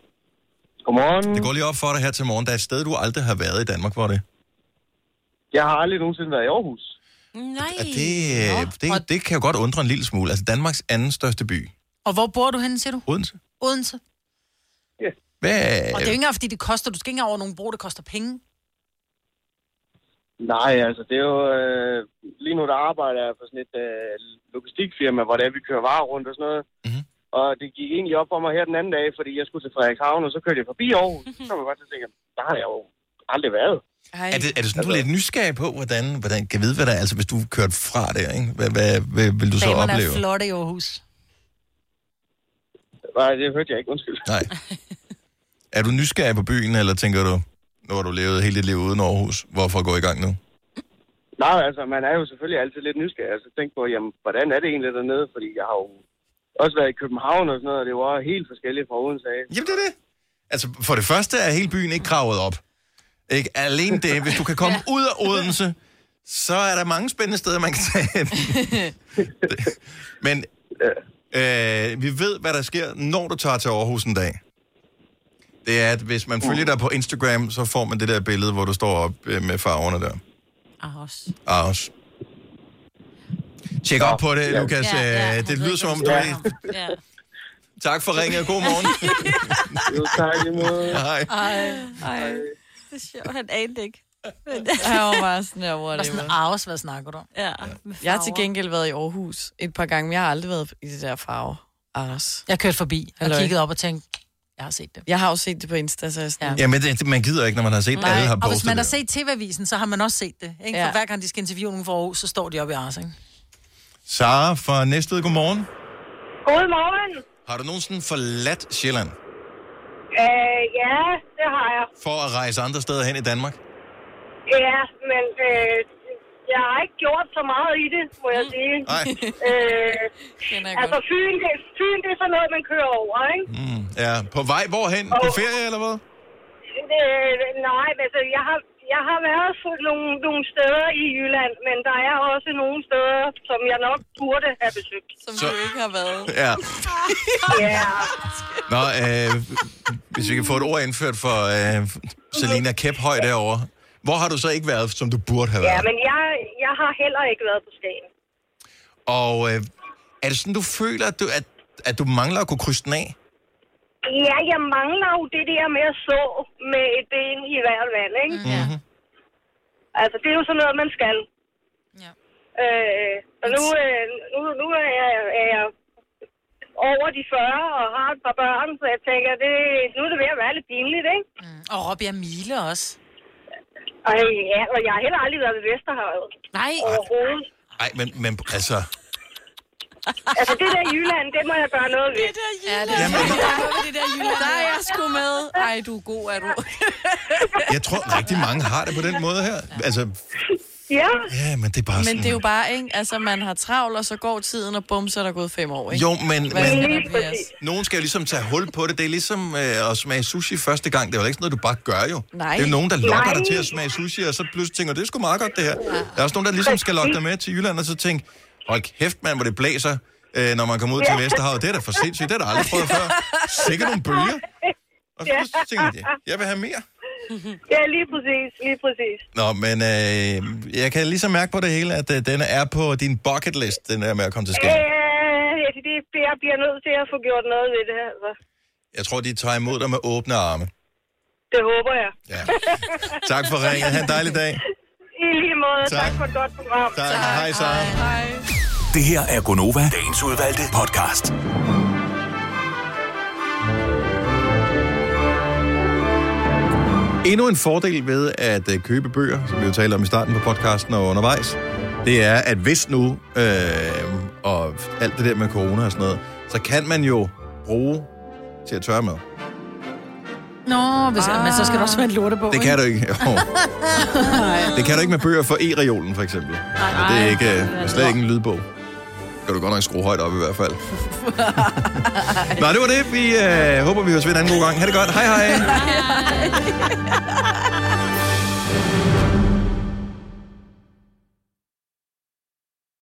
[SPEAKER 20] Godmorgen.
[SPEAKER 1] Det går lige op for dig her til morgen. Der er et sted, du aldrig har været i Danmark, hvor er det?
[SPEAKER 20] Jeg har aldrig nogensinde været i Aarhus.
[SPEAKER 2] Nej.
[SPEAKER 1] Og det, øh, det, det kan jo godt undre en lille smule. Altså Danmarks anden største by,
[SPEAKER 2] Og hvor bor du henne, siger du?
[SPEAKER 1] Odense.
[SPEAKER 2] Odense.
[SPEAKER 1] Hvad?
[SPEAKER 2] Og det er jo ikke engang, fordi det koster. Du skal ikke engang over nogen bro, det koster penge.
[SPEAKER 20] Nej, altså det er jo... Øh, lige nu der arbejder jeg på sådan et øh, logistikfirma, hvor det er, vi kører varer rundt og sådan noget. Mm-hmm. Og det gik egentlig op for mig her den anden dag, fordi jeg skulle til Frederikshavn, og så kørte jeg forbi Aarhus.
[SPEAKER 12] Mhm.
[SPEAKER 20] Så var jeg bare til at tænke, der har jeg jo aldrig været.
[SPEAKER 1] Er det, er det sådan, du er lidt nysgerrig på, hvordan, hvordan kan vide, hvad der er? Altså, hvis du kørte fra der, ikke? Hvad, hvad, hvad vil du så
[SPEAKER 2] Damerne
[SPEAKER 1] opleve?
[SPEAKER 2] er flotte i Aarhus.
[SPEAKER 20] Nej, det hørte jeg ikke, undskyld. (laughs)
[SPEAKER 1] Nej. Er du nysgerrig på byen, eller tænker du, nu har du levet hele dit liv uden Aarhus, hvorfor gå i gang nu?
[SPEAKER 20] Nej, altså man er jo selvfølgelig altid lidt nysgerrig. Altså tænk på, jamen, hvordan er det egentlig dernede? Fordi jeg har jo også været i København og sådan noget, og det var helt forskelligt fra Odense af.
[SPEAKER 1] Jamen det er det. Altså, for det første er hele byen ikke kravet op. Ikke? Alene det, hvis du kan
[SPEAKER 4] (laughs)
[SPEAKER 1] komme ud af Odense, så er der mange spændende steder, man kan tage
[SPEAKER 4] (laughs)
[SPEAKER 1] hen. Men øh, vi ved, hvad der sker, når du tager til Aarhus en dag. Det er, at hvis man følger dig på Instagram, så får man det der billede, hvor du står op øh, med farverne der.
[SPEAKER 4] Aros.
[SPEAKER 1] Aros. Tjek op på det, Lukas.
[SPEAKER 4] Ja, ja,
[SPEAKER 1] Øh,
[SPEAKER 4] hun
[SPEAKER 1] Det
[SPEAKER 4] ved
[SPEAKER 1] lyder som om,
[SPEAKER 4] ikke,
[SPEAKER 1] du
[SPEAKER 4] hvad
[SPEAKER 1] er...
[SPEAKER 4] hun snakker om. Ja.
[SPEAKER 1] Tak for ringet, og god morgen.
[SPEAKER 20] jo, tak imod.
[SPEAKER 1] Hej.
[SPEAKER 4] Ej. Det er sjovt, han anede ikke. Men...
[SPEAKER 3] Jeg var bare sådan der,
[SPEAKER 2] Var sådan,
[SPEAKER 3] whatever.
[SPEAKER 2] Aros, hvad snakker du om?
[SPEAKER 4] Ja.
[SPEAKER 3] Jeg har til gengæld været i Aarhus et par gange, men jeg har aldrig været i det der farve. Ars.
[SPEAKER 2] Jeg kørte forbi og kiggede op og tænkte, jeg har set det.
[SPEAKER 3] Jeg har jo set det på Insta, så jeg sådan...
[SPEAKER 1] Ja, men det, man gider ikke, når man har set, at alle har
[SPEAKER 2] og hvis
[SPEAKER 1] postet
[SPEAKER 2] man har
[SPEAKER 1] det.
[SPEAKER 2] set TV-avisen, så har man også set det. Ikke? Ja.
[SPEAKER 3] Ja.
[SPEAKER 2] For hver gang de skal interviewe nogen fra Aarhus, så står de oppe i Aros, ikke?
[SPEAKER 1] Sara fra Næstved, godmorgen.
[SPEAKER 12] Godmorgen.
[SPEAKER 1] Har du nogensinde forladt Sjælland
[SPEAKER 12] Øh, ja, det har jeg.
[SPEAKER 1] for at rejse andre steder hen i Danmark?
[SPEAKER 12] Ja, men øh, jeg har ikke gjort så meget i det, må
[SPEAKER 20] Mhm.
[SPEAKER 12] jeg sige. (laughs)
[SPEAKER 1] Nej.
[SPEAKER 12] Øh,
[SPEAKER 3] jeg
[SPEAKER 12] altså, Fyn det, Fyn, det er sådan noget, man kører over, ikke?
[SPEAKER 1] Mm, ja, på vej hvorhen? På
[SPEAKER 12] Og-
[SPEAKER 1] ferie eller hvad?
[SPEAKER 12] Øh, nej, men altså, jeg har, jeg har været på nogle, nogle steder i Jylland, men der er også nogle steder, som jeg nok burde have besøgt.
[SPEAKER 3] Som du ikke har været.
[SPEAKER 1] Ja.
[SPEAKER 12] Ja.
[SPEAKER 1] Nå, øh, hvis vi kan få et ord indført for øh, Selena Kæphøj derovre. Hvor har du så ikke været, som du burde have
[SPEAKER 12] ja,
[SPEAKER 1] været?
[SPEAKER 12] men jeg, jeg har heller ikke været på Skagen.
[SPEAKER 1] Og øh, er det sådan, du føler, at du, at, at du mangler at kunne krydse den af?
[SPEAKER 12] Ja, jeg mangler jo det der med at så med et ben i hver vand, ikke? Mm-hmm. Altså, det er jo sådan noget, man skal. Ja. Øh, og nu, øh, nu, nu er, jeg, er jeg over de 40 og har et par børn, så jeg tænker, det, nu er det ved at være lidt pinligt, ikke?
[SPEAKER 2] Mm. Og Robbie og Mile også.
[SPEAKER 12] Og, ja, og jeg har heller aldrig været ved Vesterhavet.
[SPEAKER 4] Nej.
[SPEAKER 12] Overhovedet.
[SPEAKER 1] Nej, men, men altså...
[SPEAKER 12] Altså, det der Jylland, det må jeg gøre noget ved. Det der Jylland.
[SPEAKER 1] Ja, men-
[SPEAKER 3] det der Jylland. Der er jeg sgu med. Ej, du er god, er du.
[SPEAKER 1] Jeg tror, rigtig mange har det på den måde her. Altså,
[SPEAKER 12] Ja.
[SPEAKER 1] Ja, men det er bare
[SPEAKER 3] Men
[SPEAKER 1] sådan...
[SPEAKER 3] det er jo bare, ikke? Altså, man har travlt, og så går tiden, og bum, så er der gået fem år, ikke?
[SPEAKER 1] Jo, men,
[SPEAKER 3] Hvad skal der
[SPEAKER 1] men
[SPEAKER 3] plads?
[SPEAKER 1] nogen skal jo ligesom tage hul på det. Det er ligesom øh, at smage sushi første gang. Det er jo ikke sådan noget, du bare gør jo.
[SPEAKER 3] Nej.
[SPEAKER 1] Det er jo nogen, der lokker
[SPEAKER 3] Nej.
[SPEAKER 1] dig til at smage sushi, og så pludselig tænker, det er sgu meget godt det her. Der er også nogen, der ligesom skal lokke dig med til Jylland, og så tænker, hold kæft mand, hvor det blæser, øh, når man kommer ud til
[SPEAKER 12] Ja.
[SPEAKER 1] Vesterhavet. Det er da for sindssygt, det har jeg da aldrig prøvet før. Sikkert nogle bølger. Og så pludselig tænker jeg, jeg vil have mere.
[SPEAKER 12] Ja, lige præcis, lige præcis.
[SPEAKER 1] Nå, men øh, jeg kan ligesom mærke på det hele, at øh, den er på din bucket list, den der med at komme til Skagen.
[SPEAKER 12] Øh, ja, det, det- jeg bliver nødt til at få gjort noget ved det her. Altså.
[SPEAKER 1] Jeg tror, de tager imod dig med åbne arme.
[SPEAKER 12] Det håber jeg.
[SPEAKER 1] Ja. Tak for ringen. Ha' en dejlig dag.
[SPEAKER 12] I lige måde.
[SPEAKER 1] Tak.
[SPEAKER 12] Tak, tak for et godt program.
[SPEAKER 1] Tak. Hej, Sara.
[SPEAKER 12] Hej.
[SPEAKER 17] Det her er Gonova, dagens udvalgte podcast.
[SPEAKER 1] Endnu en fordel ved at øh, købe bøger, som vi jo talte om i starten på podcasten og undervejs, det er, at hvis nu, øh, og alt det der med corona og sådan noget, så kan man jo bruge til at tørre med.
[SPEAKER 2] Nå, hvis, ah. men så skal der også være en lortebog.
[SPEAKER 1] Det kan du ikke. (laughs) Jo.
[SPEAKER 2] Nej.
[SPEAKER 1] Det kan du ikke med bøger for e-reolen, for eksempel. Men det er ikke, øh, slet ikke en lydbog. Kan du godt nok skrue højt op i hvert (laughs) fald. Nå, det var det. Vi øh, håber, vi høres ved en anden god gang. Ha' det godt. Hej hej.
[SPEAKER 7] Hej.